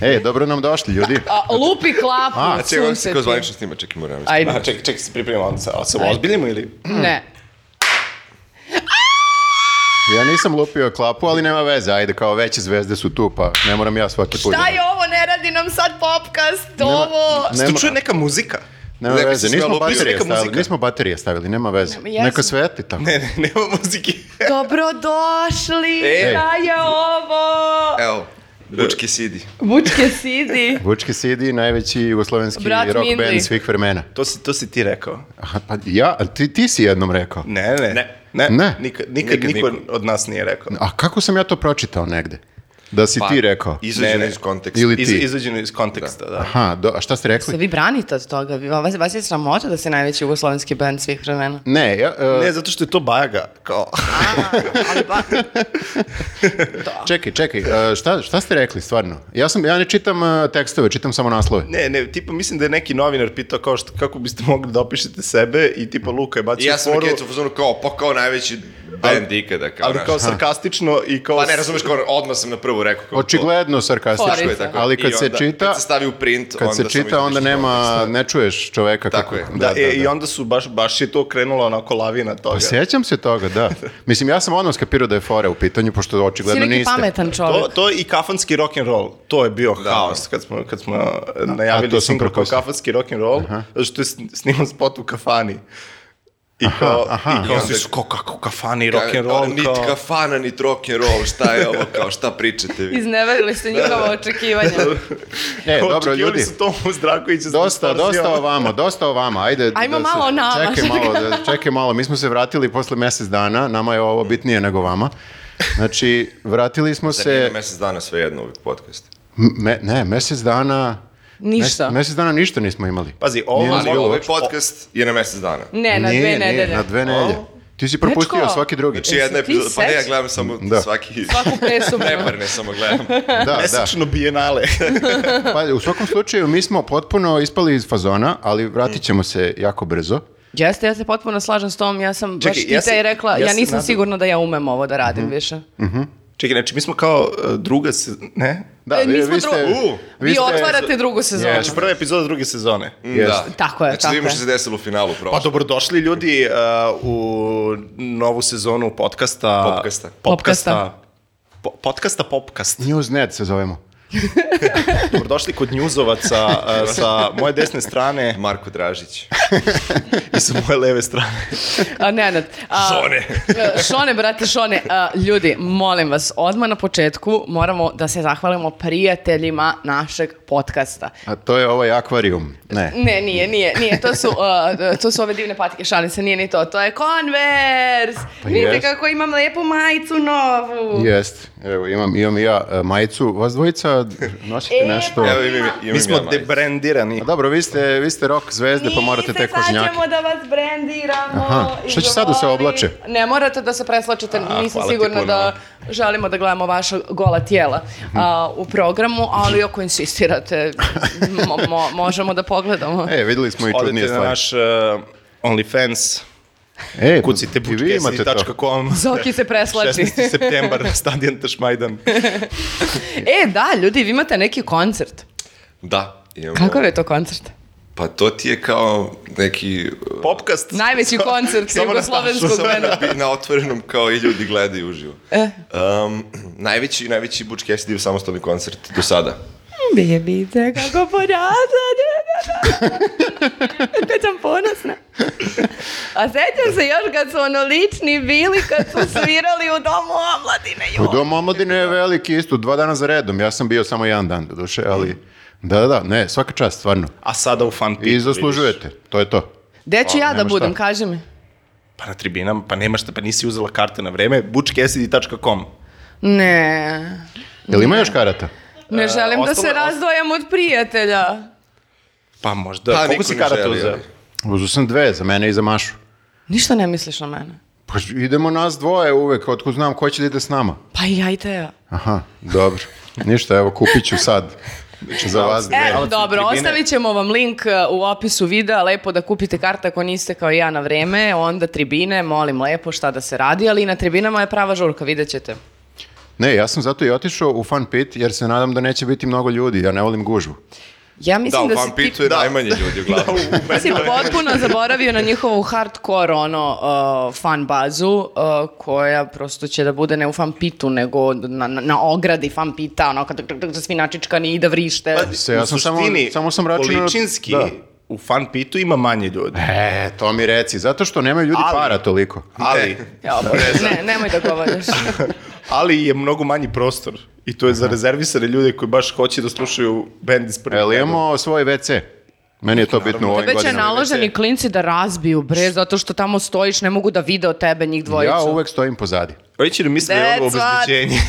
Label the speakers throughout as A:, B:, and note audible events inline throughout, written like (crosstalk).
A: E, dobro nam došli, ljudi.
B: A, lupi klapu,
A: A,
B: A,
C: Čekaj, ovo se
B: sunce
C: kao
B: ti.
C: zvanično snima, čekaj, moram ja
B: Ajde,
D: A čekaj, čekaj, se pripremamo, onda se, a se ozbiljimo ili?
B: ne.
A: Ja nisam lupio klapu, ali nema veze. Ajde, kao veće zvezde su tu, pa ne moram ja svaki put.
B: Šta je ovo, ne radi nam sad popkast,
A: Nema-
B: ovo...
A: Nema-
D: Se tu čuje neka muzika?
A: Nema
C: Rekli
A: veze,
C: su sve
A: nismo
C: lupio,
A: baterije,
D: neka
A: stavili,
D: muzika.
A: nismo baterije stavili, nema veze.
B: Nema, jesmo.
A: Neka svetli tako.
D: Ne, ne, nema muzike.
B: Dobrodošli,
C: E.
B: šta je ovo?
C: Evo,
D: E,
C: Bučki Sidi.
B: Bučke sidi.
A: Vučki Sidi, najveći jugoslovenski
B: Brat
A: rock
B: Mindli.
A: band svih vremena.
D: To si, to si ti rekao.
A: Aha, pa ja, a ti, ti si jednom rekao.
D: Ne, ne.
C: Ne.
D: Ne.
A: Ne.
D: Nikad, nikad,
C: Nikad
D: niko
C: niko.
D: od nas nije rekao.
A: A kako sam ja to pročitao negde? Da
D: Pa,
A: si ti rekao.
D: Ne,
C: Izađeno
D: ne.
C: iz konteksta.
A: Ili-
D: Iz,
A: ti.
D: izvađeno iz konteksta, da.
A: Aha, do, a šta ste
B: Se
A: rekli?
B: vi branite od toga? Vi- Vas, vas je sramota da ste najveći jugoslovenski band svih vremena.
A: Ne, ja, e,
D: Ne, zato što je to bajaga, kao... (laughs)
B: Da, Ali ba,
A: čekaj, čekaj, e, šta, šta ste rekli stvarno? Ja, sam, ja ne čitam e, tekstove, čitam samo naslove.
D: Ne, ne, tipa mislim da je neki novinar pitao kao što, kako biste mogli da opišete sebe i tipa Luka je
C: I
D: bacio
C: ja sam
D: foru,
C: Kecu u fazonu kao, pa kao najveći band ikada, kao
D: ali
C: naš.
D: kao sarkastično i kao...
C: Pa ne, razumeš, kao odmah sam na prvu rekao. Kao,
A: Očigledno sarkastično,
B: Forica.
A: je tako. ali kad
C: I
A: se
C: onda-
A: čita,
C: Kad se stavi u print,
A: kad se
C: sam
A: čita
C: izbacio
A: onda
C: iz
A: nema, ne čuješ čoveka
C: Tako
A: kako.
C: je.
D: Da, e, i onda su baš, baš je to krenula onako lavina
A: Pa
D: toga.
A: Sjećam se toga, da. Mislim, ja sam odmah skapirao da je fora u pitanju, pošto
B: si
A: očigledno
B: neki
A: niste.
B: pametan čovjek.
D: To, to je i kafanski rock and roll. To je bio haos kad smo kad smo eh, najavili
A: Da. to sam
D: single kao
A: propustio.
D: kafanski rock and roll, zato što je sn- snimao spot u kafani. I kao, i kao
C: I
D: svi
C: onda-
D: su kao kako u kafani
C: Kao,
D: rock and roll,
C: Nit
D: kao...
C: kafana, nit rock and roll, šta je ovo, kao šta pričate vi?
B: Izneverili ste njihova očekivanja.
A: E,
D: Kao,
A: dobro,
D: očekivali
A: ljudi.
D: su Tomu Zdravkovića. s
A: Dosta, dosta
D: distorzijom.
A: o vama, dosta o vama. Ajde,
B: (laughs)
A: da
B: Ajmo malo o nama.
A: Čekaj malo, da,
B: (laughs)
A: čekaj malo. Mi smo se vratili posle mesec dana. Nama je ovo bitnije nego vama. Znači, vratili smo
C: Za Da nije
A: se...
C: mesec dana sve jedno ovih podcasta.
A: Me, ne, mesec dana...
B: Ništa.
A: mes- Mesec dana ništa nismo imali.
D: Pazi, ovo-
A: Nije nas
C: Ali
D: bilo
C: ovaj
D: uopšte.
C: podcast je na mesec dana.
B: Ne, E, na
A: Nije,
B: dve
A: nije,
B: nedelje.
A: Na dve nedelje. Ti si propustio
B: Dečko.
A: svaki drugi.
C: Znači jedna
B: Jesi ti
C: epizoda, pa ne, ja
B: sećaš?
C: gledam samo
A: Da.
C: svaki...
B: Svaku
C: (laughs)
B: pesmu.
C: Neparne samo gledam.
A: da, da.
D: Mesečno bijenale. (laughs)
A: Pa, u svakom slučaju, mi smo potpuno ispali iz fazona, ali vratit ćemo se jako brzo.
B: Jeste, ja se potpuno slažem s tom, ja sam
D: Čekaj,
B: baš ti
D: ja
B: te
D: se-
B: rekla,
D: ja
B: ja,
D: se
B: nisam
D: nadam-
B: sigurna da ja umem ovo da radim više.
D: Čekaj, znači mi smo kao eh, druga se... Ne?
A: Da,
B: E, mi smo dru-
A: vi
B: Vi,
A: ste-
B: otvarate drugu sezonu.
D: Znači prva epizoda druge sezone.
A: Jeste.
C: Da.
B: Tako je,
C: znači,
B: tako
C: vidimo
B: je.
C: što se desilo u finalu
D: Pa
C: prošlo.
D: dobrodošli ljudi uh, u novu sezonu podcasta...
C: Popkasta.
D: Popkasta. Po, podcasta Popkast.
A: Newsnet se zovemo.
D: Dobrodošli kod njuzovaca uh, sa moje desne strane
C: Marko Dražić.
D: i sa moje leve strane.
B: A, Nenad. A, (laughs)
C: Šone.
B: šone, brate, šone. A, ljudi, molim vas, odmah na početku moramo da se zahvalimo prijateljima našeg podcasta.
A: A to je ovaj akvarijum. Ne.
B: Ne, nije, nije, nije, to su, uh, to su ove divne patike, šalim se, nije ni to, to je Converse,
A: Pa
B: vidite
A: jest.
B: kako imam lepu majicu novu.
A: Jest, evo imam, imam i ja e, majicu, vas dvojica nosite
B: E,
A: nešto.
B: pa-
C: Evo imam, imam
D: Mi smo
C: ja majicu.
D: debrendirani.
A: A dobro, vi ste, vi ste rock zvezde pa morate
B: Niste,
A: te kožnjake.
B: sad ćemo da vas brendiramo.
A: Aha,
B: i
A: šta će sad da se
B: govori-
A: oblače?
B: Ne morate da se preslačite, nisam
D: hvala ti
B: sigurna
D: puno.
B: da želimo da gledamo vaša gola tijela
A: Mhm.
B: a, u programu, ali ako insistirate, mo- mo- možemo da pogledamo.
A: (laughs) E, videli smo i čudnije
D: Odete na
A: stvari.
D: naš uh, OnlyFans,
A: E, pa
D: kucite
A: i vi imate to.
D: bučkesi.com.
B: Zoki se preslači.
D: 16. septembar, stadion Tašmajdan.
B: e, da, ljudi, vi imate neki koncert.
C: Da. Imamo.
B: Kakav je to koncert?
C: Pa to ti je kao
D: (laughs)
C: neki... uh,
D: Popkast.
B: Najveći koncert
D: samo na
B: jugoslovenskog
C: (laughs) Samo
B: benda.
C: na, bi- na otvorenom kao i ljudi gledaju uživo.
B: E.
C: Um, najveći, najveći Butch Cassidy samostalni koncert do sada.
B: Bebite, kako porazna, da. (laughs) Kad sam ponosna. A sećam se još kad su ono lični bili, kad su svirali u domu omladine.
A: U Domu Pa omladine je veliki isto, dva dana za redom. Ja sam bio samo jedan dan do duše, ali... Da, da, da, ne, svaka čast, stvarno.
D: A sada u fan pitu,
A: I zaslužujete, to je to.
B: Gde ću ja da
A: nema šta.
B: budem, kaži mi.
D: Pa na tribinama, pa nema šta, pa nisi uzela karte na vreme, bučkesidi.com.
B: Ne,
A: Jel ima još karata?
B: ne želim da se
D: ostalo-
B: razdvojam od prijatelja.
D: Pa možda,
C: Pa,
D: koliko
C: niko
D: si
C: ne
D: karata
C: želi,
D: uzela?
C: ali.
A: Uzu sam dve, za mene i za Mašu.
B: Ništa ne misliš na mene.
A: Pa idemo nas dvoje uvek, otkud znam ko će da ide s nama.
B: Pa i ja i te.
A: Aha, dobro. Ništa, evo, kupit ću sad za vas dve.
B: E,
D: ali su
B: dobro,
D: tribine-
B: ostavit ćemo vam link uh, u opisu videa, lepo da kupite karte ako niste kao i ja na vreme, onda tribine, molim lepo šta da se radi, ali i na tribinama je prava žurka, vidjet ćete.
A: Ne, ja sam zato i otišao u fan pit jer se nadam da neće biti mnogo ljudi, ja ne volim gužvu.
B: Ja
C: Da,
B: mislim
C: u
B: da, si ti...
C: Vampitu je najmanje
D: (laughs) Da,
C: ljudi uglavnom.
B: Ti si potpuno zaboravio na njihovu hardcore ono, uh, fan bazu uh, koja prosto će da bude ne u fan pitu nego na, na, na ogradi fan pita, ono kad kad- kad svi načičkani i da vrište.
A: E, Se, ja
D: Pa, u
A: sam samo-
D: suštini,
A: samo sam računao-
D: količinski,
A: da.
D: u fan pitu ima manje ljudi.
A: E, to mi reci, zato što nemaju ljudi
D: Ali-
A: para toliko.
D: Ali,
B: Ja, ne, nemoj da govoriš.
D: ali je mnogo manji prostor. I to je za rezervisane ljude koji baš hoće da slušaju bend iz prvog.
A: Jel
D: reda.
A: E, imamo svoj WC? Meni je to bitno u ovim
B: Tebe će
A: godinama.
B: naloženi klinci da razbiju, bre, zato što tamo stojiš, ne mogu da vide od tebe njih dvojicu.
A: Ja uvek stojim pozadi.
D: Ovi će da misle da je ovo
B: That's what-
D: obezbeđenje.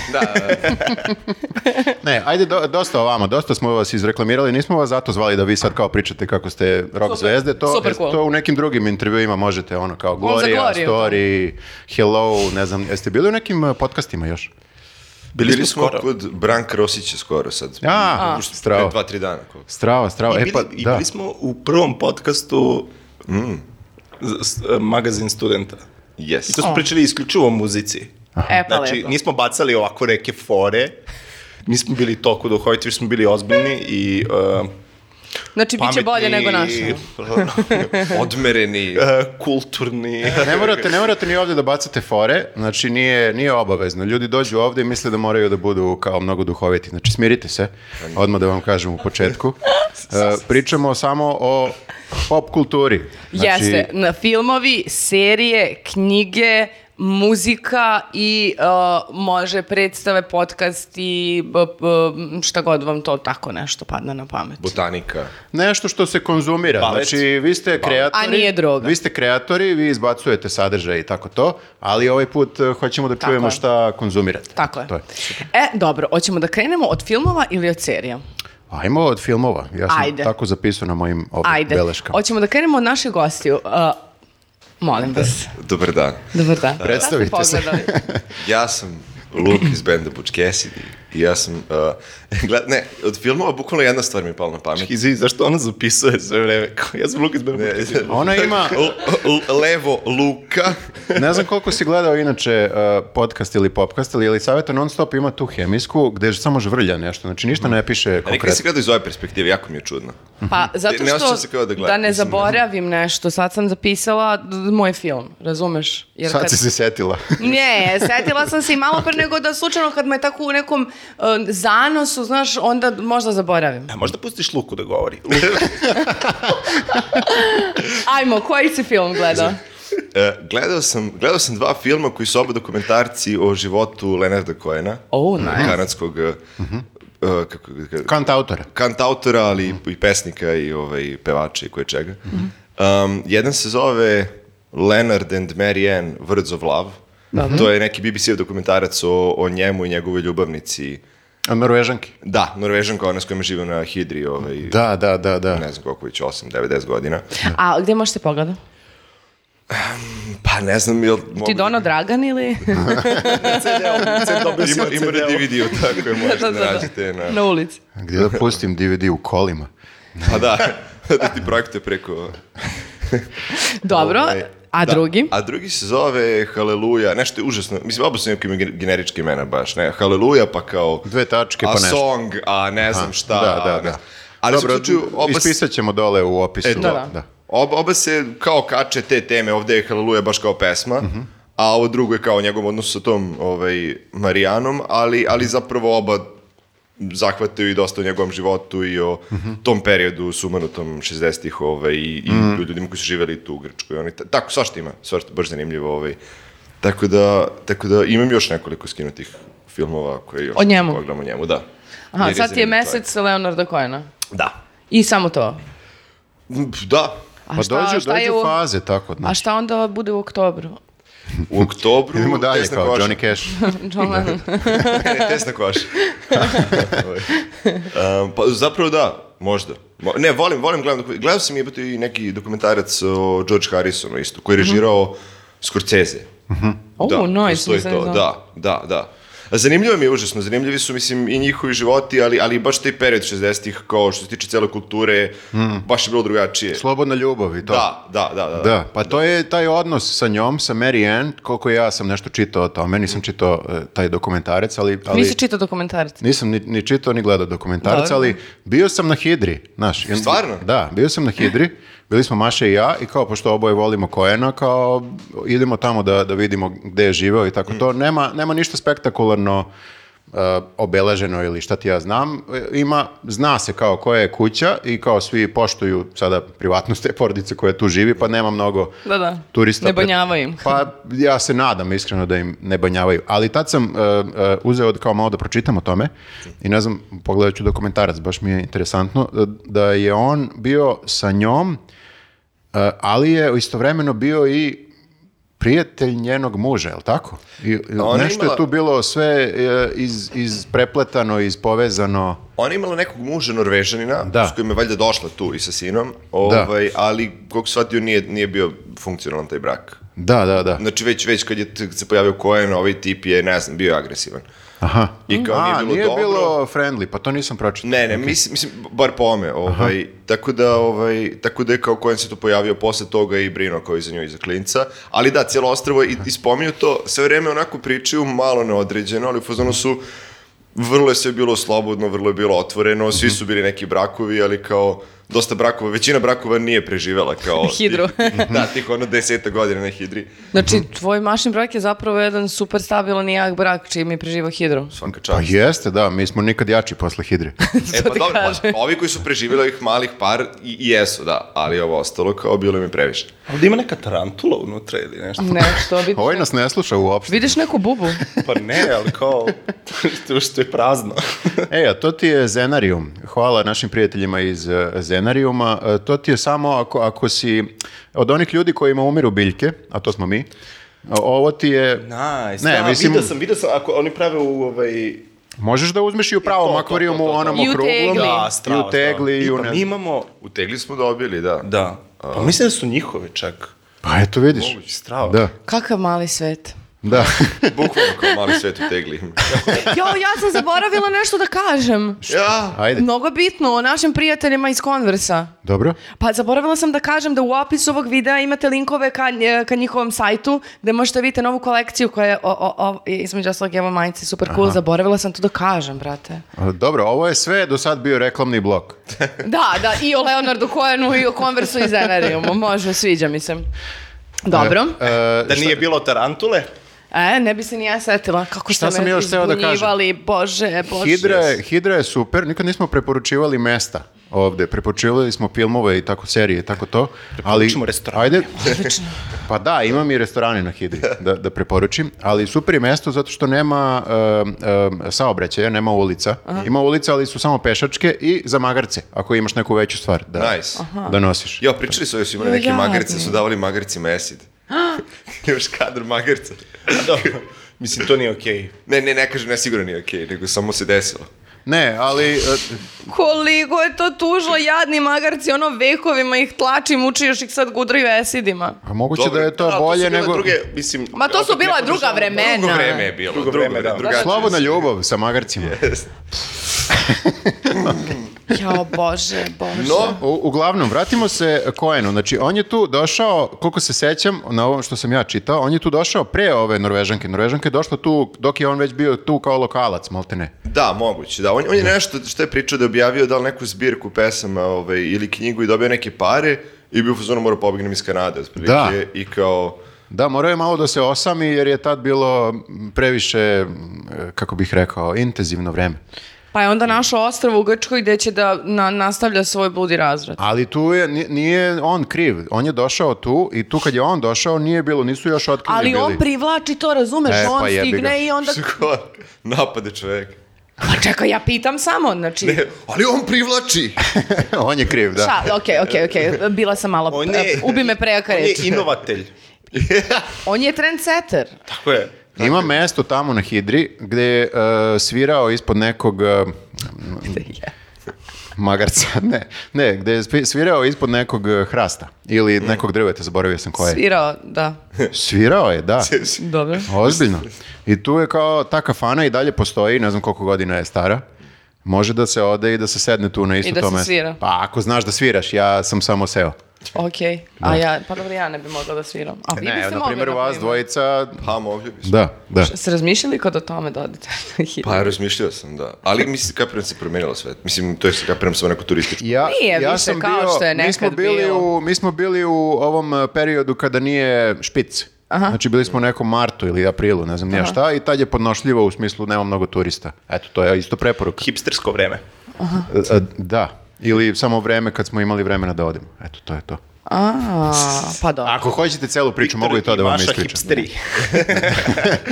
A: Ne, ajde, do- dosta o vama, dosta smo vas izreklamirali, nismo vas zato zvali da vi sad kao pričate kako ste rock
B: Super,
A: zvezde, to,
B: super
A: jest-
B: cool.
A: to u nekim drugim intervjuima možete, ono kao
B: za
A: Gloria,
B: Gloriju, da.
A: Story, Hello, ne znam, jeste bili u nekim eh, podcastima još?
C: Bili,
D: smo
C: smo
D: skoro.
C: kod Branka Rosića skoro sad.
A: A,
C: Ušto-
A: strava.
C: Pre dva, tri dana. koliko.
A: Strava, strava, (laughs)
D: I,
A: e
D: bili,
A: pa,
D: I
A: da.
D: bili smo u prvom podcastu
C: Mm.
D: z- s- e, magazin studenta. I
C: Yes.
D: to smo pričali isključivo o muzici.
B: E, pa
D: Znači,
B: lepo.
D: nismo bacali ovako neke fore, nismo bili toliko duhoviti, već smo bili ozbiljni i uh,
B: Znači, bit će
D: pametni
B: bolje nego
D: i,
B: naše.
D: (laughs)
C: Odmereni.
D: uh, (laughs) kulturni.
A: Ne morate, ne morate ni ovdje da bacate fore, znači nije, nije obavezno. Ljudi dođu ovdje i misle da moraju da budu kao mnogo duhoviti. Znači smirite se, odmah da vam kažem u
B: (laughs)
A: početku. E, pričamo samo o pop kulturi. Znači,
B: Jeste, na filmovi, serije, knjige, muzika i uh, može predstave, podcasti, b- b- šta god vam to tako nešto padne na pamet.
C: Botanika.
A: Nešto što se konzumira.
D: Balet.
A: Znači, vi ste kreatori.
B: A nije droga.
A: Vi ste kreatori, vi izbacujete sadržaj i tako to, ali ovaj put e, hoćemo da čujemo
B: je.
A: šta konzumirate.
B: Tako je.
A: To je.
B: E, dobro, hoćemo da krenemo od filmova ili od serija?
A: Ajmo od filmova. Ja sam
B: Ajde.
A: tako zapisao na mojim ovdje
B: Ajde.
A: beleškama.
B: Hoćemo da krenemo od naših gostiju. Uh, molim vas.
C: Dobar dan.
B: Dobar dan.
A: Predstavite se.
B: Šta ste pogledali?
C: Ja sam Luk iz benda Bučkesi i ja sam... Uh, (laughs) gled, ne, od filmova bukvalno jedna stvar mi je pala na pamet.
D: Izvi, zašto ona zapisuje sve vreme? Kao, ja sam Lukas Benbučki.
A: Ona
D: (laughs)
A: ima,
C: L- l- levo Luka.
A: Ne znam koliko si gledao inače uh, podcast ili popcast ili ili savjeta non stop ima tu hemijsku gde samo žvrlja nešto, znači ništa ne piše
C: A Nikad se
A: konkretno.
C: gleda iz ove perspektive, jako mi je čudno.
B: Pa zato
C: Ne osjećam se
B: što
C: kao da
B: da,
C: gledam,
B: ne
C: mislim.
B: zaboravim nešto, sad sam zapisala d- d- moj film, razumeš? Jer
A: Sad
B: kad-
A: si se
C: (laughs)
A: setila.
B: Ne, setila sam se i malo pre nego da slučajno kad me tako u nekom e, zanosu, znaš, onda možda zaboravim.
D: A možda pustiš Luku da govori?
B: Ajmo, koji si film gledao?
C: Uh, gledao, sam, gledao sam dva filma koji su oba dokumentarci o životu Lenarda Coena,
B: Oh, nice.
C: kanadskog... Uh, uh, kako, kako,
A: Kant autora.
C: kantautora, ali i- i pesnika i ovaj, pevača i koje čega. Um, jedan se zove Leonard and Mary Ann Words of Love. To je neki BBC dokumentarac o, o njemu i njegovoj ljubavnici.
A: A Norvežanki.
C: Da, Norvežanka, ona s kojima žive na Hidri, ovaj,
A: Da, da, da, da.
C: Pa ne znam koliko već, 8, 9, 10 godina.
B: A gdje možete pogledati?
C: Pa ne znam, jel mogu...
B: Ti
C: (laughs)
B: Dono Dragan ili?
C: Ima, ima na DVD-u, tako je,
B: (laughs)
C: možete
B: Da,
C: da,
B: da, da.
C: nađete na...
B: (laughs) Na ulici.
A: A Gdje da pustim DVD u kolima.
C: Pa da, (laughs) da ti projektuje preko...
B: Dobro,
C: Ovaj,
B: a
C: da.
B: drugi?
C: A drugi se zove Haleluja, nešto je užasno. Mislim, oba su neki imaju gen- generička imena baš, ne? Haleluja pa kao...
A: Dve tačke
C: a
A: pa nešto.
C: song, a ne znam šta.
A: da, da,
C: a ne-
A: da.
C: Ali
A: Dobro,
C: u slučaju, oba, s-
A: ispisat ćemo dole u opisu.
C: E, to.
B: Da,
A: da.
B: da.
C: oba, oba se kao kače te teme, ovde je Haleluja baš kao pesma, a ovo drugo je kao njegov odnos sa tom ovaj, Marijanom, ali, ali zapravo oba zahvataju i dosta o njegovom životu i o tom periodu sumanutom 60-ih ovaj, i, i
B: Mhm.
C: o ljudima koji su živeli tu u Grčkoj. Oni, ta- tako, svašta ima, svašta baš zanimljivo. Ovaj. Tako, da, tako da imam još nekoliko skinutih filmova koje još
B: O njemu?
C: pogledam o njemu, da.
B: Aha, sad
C: Jer
B: ti je
C: zanimljiv čovjek.
B: mesec Leonarda Coena.
C: Da.
B: I samo to.
C: Da,
B: A
A: Pa dođu,
B: je
A: dođu
B: u-
A: faze tako.
B: A
A: znači.
B: šta onda bude u
C: (laughs)
B: oktobru?
C: u
B: (laughs)
C: oktobru...
A: Idemo dalje
C: Tesna
A: kao
C: koža.
A: Johnny Cash.
C: (laughs)
B: John Lennon.
C: ne, tesna
B: (laughs)
C: koša. um, pa zapravo da, možda. Mo- Ne, volim, volim, gledam, doku- gledao sam jebate i neki dokumentarac o George Harrisonu isto, koji je režirao Scorsese. Da,
B: Oh, Mhm. nice,
C: postoji
B: nisam
C: to,
B: znala.
C: da, da, da. Zanimljivo mi je užasno, zanimljivi su mislim i njihovi životi, ali, ali baš taj period 60-ih kao što se tiče cele kulture,
B: Mhm.
C: baš je bilo drugačije.
A: Slobodna ljubav i to.
C: Da, da, da, da.
A: Da, pa to je taj odnos sa njom, sa Mary Ann, koliko ja sam nešto čitao o tome, nisam čitao e, taj dokumentarac, ali... ali
B: Nisi čitao dokumentarac.
A: Nisam ni, ni čitao ni gledao dokumentarac,
B: Dobro.
A: ali bio sam na Hidri, znaš. I-
C: Stvarno?
A: Da, bio sam na Hidri, bili smo Maša i ja i kao pošto oboje volimo Kojena, kao idemo tamo da, da vidimo gde je živeo i tako to. Nema, nema ništa spektakularno uh, obeleženo ili šta ti ja znam. E, Ima, zna se kao koja je kuća i kao svi poštuju sada privatnost te porodice koja tu živi, pa nema mnogo
B: Da, da.
A: turista.
B: Ne
A: pred-
B: banjavaju im.
A: Pa ja se nadam iskreno da im ne banjavaju. Ali tad sam e, e, uzeo da kao malo da pročitam o tome i ne znam, pogledat ću dokumentarac, baš mi je interesantno, e, da je on bio sa njom, e, ali je istovremeno bio i prijatelj njenog muža, je li tako? I, i
C: ona je
A: nešto je
C: imala-
A: tu bilo sve e, iz, isprepletano, ispovezano.
C: Ona je imala nekog muža Norvežanina,
A: Da.
C: s kojim je valjda došla tu i sa sinom, ovaj, ali koliko shvatio nije, nije bio funkcionalan taj brak.
A: Da, da, da.
C: Znači već, već kad je t- kad se pojavio Koen, ovaj tip je, ne znam, bio je agresivan.
A: Aha.
C: I kao
A: A,
C: nije bilo dobro.
A: bilo friendly, pa to nisam pročitao.
C: Ne, ne, mislim, mislim, bar po ome, ovaj, tako da, ovaj, tako da je kao Koen se tu pojavio posle toga i Brino koji za nju i za klinca, ali da, cijelo ostravo i, i spominju to, sve vreme onako pričaju malo neodređeno, ali u fazonu su, vrlo je sve bilo slobodno, vrlo je bilo otvoreno, svi su bili neki brakovi, ali kao, dosta brakova, većina brakova nije preživela
B: (laughs)
C: kao...
B: Hidru.
C: (laughs) da, tih ono deseta godina na hidri,
B: Znači, tvoj mašin brak je zapravo jedan super stabilan i jak brak čiji mi preživa hidro.
C: svaka čast.
A: Pa jeste, da, mi smo nikad jači posle Hidre.
C: (laughs) E
B: To
C: pa
B: ti
C: dobro, pa,
B: kažem.
C: ovi koji su preživjeli ovih malih par i, i jesu, da, ali ovo ostalo kao bilo im je previše.
D: (laughs) Ovdje ima neka tarantula unutra ili nešto.
B: Nešto, vidiš,
A: Ovaj nas ne sluša uopšte.
B: vidiš neku bubu.
D: Pa ne, ali kao, (laughs) što, što je prazno.
A: E, a to ti je Zenarium. Hvala našim prijateljima iz e, Zenarijuma. E, To ti je samo ako, ako si od onih ljudi kojima umiru biljke, a to smo mi, o- ovo ti je...
D: (laughs) Nice,
A: Ne,
D: da,
A: mislim-
D: vidio sam, vidio sam, ako oni prave u ovaj...
A: Možeš da uzmeš i u
D: to,
A: pravom
D: to,
A: akvarijumu,
D: to, to, to.
A: onom
B: I u
A: okruglom.
B: tegli. Da,
A: I u tegli. I u
D: I pa
A: ne-
D: mi imamo,
C: U tegli smo dobili, da.
D: da, pa mislim da su njihove čak.
A: Pa eto vidiš.
D: Strava.
A: Da,
B: Kakav mali svet.
A: da. (laughs)
C: Bukvalno kao mali svet u (laughs) tegli.
B: Jo, ja sam zaboravila nešto da kažem.
C: ja,
A: Ajde,
B: Mnogo bitno o našim prijateljima iz Konversa.
A: dobro.
B: Pa zaboravila sam da kažem da u opisu ovog videa imate linkove ka, nje- ka njihovom sajtu gde možete vidjeti novu kolekciju koja je o, o, o, između ostalog evo majice super cool. Zaboravila sam to da kažem, brate.
A: A, Dobro, ovo je sve do sad bio reklamni blok.
B: Da, da, i o Leonardu Cohenu i o Conversu i Zenariumu. Može, sviđa mi se. Dobro.
A: E, e,
D: Da nije bilo tarantule?
B: E, ne bi se ni ja setila kako
A: Šta
B: ste
A: sam
B: me
A: još hteo da kažem?
B: izbunjivali, bože, bože.
A: Hidra, je- Hidra je super, nikad nismo preporučivali mesta ovde, preporučivali smo filmove i tako serije i tako to, ali
D: Preporučimo restorane.
A: ajde, (laughs) pa da, imam i restorane na Hidri da, da preporučim, ali super je mesto zato što nema um, um, saobraćaja, nema ulica, ima ulica ali su samo pešačke i za magarce, ako imaš neku veću stvar da,
C: nice.
A: da nosiš.
C: Jo, pričali su ovi su imali
B: Jo,
C: neke
B: jadni.
C: magarce, su davali magarcima (gasps) acid. Imaš kadar magarca.
D: Dobro. (laughs) Mislim, to nije okej.
C: Ne, ne, ne kažem, ne sigurno nije okej, nego samo se desilo.
A: Ne, ali e,
B: Koliko je to tužno, jadni magarci, ono vekovima ih tlači, muči, još ih sad gudraju esidima.
A: a moguće
C: Dobro,
A: da je to
C: a,
A: bolje
C: su bile
A: nego...
C: Druge, mislim,
B: Ma to su
C: opet ne
B: bila druga
C: podržavam.
B: vremena.
C: Drugo vreme je bilo.
D: Drugo
C: Drugo,
D: vreme,
C: vreme,
D: da.
C: drugačije
A: Slobodna
C: su. (laughs)
A: ljubav sa magarcima.
B: Jao, bože, bože.
C: No,
A: U, uglavnom, vratimo se Koenu. Znači, on je tu došao, koliko se sećam, na ovom što sam ja čitao, on je tu došao pre ove Norvežanke. Norvežanka je došla tu, dok je on već bio tu kao lokalac, malte ne.
C: Da, moguće. Da, on, on je nešto što je pričao da je objavio da li neku zbirku pesama ovaj, ili knjigu i dobio neke pare i bio u fazonu morao da pobegnem iz Kanade otprilike
A: Da.
C: i kao
A: Da, morao je malo da se osami, jer je tad bilo previše, e, kako bih rekao, intenzivno vreme.
B: Pa je onda našo ostrvo u Grčkoj gdje će da na- nastavlja svoj bludi razvrat.
A: Ali tu je, ni- nije on kriv. On je došao tu i tu kad je on došao, nije bilo, nisu još otkrili
B: Ali
A: bili.
B: on privlači to, razumeš,
A: E,
B: on
A: pa jebi ga.
B: stigne i onda...
C: Ko- napade čovjek.
B: Pa čekaj, ja pitam samo, znači...
C: E, ali on privlači.
A: (laughs) on je kriv, da.
B: Šta, okej, okej, okej, bila sam malo,
D: On je-
B: Pa, ubi me prejaka
D: On je
B: reč.
D: inovatelj.
B: On je trendsetter.
D: Tako je.
A: Ima mesto tamo na Hidri gde je e, svirao ispod nekog e, m, (laughs) Magarca, ne. Ne, gde je svi- svirao ispod nekog eh, hrasta ili
B: Mm.
A: nekog drveta, zaboravio sam koje.
B: Svirao, da.
A: (laughs) Svirao je, da.
B: Dobro.
A: Ozbiljno. I tu je kao ta kafana i dalje postoji, ne znam koliko godina je stara. Može da se ode i da se sedne tu na isto
B: I da
A: to
B: se
A: mesto.
B: svira.
A: Pa ako znaš da sviraš, ja sam samo seo.
B: Okej. A ja, pa dobro, ja ne bi mogla da sviram. A vi
A: E, ne,
B: biste
A: na
B: mogli, da
A: primjer vas
B: naprimjer.
A: dvojica,
C: Pa mogli bismo.
A: da, da.
B: Se razmišljali kad o tome da odete na (laughs) hit?
C: Pa razmišljao sam, da. Ali mislim, Kaprem se promenila sve. Mislim, to je Kaprem samo neko turističko.
A: Ja,
B: Nije više kao što je
A: mi smo
B: nekad
A: bili
B: bilo.
A: U, mi smo bili u ovom eh, periodu kada nije špic. Znači bili smo u nekom martu ili aprilu, ne znam nije šta, i tad je podnošljivo u smislu nema mnogo turista. Eto, to je isto preporuka.
D: Hipstersko vreme.
A: E, e, Da. Ili samo vreme kad smo imali vremena da odemo. Eto, to je to.
B: A, pa
A: (laughs)
B: dobro.
A: Ako hoćete celu priču, mogu i to da vam
D: Vaša
A: ispričam. da.
D: hipsteri.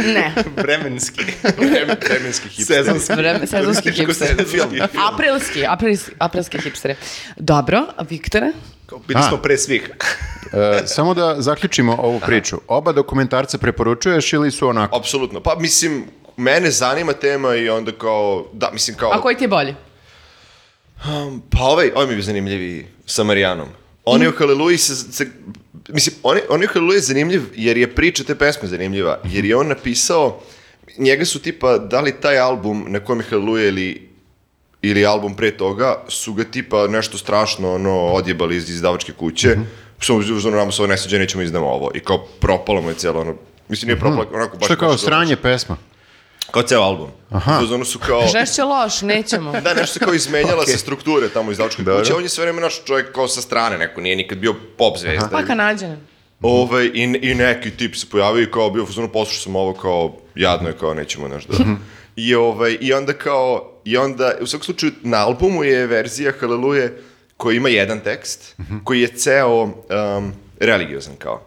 B: (laughs) Ne.
D: Vremenski.
C: Vremenski hipster.
D: Sezonski.
B: Vreme- Sezonski
D: Turističko
B: hipster.
D: sezonski.
B: Aprilski, aprilski, aprilski hipster. Dobro, a Viktore?
D: Kao, Bili
A: A.
D: smo pre svih.
A: E, samo da zaključimo ovu priču. Oba dokumentarce preporučuješ ili su onako?
C: Apsolutno. Pa mislim, mene zanima tema i onda kao, da, mislim kao...
B: A koji ti je bolji?
C: Pa ovaj, ovaj mi je bio zanimljiviji sa Marijanom. Oni
A: Mhm.
C: u Haleluji se, se mislim, oni, oni u Haleluji je zanimljiv jer je priča te pesme zanimljiva,
A: Mhm.
C: jer je on napisao, njega su tipa, da li taj album na kojem je Haleluja ili, ili album pre toga, su ga tipa nešto strašno ono, odjebali iz izdavačke kuće,
A: Mhm.
C: mm -hmm. su uzmano nama se ovo ne sviđa, nećemo da izdamo ovo. I kao propalo mu je cijelo ono, mislim nije propalo, onako baš...
A: Mhm. Što je kao
C: baš dobro.
A: sranje pesma?
C: Kao ceo album. Aha. Uzmano su kao...
B: Žešće loš, nećemo.
C: Da, nešto se kao izmenjala sa strukture tamo iz Dačke kuće. On je sve vreme naš čovjek kao sa strane neko, nije nikad bio pop zvezda.
B: Pa kanadjane.
C: Ove, Mhm. Ovaj, i, i neki tip se pojavio i kao bio, znači, poslušao sam ovo kao, jadno je kao, nećemo naš da... I, ovaj, I onda kao, i onda, u svakom slučaju, na albumu je verzija Haleluje koja ima jedan tekst, koji je ceo um, religiozan kao.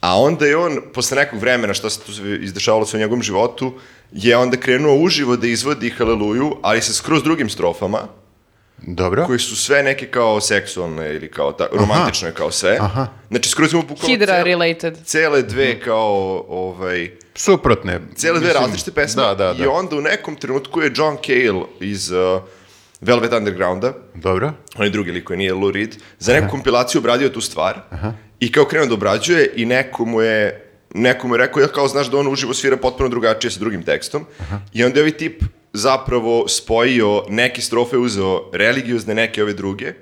C: A onda je on, posle nekog vremena što se tu izdešavalo se u njegovom životu, je onda krenuo uživo da izvodi Haleluju, ali sa skroz drugim strofama,
A: Dobro.
C: koje su sve neke kao seksualne ili kao ta, romantično je kao sve. Aha. Znači, skroz imamo bukvalno
B: Hidra
C: cele,
B: related.
C: cele dve kao, ovaj,
A: Suprotne.
C: cele
A: Mhm.
C: dve
A: Mislim,
C: različite pesme.
A: Da, da, da.
C: I onda u nekom trenutku je John Cale iz uh, Velvet Undergrounda,
A: Dobro.
C: onaj drugi lik koji nije Lou Reed, za neku kompilaciju obradio tu stvar i kao krenuo da obrađuje i neko mu je, neko mu je rekao, ja kao znaš da on uživo svira potpuno drugačije sa drugim tekstom i onda je ovaj tip zapravo spojio neke strofe, uzeo religiozne, neke ove druge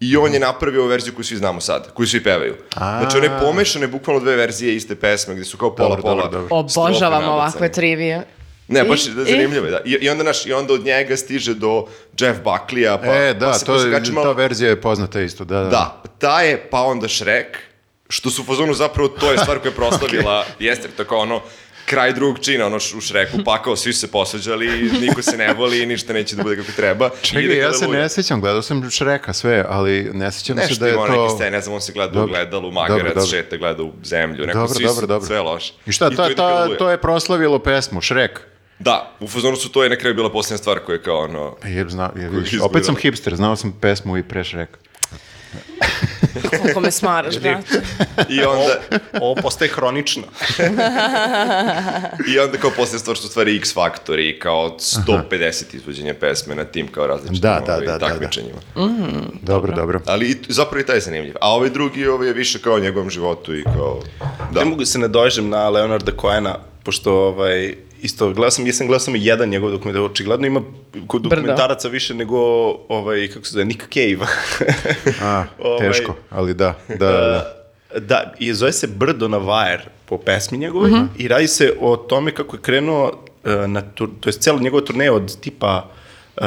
C: i on je napravio ovu verziju koju svi znamo sad, koju svi pevaju. Znači one pomešane bukvalno dve verzije iste pesme gde su kao pola
A: Dobro,
C: pola.
A: dobro, dobro.
C: strofe
B: Obožavam
C: nabacane.
B: ovakve trivije.
C: Ne,
B: I-
C: baš je
B: i-
C: zanimljivo, je, da. I, i onda naš i onda od njega stiže do Jeff Buckley-a, pa
A: e, da,
C: pa se-
A: to,
C: pa se
A: je-
C: kači malo-
A: ta verzija je poznata isto, da, da.
C: Da, ta je, pa onda Shrek, što su u fazonu zapravo, to je stvar
A: (laughs)
C: koja je proslavila, jeste, to je kao ono, kraj drugog čina, ono š- u Shreku, pakao, svi su se posvađali, niko se ne voli i ništa neće da bude kako treba. I ide
A: Čekaj, ja se
C: Haleluja.
A: ne sjećam, gledao sam Šreka sve, ali ne sjećam se
C: Nešto
A: da je
C: ima to... neke
A: to...
C: scene, ne znam, on se gleda u
A: Dobro,
C: gledalu,
A: dobro,
C: magarac,
A: dobro.
C: šeta, gleda u zemlju, neko
A: Dobro,
C: svi
A: dobro,
C: su-
A: dobro.
C: sve loše.
A: I šta, ta,
C: ide
A: ta,
C: Haleluja.
A: to je proslavilo pesmu, Šrek.
C: Da, u fazonu su to je na kraju bila posljednja stvar koja je kao ono...
A: Je, E, zna, je, vidiš,
C: izgleda.
A: opet sam hipster, znao sam pesmu i pre Šreka.
B: Koliko me smaraš, brate.
C: I
A: (laughs)
C: onda,
D: Ovo postaje hronično.
C: I onda kao posljedna stvar su stvari X Factor i kao 150 izvođenja pesme na tim kao različitim
A: Da, da,
C: ovaj,
A: da, da, da.
C: takmičenjima.
A: Dobro, dobro.
C: Ali i, zapravo i taj je zanimljiv. A ovaj drugi ovaj je više kao o njegovom životu i kao... Da.
D: Ne mogu se ne dožem na Leonarda Coena, pošto ovaj, isto gledao sam, jesam gledao sam i jedan njegov dokumentar, očigledno ima kod
B: Brdo.
D: dokumentaraca više nego, ovaj, kako se zove, Nick Cave.
A: A,
D: (laughs) Ovaj,
A: teško, ali da, da, da.
D: (laughs)
A: da.
D: Da, i zove se Brdo na vajer po pesmi njegove mm -hmm. i radi se o tome kako je krenuo uh, na tur, to je celo njegove turneje od tipa uh,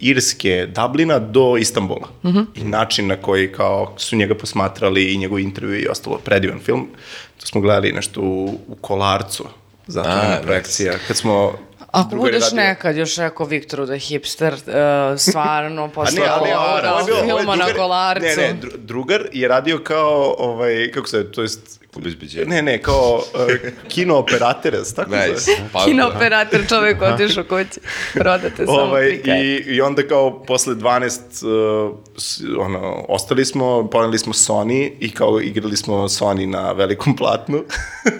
D: Irske, Dublina do Istanbula. Mm -hmm. I način na koji kao su njega posmatrali i njegov intervju i ostalo predivan film. To smo gledali nešto u, u Kolarcu. Zato
C: A,
D: je
C: nice.
D: projekcija. Kad smo
B: Ako
D: drugari
B: budeš
D: radio-
B: nekad još rekao Viktoru da je hipster, eh, stvarno, posle
D: A Pa ne, ali ovo,
B: ovoga
D: ovo je bio- ovo
B: da,
D: je
B: filma na
D: drugar-
B: kolarcu.
D: Ne, ne, dru- drugar je radio kao, ovaj, kako se, zove, to jest...
C: Obezbeđenje.
D: Ne, ne, kao uh, kino operater, tako
C: Nice.
D: (laughs) zove.
C: Pa,
B: Kinooperator čovek otišao kući. Prodate samo
D: Ovaj,
B: prikaje.
D: i, I onda kao posle 12, uh, s- ono, ostali smo, poneli smo Sony i kao igrali smo Sony na velikom platnu.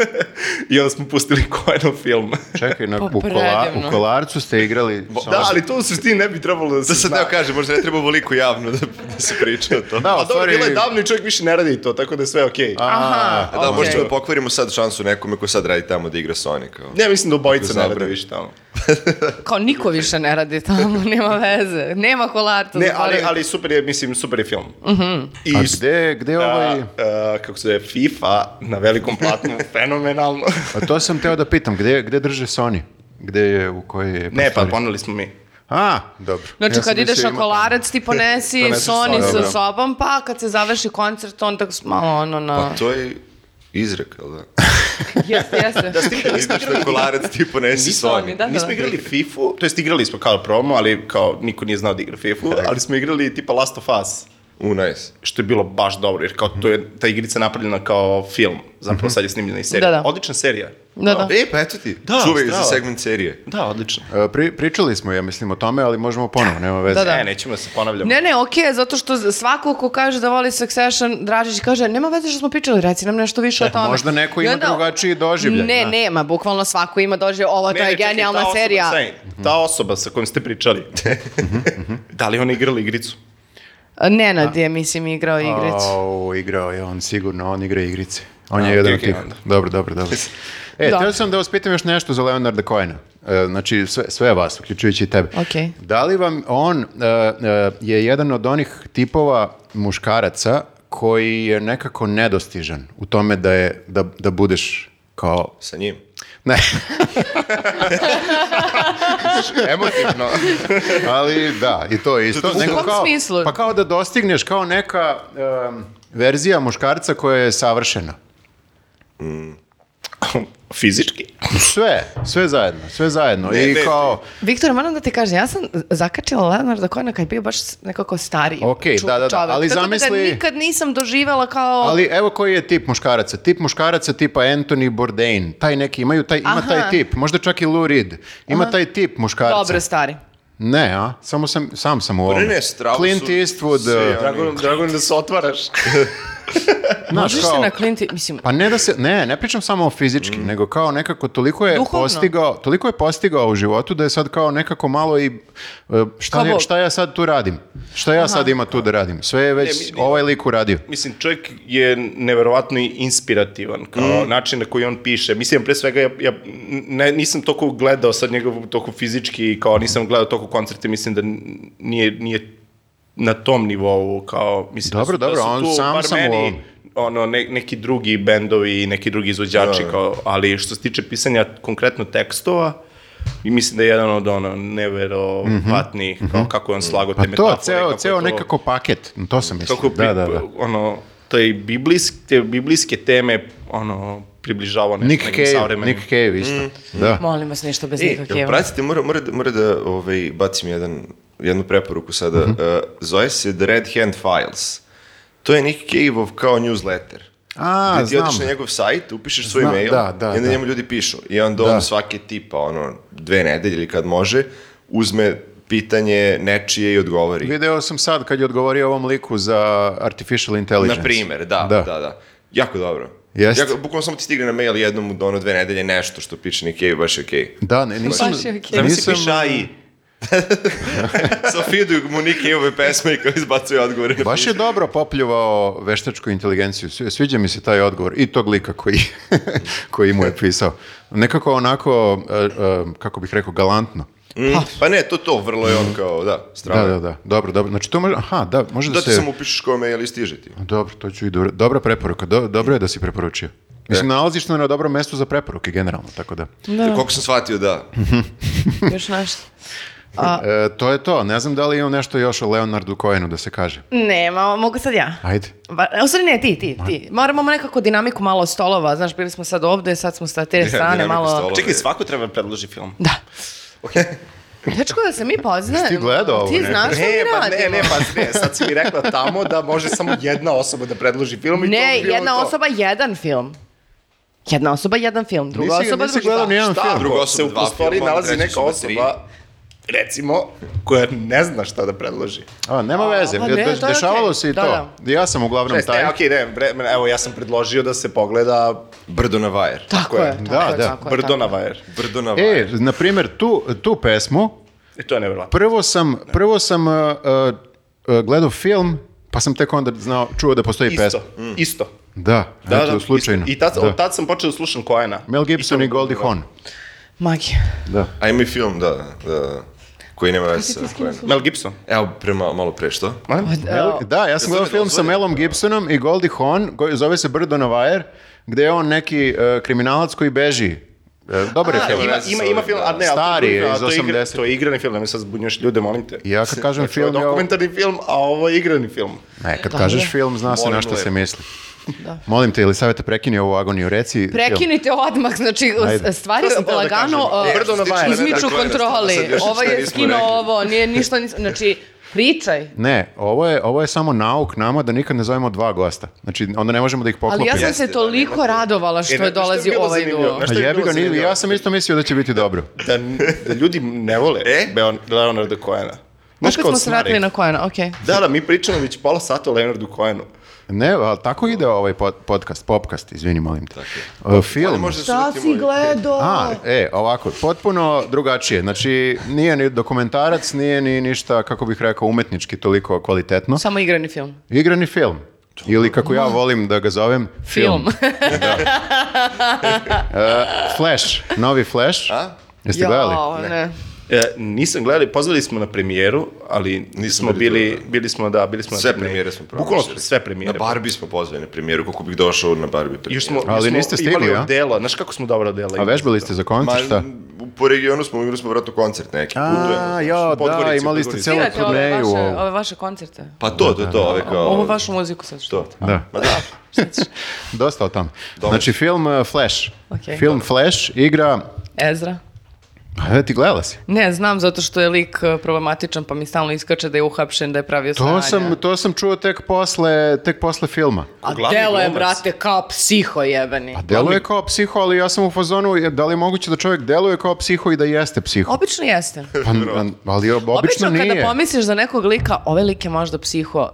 D: (laughs) I onda smo pustili Koenov film.
A: Čekaj, na,
B: Pa,
A: u, kola,
B: predivno.
A: u kolarcu ste igrali... sa-
D: da, ali to u suštini ne bi trebalo da se
C: Da sad
D: zna.
C: teo kažem, možda ne treba voliko javno da, da se priča o tome.
A: Da,
D: A
A: u
D: dobro,
A: stvari-
D: bilo je davno i čovjek više ne radi to, tako da je sve okej.
B: Aha,
C: Da, možda
B: okej.
C: ćemo pokvarimo sad šansu nekome ko sad radi tamo da igra Sonika.
D: Ne, mislim da obojica ne radi
C: Zabrani.
D: više tamo.
B: Kao niko više ne radi tamo, (laughs) nema veze. Nema kolarca.
D: Ne, ali,
B: zaboravite.
D: ali super je, mislim, super je film.
B: Mhm.
D: I
A: A gde, gde ovaj...
D: a, a, kako se zove, FIFA na velikom platnu,
B: (laughs)
D: fenomenalno.
A: A to sam teo da pitam, gde, gde drže Sony? Gde je, u kojoj je...
D: ne, pa
A: prostoriji?
D: poneli smo mi.
A: A, dobro.
B: Znači,
A: Ja sam
B: kad ideš
A: mislio
B: na
A: ima-
B: kolarac, ti ponesi
D: Poneseš
B: Sony
D: Sony,
B: sa
A: da.
D: dobro.
B: sobom, pa kad se završi koncert, on tako s- malo ono na...
C: Pa to je izrek, jel da?
D: Pa.
B: Jeste, jeste.
D: Da
C: Ideš na kolarac, ti ponesi
B: Nismo
C: Sony.
B: oni, da.
D: Nismo igrali FIFA, to jest igrali smo kao promo, ali kao niko nije znao da igra FIFA, ali smo igrali tipa Last of Us,
C: U, nice.
D: što je bilo baš dobro, jer kao to
A: Mhm.
D: je, ta igrica je napravljena kao film, zapravo sad je snimljena i serija.
B: Da, da.
D: Odlična serija.
B: Da, da.
C: E, pa eto ti,
D: Da,
C: čuvaj za
D: strava.
C: segment serije.
D: Da, odlična.
A: E, Pri, pričali smo, ja mislim, o tome, ali možemo ponovo, nema veze.
B: Da, da.
D: E, nećemo da se ponavljamo.
B: Ne, ne, okej, zato što svako ko kaže da voli Succession, Dražić kaže, nema veze što smo pričali, reci nam nešto više o tome.
A: Eh, možda neko
B: I
A: ima drugačiji doživljaj,
B: Ne,
A: da.
B: nema, bukvalno svako ima doživljaj, ovo, Pa to
D: Ne,
B: je
D: ne, čekaj,
B: genijalna
D: ta osoba,
B: serija. Mhm.
D: saj, ta osoba sa kojom ste pričali, (laughs) da li ona igrala igricu?
B: Nenad je, mislim, igrao igricu.
A: Au, igrao je on sigurno, on igra igrice. On je
D: A,
A: jedan
D: okej,
A: od tih.
D: okej, onda.
A: Dobro, dobro, dobro. E,
B: Da.
A: teo sam da vas pitam još nešto za Leonarda Cohena. E, znači, sve, sve vas, uključujući i tebe.
B: Okej.
A: Da li vam on e, e, je jedan od onih tipova muškaraca koji je nekako nedostižan u tome da, je, da, da budeš kao...
C: Sa njim.
A: Ne,
C: (laughs) Emotivno.
A: ali da, i to je isto.
C: U
A: Nego
B: kom
A: kao-
B: smislu?
A: Pa kao da dostigneš kao neka em, verzija muškarca koja je savršena.
D: Fizički.
A: Sve, sve zajedno, sve zajedno.
C: Ne,
A: I
C: ne,
A: kao,
B: Viktor, moram da ti kažem, ja sam zakačila Leonarda Cohena kad je bio baš nekako stariji
A: Okej,
B: ču-
A: da, da, da,
B: čovek.
A: ali
B: Tako da
A: zamisli-
B: ga nikad nisam doživjela kao...
A: ali evo koji je tip muškaraca. Tip muškaraca tipa Anthony Bourdain. Taj neki, imaju taj, ima
B: Aha.
A: taj tip. Možda čak i Lou Reed. Ima taj tip muškarca.
B: Dobro, stari.
A: Ne, a? Samo sam, sam sam u ovome.
C: ne, strava
A: Clint
C: su
A: Eastwood.
C: svi,
A: uh,
C: a-
D: Drago, drago mi je da se otvaraš.
A: znaš,
B: Možeš se
A: kao-
B: na klinti, mislim,
A: Pa ne da se, ne, ne pričam samo o
C: Mm.
A: fizički, nego kao nekako toliko je
B: Duhovno.
A: postigao, toliko je postigao u životu da je sad kao nekako malo i uh, šta,
B: Kao
A: je,
B: Bog.
A: šta ja sad tu radim? Šta ja sad ima tu da radim? Sve je već
D: Ne, mi-
A: ovaj lik uradio.
D: Mislim, čovjek je neverovatno i inspirativan, kao
A: Mm.
D: način na koji on piše. Mislim, pre svega, ja, ja ne, nisam toliko gledao sad njegov toliko fizički, i kao nisam gledao toliko koncerte, mislim da n- nije, nije na tom nivou, kao, mislim, da
A: Dobro,
D: su- da
A: dobro,
D: su
A: on
D: tu
A: sam
D: bar
A: sam u
D: meni,
A: ovom.
D: ono, ne, neki drugi bendovi i neki drugi izvođači,
C: Da, da.
D: kao, ali što se tiče pisanja konkretno tekstova, I mislim da je jedan od ono neverovatnih, kao kako je on slago te
A: Mhm. Pa
D: metafore.
A: to, ceo,
D: kako je
A: ceo
D: to-
A: nekako paket, to sam mislio.
D: kako bi,
A: da, da, da.
D: ono, to je biblijske, te biblijske teme, ono, približavao nešto
A: Nick
D: nekim
A: Cave,
D: savremenim.
A: Nick Cave isto.
C: Mm.
A: Da.
B: molim vas ništa bez
C: E,
B: nikakve.
C: jel pratite, mora, mora, da- mora da ovaj, bacim jedan, jednu preporuku sada. E, zove se The Red Hand Files. To je Nick Cave-ov kao newsletter.
A: A,
C: Gde ti odiš na
A: znam.
C: njegov sajt, upišeš svoj
A: Znam,
C: mail
A: da, da,
C: i onda
A: da.
C: njemu ljudi pišu. I onda on
A: Da.
C: svake tipa, ono, dve nedelje ili kad može, uzme pitanje nečije i odgovori.
A: Video sam sad kad je odgovorio ovom liku za Artificial Intelligence.
C: Na primer, da,
A: Da.
C: da, da. Jako dobro.
A: Jeste.
C: Jako, bukvalno samo ti stigne na mail jednom u ono dve nedelje nešto što piše Nick Cave, baš je okej.
A: Da, ne, nisam...
B: Baš je okej.
D: Da mi
A: nisam-
D: se piše AI.
A: Mm.
C: (laughs) Sa feedu mu Nick Cave-ove pesme i kao izbacuje odgovore. na
A: Baš je
C: pitanje.
A: dobro popljuvao veštačku inteligenciju. Svi- Sviđa mi se taj odgovor i tog lika koji, (laughs) koji mu je pisao. Nekako onako, e, e, kako bih rekao, galantno.
C: Mm. Pa ne, to to, vrlo je on kao, da,
A: Da,
C: strava.
A: da, da. Dobro, dobro. Znači to može... Aha, da, može da,
C: Da ti
A: se...
C: samo upišeš kao mail i stiže ti.
A: Dobro, to ću i dobro. Dobra preporuka. Do- dobro je da si preporučio. Mislim, nalaziš se na dobrom mestu za preporuke generalno, tako da.
B: Da,
C: Koliko sam shvatio, da.
B: još nešto.
A: E, to je to. Ne znam da li imam nešto još o Leonardu Cohenu da se kaže.
B: Nema, mogu sad ja.
A: Ajde.
B: Ba, u stvari ne, ti, ti, ti. Moramo nekako dinamiku malo stolova, znaš, bili smo sad ovde, sad smo sa te strane
C: dinamiku
B: malo...
C: stolova.
D: Čekaj, svako treba da predloži film.
B: Da. (laughs) Dečko, da se mi poznajemo.
A: Jesi ti gledao ovo,
B: Ti
A: ne?
B: znaš šta mi
D: pa ne,
B: radimo.
D: ne, pa ne, sad si mi rekla tamo da može samo jedna osoba da predloži film i
B: Ne,
D: to bi bilo
B: jedna
D: to.
B: osoba, jedan film. Jedna osoba, jedan film. Druga
A: Nisi-
B: osoba,
A: nisi
B: drugi
A: gledao
B: film.
A: nijedan
D: Šta
A: film.
D: ako
C: Druga osoba,
D: se u
C: dva
D: prostoriji
C: filma,
D: nalazi
C: treća
D: neka
C: osoba, tri.
D: osoba, recimo, koja ne zna šta da predloži.
A: A, nema veze.
B: pa ne,
A: De-
B: to je
A: dešavalo
B: okej.
A: se i
B: Da,
A: to. Ja sam uglavnom
D: Šest,
A: taj.
D: e, okej, ne, bre, evo, ja sam predložio da se pogleda
C: Brdo na vajer.
B: Tako je, tako
A: Da,
B: je,
A: da.
B: tako je.
D: Brdo
B: tako
D: na
B: je.
D: vajer.
C: Brdo na vajer.
A: E, na primjer, tu, tu pesmu,
D: E, to je nevjerojatno.
A: prvo sam, prvo sam uh, uh, uh, gledao film, pa sam tek onda znao, čuo da postoji
D: Isto,
A: pesma.
D: isto.
A: Da, da, eto, slučajno.
D: isto. I tad,
A: da.
D: od tad sam počeo da slušam Koena.
A: Mel Gibson i, Goldie Hawn.
B: Magija.
A: Da.
C: A ima i film, da, da koji nema veze sa kojem.
D: Mel Gibson.
C: Evo, prema, malo pre, što?
A: Mel- da, ja sam
C: Jel to
A: gledao
C: me
A: film sa
C: dozvoljeno?
A: Melom Gibsonom i Goldie Hawn, koji zove se Brdo na vajer, gde je on neki uh, kriminalac koji beži. E, dobar je film.
C: ima-
D: Ima, ima, ima film, a ne, ali to je
A: Stari je,
D: drugi, a
A: iz
D: to je igra-
A: 80.
D: To je igrani film, da mi sad zbunjuješ ljude, molim te.
A: Ja kad kažem
D: To je
A: film, ja...
D: dokumentarni film, a ovo je igrani film.
A: Ne, E, kad kažeš film, zna se
C: Molim
A: na što
C: lepo.
A: se misli. Molim te, Elisaveta, prekini ovu agoniju, reci...
B: Prekinite odmah, znači
A: Ajde.
B: stvari
D: sam teo da
B: lagano
D: kažem.
B: uh,
D: Brdo na vajer, ne,
B: izmiču
C: tako je, sad još
B: kontroli.
C: ništa
B: Ovo je
C: nismo
B: skinuo
C: rekli.
B: ovo, nije ništa, nis- znači pričaj.
A: Ne, ovo je, ovo je samo nauk nama da nikad ne zovemo dva gosta. Znači, onda ne možemo da ih
B: Ali
A: poklopimo.
B: ja sam
C: Jeste,
B: se
C: da,
B: toliko radovala
D: E,
B: što
D: ne,
B: je dolazi
D: bilo
B: ovaj
D: zanimljivo?
B: duo.
D: Znaš šta
A: A
D: je
A: jebi
D: bilo
A: ga, nije-
D: zanimljivo?
A: ja sam isto mislio da će biti dobro.
D: da, da ljudi ne vole
C: E?
D: Beon- Leonarda Coena. Znaš
B: Opet
D: kao
B: smo se
D: Snarek.
B: vratili na Kojana, okej.
D: Da, da, mi pričamo već pola sata o Leonardu Coenu.
A: Ne, ali tako ide ovaj pod- podcast, popkast, izvini, molim te. Uh, film.
C: Možda su
B: Šta
C: neki
B: si
C: moji-
B: gledao?
A: A, e, ovako, potpuno drugačije. Znači, nije ni dokumentarac, nije ni ništa, kako bih rekao, umetnički toliko kvalitetno.
B: Samo igrani film.
A: Igrani film. Ili kako ja volim da ga zovem, film.
B: Film.
A: Flash, novi Flash. Jeste gledali?
B: (laughs) Jao, ne.
D: E, nisam gledali, pozvali smo na premijeru, ali nismo
C: bili
D: bili,
C: tu,
D: bili, smo, da, bili smo na
C: Sve
D: premijeri.
C: premijere smo promašili.
D: Bukvalno sve premijere.
C: Na Barbie smo pozvali na premijeru, koliko bih došao na Barbie premijeru.
D: Još smo,
A: Ali
D: još smo
A: niste stigli,
D: imali
A: a?
D: odela, znaš kako smo dobro odela.
A: A vežbali ste za
C: Ma,
A: koncert, šta?
C: po regionu smo, imali smo vratno koncert neki, putujemo.
A: A, jo, da,
D: Podgorici,
A: imali ste
D: Podgorici.
A: celu
B: Svirate ove
A: turneju.
B: vaše, ove vaše koncerte.
C: Pa to, to, to, ove kao...
B: Ovu vašu muziku sad što?
C: To.
A: Da.
C: Ma da,
A: (laughs) Dosta o tome.
C: Dobro.
A: Znači, film uh, Flash.
B: Okej.
A: Film Flash igra...
B: Ezra.
A: Ajde, ti gledala si.
B: Ne, znam zato što je lik uh, problematičan pa mi stalno iskače da je uhapšen, da je pravio
A: To
B: sranja.
A: sam, to sam čuo tek posle, tek posle filma.
B: A
D: Glavni
B: delo je,
D: glumac.
B: brate, kao psiho jebeni.
A: A deluje kao psiho, ali ja sam u fazonu, je- da li je moguće da čovjek deluje kao psiho i da jeste psiho?
B: Obično jeste.
A: Pa, n- ali obično,
B: Obično,
A: nije.
B: kada pomisliš za nekog lika, ove like možda psiho,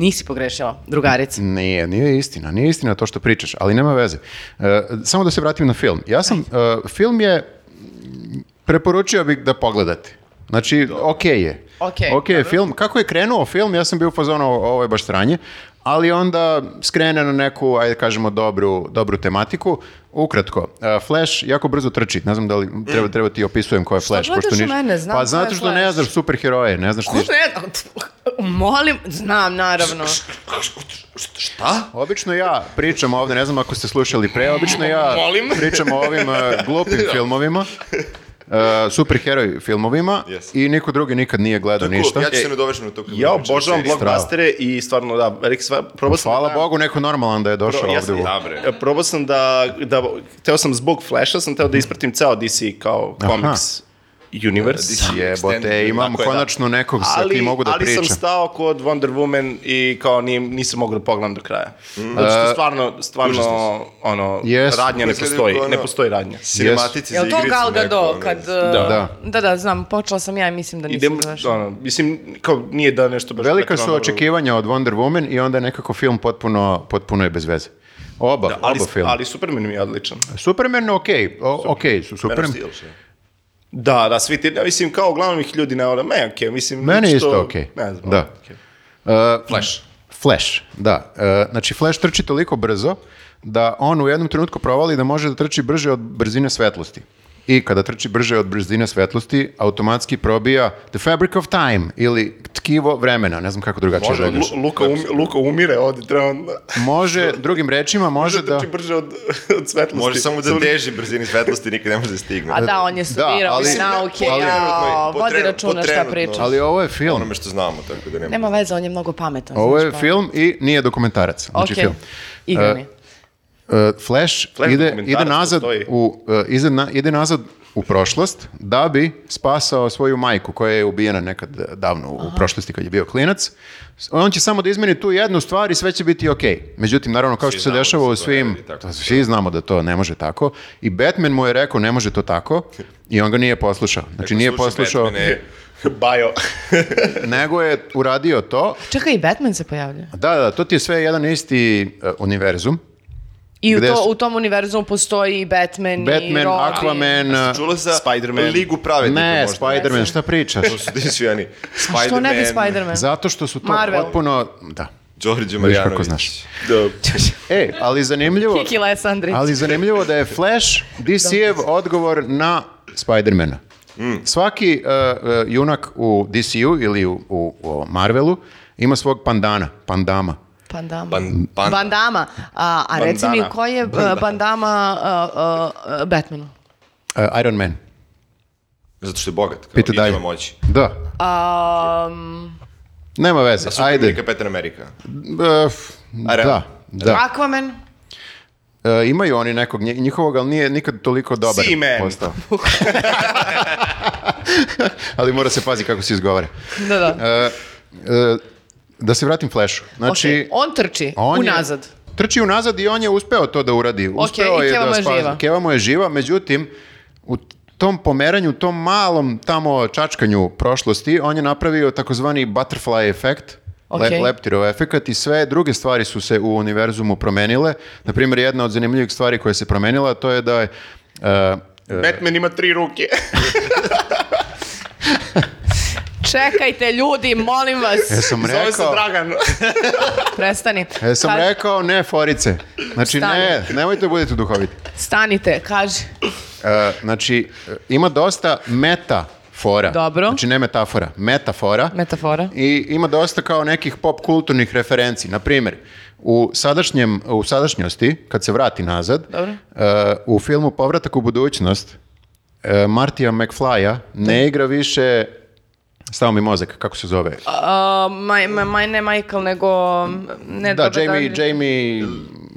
B: nisi pogrešila, drugarica.
A: Nije, nije istina, nije istina to što pričaš, ali nema veze. E, samo da se vratim na film. Ja sam, e, film je, m, preporučio bih da pogledate. Znači, okej je.
B: Okej,
A: Okej je film. Kako je krenuo film, ja sam bio u fazonu "O- ovo je baš stranje, ali onda skrene na neku, ajde da kažemo, dobru, dobru tematiku. Ukratko, e, Flash jako brzo trči. Ne znam da li treba, treba ti opisujem ko je Flash.
B: E. gledaš u
A: niš-
B: mene? Znam
A: pa
B: ko
A: zato
B: je
A: što ne
B: Flash.
A: znaš superheroje, ne znaš
B: Ko
A: ništa.
B: ne znam, molim, znam naravno.
C: šta?
A: Obično ja pričam ovde, ne znam ako ste slušali pre, obično ja
D: Molim.
A: (laughs) pričam o ovim e,
D: (laughs)
A: glupim filmovima, e, superheroj filmovima
C: Yes.
A: i niko drugi nikad nije gledao ništa.
C: Ja ću se nadovešiti na to. kako
D: Ja
C: pričam,
D: obožavam
C: seriju.
D: blockbustere i stvarno, da, veliki sva, probao sam...
A: Hvala
D: da-
A: Bogu, neko normalan da je došao
D: Pro- ja
A: ovde.
D: sam,
A: u-
C: Da, bre.
D: e, probao sam da, da, teo sam zbog Flasha, sam teo da ispratim ceo DC kao
A: Mhm. Aha.
D: comics universe.
C: DC
A: Jebote,
C: Extended,
A: imam
D: da, tako je, da.
A: konačno nekog sa kim mogu da
D: ali
A: pričam.
D: sam stao kod Wonder Woman i kao ni, nisam mogao da pogledam do kraja.
A: Mhm.
D: Zato
A: E,
D: što stvarno, stvarno, ono,
A: Jesu.
D: radnja ne
A: da
C: Izgledaju
D: postoji,
C: kao ono-
D: ne postoji radnja.
C: Cinematici za
B: Jel to
C: igricu.
B: Gal
C: neko,
B: Gadot
C: ono,
B: kad...
D: Da.
B: Da. da, znam, počela sam ja i mislim da nisam
D: Idem,
B: završila.
D: ono, mislim, kao nije da nešto baš...
A: Velika su
D: preterano dobro-
A: očekivanja od Wonder Woman i onda je nekako film potpuno, potpuno je bez veze. Oba,
D: Da, Ali,
A: oba film.
D: ali Superman mi je odličan.
A: Superman, okej, o- okej su
C: Man of
A: Superman.
C: Steel, šta?
D: Da, da, svi ti, ja mislim, kao uglavnom ih ljudi ne vole, me, okej, mislim...
A: Meni je
D: što-
A: isto okej.
D: Ne znam,
A: Da. E,
D: okej.
C: Flash.
A: Flash, da. E, znači, Flash trči toliko brzo da on u jednom trenutku provali da može da trči brže od brzine svetlosti. I kada trči brže od brzine svetlosti, automatski probija the fabric of time ili tkivo vremena, ne znam kako drugačije
D: Može,
A: želiš.
D: Lu- Luka, um, Luka umire ovdje, (laughs) trenutno.
A: Da. Može, drugim rečima, može da...
D: Trči brže od, od svetlosti.
C: Može samo da
D: Samo-
C: teži brzini svetlosti, nikad ne može da stigne.
B: A da, on je studirao
A: ali-
B: i nauke,
C: ali-
B: jao,
C: po
B: vodi
C: trenutnoj-
B: računa
C: po
B: šta
C: trenutnoj.
B: priča.
A: Ali ovo je film.
C: Onome što znamo, tako da nema.
B: Nema veze, on je mnogo pametan.
A: Ovo
B: znaš,
A: je
B: pa-
A: film i nije dokumentarac. Znači
B: Okej,
A: film.
B: igrani.
A: E, Flash,
D: Flash
A: ide,
D: dokumentarac
A: ide, nazad
D: postoji.
A: u, e, iza na- ide nazad u prošlost da bi spasao svoju majku koja je ubijena nekad e, davno u prošlosti kad je bio klinac. S- On će samo da izmeni tu jednu stvar i sve će biti okej. Međutim, naravno, kao što se
C: znamo
A: dešava
C: da
A: u
C: se to ne
A: svim...
C: radi tako.
A: to svi znamo da to ne može tako. I Batman mu je rekao ne može to tako i on ga nije poslušao. Znači nije
C: Slušaj,
A: poslušao,
C: Batmane,
D: (laughs)
C: (laughs)
D: Bajo. (laughs)
A: nego je uradio to
B: Čekaj, i Batman se pojavlja.
A: Da, da, to ti je sve jedan isti e, uh, univerzum.
B: I u,
A: Gde
B: to,
A: su?
B: u tom univerzumu postoji i Batman, i
A: Batman,
B: Robin.
A: Aquaman, uh,
C: Čula za
D: Spider-Man.
C: Ligu pravednika
A: ne,
C: možda?
A: Spider-Man, šta pričaš?
C: To su disujani. Spider-Man.
B: Što ne bi Spider-Man?
A: Zato što su to
B: Marvel.
A: potpuno... Da.
C: Đorđe
A: Viš
C: Marjanović.
A: kako znaš.
C: Da.
A: E, ali zanimljivo...
B: Kiki Da. Lesandrić.
A: Ali zanimljivo da je Flash DC-ev odgovor na Spider-mana.
C: Mm.
A: Svaki uh, uh, junak u DC-u ili u, u, u Marvelu ima svog pandana, pandama.
B: Pandama.
C: Ban, ban,
B: Bandama. A, a reci mi
D: Bandana.
B: ko je uh, bandama uh, uh, uh, Batmanu?
A: Uh, Iron Man.
C: Zato što je bogat. Kao,
A: Pita
C: Pita
A: dalje.
C: dalje. moći.
A: Da.
B: Um,
A: Nema veze.
C: A su Ajde.
A: Ajde.
C: Kapetan Amerika.
A: Uh, da. Da.
B: Aquaman?
A: Uh, imaju oni nekog nje- njihovog, ali nije nikad toliko dobar
D: Seaman.
A: postao. (laughs) ali mora se pazi kako se izgovara.
B: Da, da.
A: Uh, uh, da se vratim Flashu. Znači,
B: Okej, on trči
A: On je-
B: unazad.
A: trči unazad i on je uspeo to da uradi. Uspeo
B: i
A: je
B: Keva
A: da
B: mu je
A: spasi-
B: živa.
A: Keva mu je živa, međutim, u tom pomeranju, u tom malom tamo čačkanju prošlosti, on je napravio takozvani butterfly efekt,
B: Ok.
A: le- leptirov efekat i sve druge stvari su se u univerzumu promenile. Na primjer, jedna od zanimljivih stvari koja se promenila, to je da je e,
D: Batman ima tri ruke. (laughs)
B: Čekajte ljudi, molim vas,
A: (laughs) Jesam
D: Zove se
A: rekao, (laughs)
D: Dragan.
B: prestani.
A: jesam
B: Kaži-
A: rekao ne forice. Znači
B: Stani.
A: ne, nemojte da budete duhoviti.
B: Stanite, kaži.
A: E, znači, e, ima dosta metafora.
B: Dobro.
A: Znači, ne metafora, metafora.
B: Metafora.
A: I ima dosta kao nekih pop kulturnih referenci. Na primjer, u, sadašnjem, u sadašnjosti, kad se vrati nazad,
B: Dobro.
A: e, u filmu Povratak u budućnost, e, Martija McFlya
B: Da.
A: ne igra više Stao mi mozak, kako se zove?
B: Uh, maj, ma- maj- ne Michael, nego... Ne,
A: da,
B: dobro,
A: Jamie,
B: dobro.
A: Jamie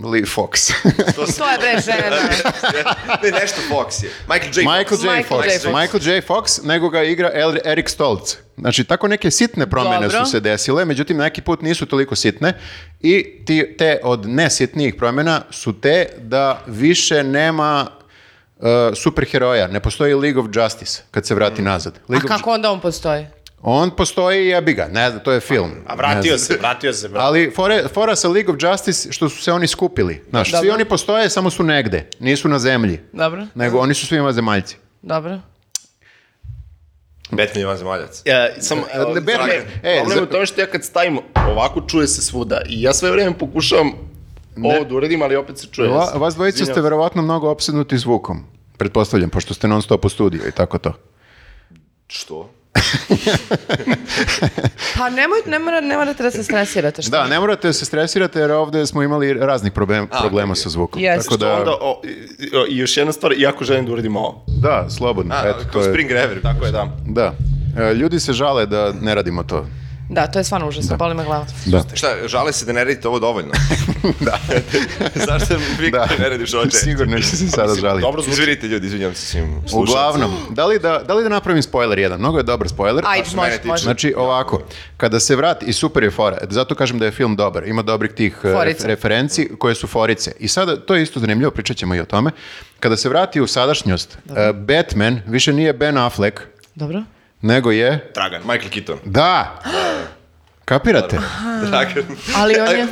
A: Lee Fox. (laughs)
B: To je bre žene, da.
C: ne, nešto Fox je. Michael J.
A: Michael
B: Fox.
A: J.
B: Michael
A: Fox.
B: J. Fox.
A: Michael J. Fox, nego ga igra El- Eric Stoltz. Znači, tako neke sitne promjene
B: Dobro.
A: su se desile, međutim, neki put nisu toliko sitne i ti, te od nesitnijih promjena su te da više nema uh, superheroja. Ne postoji League of Justice kad se vrati nazad.
B: A
A: League of Ju-
B: kako onda on postoji?
A: On postoji i jebi ga, ne znam, to je film.
D: A
A: Ne
D: vratio
A: znam.
D: se, vratio se. Vratio.
A: Ali fore- fora sa League of Justice što su se oni skupili. Znaš, svi
B: Dobro.
A: oni postoje, samo su negde. Nisu na zemlji,
B: Dobro,
A: nego oni su svima zemaljci.
B: dobro.
C: Batman je vanzemaljac.
D: E, samo, e,
A: Ne, Batman,
D: Dragan,
A: e,
D: problem je
A: za-
D: u tome što ja kad stavim ovako, čuje se svuda. I ja sve vrijeme pokušavam ovo da uradim, ali opet se čuje.
A: Va, vas dvojica ste
D: Izvinjavam.
A: verovatno mnogo opsednuti zvukom, pretpostavljam, pošto ste non stop u studiju i tako to.
C: Što?
B: Pa nemoj, ne, mora, ne morate da se stresirate. Što?
A: Da, ne morate da se stresirate jer ovdje smo imali raznih problem, problema sa zvukom.
B: Jeste.
A: Tako da,
D: Onda, o, i- i- i još jedna stvar, jako želim da uradim ovo.
A: da, slobodno.
C: A,
A: eto, to
C: kao
A: je-
C: Spring Reverb.
D: Tako je, da.
A: Da. E, Ljudi se žale da ne radimo to.
B: Da, to je stvarno užasno, boli me glava.
A: Da.
C: Šta, žale se da ne radite ovo dovoljno? da. Zašto vi
A: Da. (laughs)
C: ne radiš ovo češće?
A: Sigurno će se sada žaliti.
D: Dobro zvuči.
C: Izvinite ljudi, izvinjam se svim slušalcima.
A: Uglavnom, da li da, da li da napravim spoiler jedan? Mnogo je dobar spoiler.
B: Ajde,
C: što
B: može,
C: mene tiče.
B: može.
A: Znači ovako, kada se vrati i super je fora, zato kažem da je film dobar, ima dobrih tih eh,
B: Forica.
A: referenci koje su forice. I sada, to je isto zanimljivo, pričat ćemo i o tome. Kada se vrati u sadašnjost, eh, Batman više nije Ben Affleck,
B: Dobro.
A: nego je...
C: Dragan. Michael Keaton.
A: Da! Kapirate?
C: Dragan.
B: Ali on je...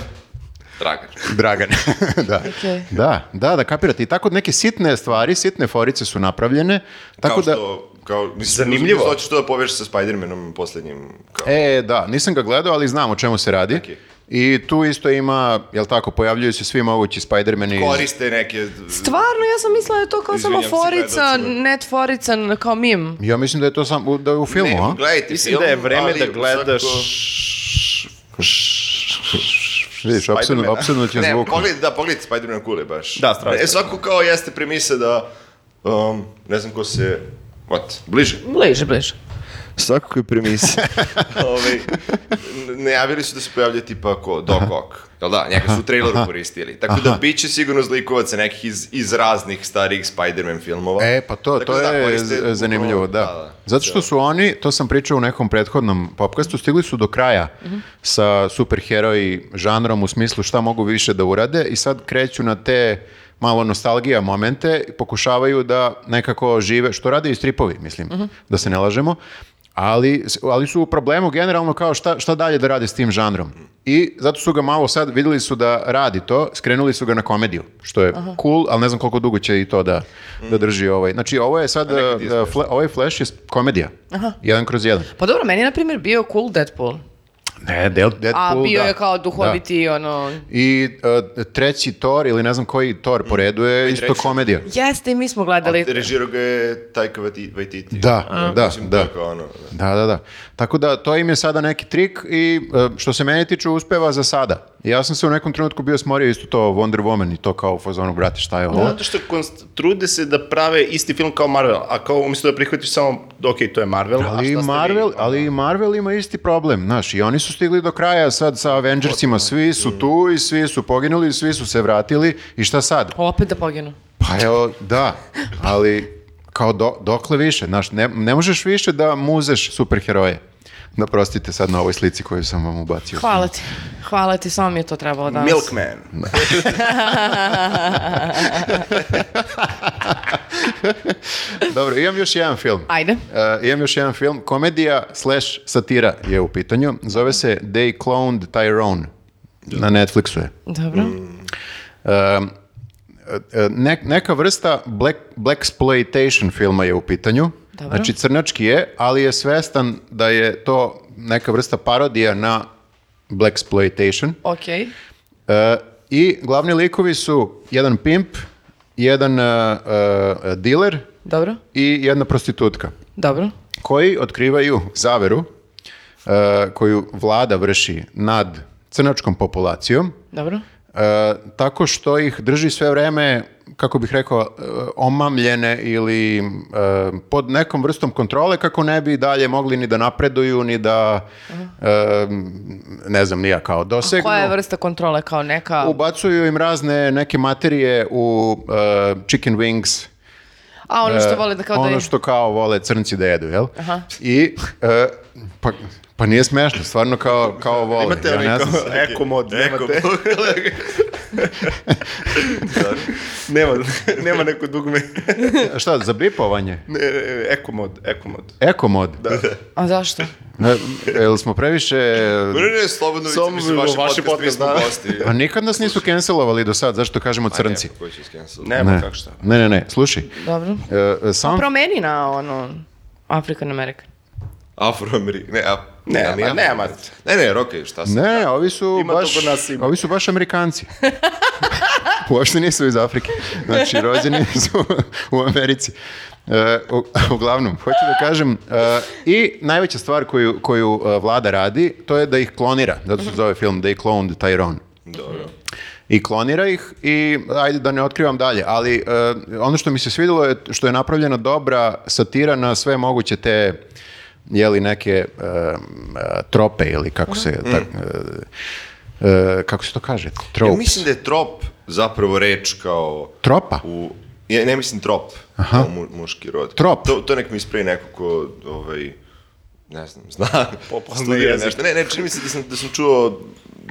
C: Dragan.
A: Dragan. (laughs) da.
B: Okej.
A: da, da, da kapirate. I tako neke sitne stvari, sitne forice su napravljene. Tako
C: kao
A: da...
C: što, kao, mislim,
D: Zanimljivo.
C: Hoćeš to da povežeš sa Spider-Manom poslednjim, kao,
A: E, da, nisam ga gledao, ali znam o čemu se radi.
C: Ok.
A: I tu isto ima, jel tako, pojavljuju se svi mogući Spider-Mani. iz-
C: koriste neke...
B: Stvarno, ja sam mislila da je to kao samo
C: Izvinjam se
B: forica,
C: gledaocima.
B: net forica, n- kao mim.
A: Ja mislim da je to sam, u- da je u filmu, a?
C: Ne, gledajte
D: Mislim
C: film,
D: da je vreme
C: ali
D: da gledaš...
A: Vidiš,
D: Spider-Mana.
A: apsolutno
C: Svako...
A: će
C: Ne,
A: zvuk.
C: pogledajte, da, pogledajte Spider-Man kule baš.
D: Da, strašno.
C: E, svako kao jeste premise da, um, ne znam ko se, what,
D: (laughs)
C: bliže.
B: Bliže, bliže.
C: Svakako je premisa. Ove, Ovaj, najavili su da se pojavlja tipa ko Doc Ock. Jel da? Njega su u traileru koristili. Tako da bit će sigurno zlikovaca nekih iz, iz raznih starih Spider-Man filmova.
A: E, pa to,
C: Tako
A: to
C: da,
A: je
C: koriste
A: z-
C: bukvalno-
A: zanimljivo, da. Zato što
C: Da.
A: su oni, to sam pričao u nekom prethodnom popkastu, stigli su do kraja
C: Mhm.
A: sa superheroji žanrom u smislu šta mogu više da urade i sad kreću na te malo nostalgija
C: Mhm.
A: momente i pokušavaju da nekako žive, što rade i stripovi, mislim, da se ne lažemo, Ali, ali su u problemu generalno kao šta, šta dalje da rade s tim žanrom. I zato su ga malo sad, vidjeli su da radi to, skrenuli su ga na komediju, što je cool, ali ne znam koliko dugo će i to da, da drži ovaj. Znači ovo je sad, uh, fla- ovaj Flash je komedija, jedan kroz jedan.
B: Pa dobro, meni je na primjer bio cool Deadpool.
A: Ne, Del- Deadpool,
B: A bio
A: da.
B: je kao
A: Da.
B: duhoviti, ono...
A: I uh, treći Thor ili ne znam Mm. koji Thor po redu je isto
C: treći.
A: komedija.
B: Jeste, i mi smo gledali.
C: Režirao ga je Taika Waiti- Waititi.
A: Da, da,
C: Mislim,
A: da.
C: tako ono, da.
A: Da, da, da. Tako da to im je sada neki trik i e, što se mene tiče uspeva za sada. Ja sam se u nekom trenutku bio smorio isto to Wonder Woman i to kao u fazonu, brate, šta je ovo?
D: Zato što konst- trude se da prave isti film kao Marvel, a kao umjesto da prihvatiš samo, ok, to je Marvel, a
A: Ali i
D: šta ste
A: Marvel,
D: vi?
A: ali i Marvel ima isti problem, znaš, i oni su stigli do kraja sad sa Avengersima, svi su tu i svi su poginuli i svi su se vratili i šta sad?
B: Opet da poginu.
A: Pa evo, da, ali kao do- dokle više, znaš, ne, ne možeš više da muzeš superheroje. Da prostite sad na ovoj slici koju sam vam ubacio.
B: Hvala ti. Hvala ti, samo mi je to trebalo danas.
D: Milkman.
A: Dobro, imam još jedan film.
B: Ajde.
A: Uh, imam još jedan film. Komedija slash satira je u pitanju. Zove se They Cloned Tyrone. Na Netflixu je.
B: Dobro.
A: Mm. Um, e, e, ne- neka vrsta black, blaxploitation filma je u pitanju.
B: Dobro.
A: Znači crnački je, ali je svestan da je to neka vrsta parodija na blaxploitation.
B: Okej.
A: E, I glavni likovi su jedan pimp, jedan e, e, dealer
B: Dobro.
A: i jedna prostitutka
B: Dobro.
A: koji otkrivaju zaveru e, koju vlada vrši nad crnačkom populacijom
B: Dobro.
A: e, tako što ih drži sve vreme, kako bih rekao, e, omamljene ili e, pod nekom vrstom kontrole kako ne bi dalje mogli ni da napreduju, ni da, e, ne znam, nija kao dosegnu.
B: Koja je vrsta kontrole kao neka...
A: Ubacuju im razne neke materije u e, chicken wings,
B: A ono što vole da kao da...
A: E, ono
B: je-
A: što kao vole crnci da jedu, jel?
B: Aha.
A: I, e, pa, pa nije smešno, stvarno kao, kao vole.
D: Imate
A: ja
D: li
A: ne
D: kao
A: znam.
D: eko mod,
C: Eko
D: nemate. nema, nema neko dugme.
A: E, Šta, za bipovanje?
D: Ne, ne, eko mod, eko mod.
A: Ekomod? Da.
B: A zašto?
A: jel smo previše...
C: Ne, ne, slobodno,
D: Samo
C: mislim, vaš
D: vaši podcast,
C: podcast, mi smo
D: da.
C: gosti.
D: (laughs)
A: Pa nikad nas nisu cancelovali do sad, zašto kažemo crnci?
C: Neko koji će iscancel.
D: Nema Pa kako šta.
A: Ne, ne, ne, slušaj.
B: Dobro.
A: E, sam...
B: Promeni na ono... African American.
C: Afroameri- ne, a-
D: Ne,
C: ali
D: ma,
C: ja-
D: nema.
C: Ne, ne, okej, šta sam-
A: Ne, ovi su,
D: da. Ima to
A: baš,
D: kod nas ima.
A: ovi su baš
D: (laughs)
A: Amerikanci. Uopšte nisu iz Afrike. Znači, rođeni su u Americi. E, u- uglavnom, hoću da kažem, e, i najveća stvar koju, koju e, vlada radi, to je da ih klonira. Zato se zove film They Cloned Tyrone.
C: Dobro.
A: I klonira ih i ajde da ne otkrivam dalje, ali e, ono što mi se svidjelo je što je napravljena dobra satira na sve moguće te jeli neke e, e, trope ili kako se tak- e, e, kako se to kaže? Tropes.
C: Mhm. Ja mislim da je trop zapravo reč kao
A: Tropa?
C: u... Ja ne mislim trop, kao mu- muški rod.
A: Trop.
C: To, to nek mi ispravi neko ko, ovaj, ne znam, zna,
D: (laughs) Popularni
C: studira
D: jezik.
C: nešto. Ne, ne, čini mi se da sam, da sam čuo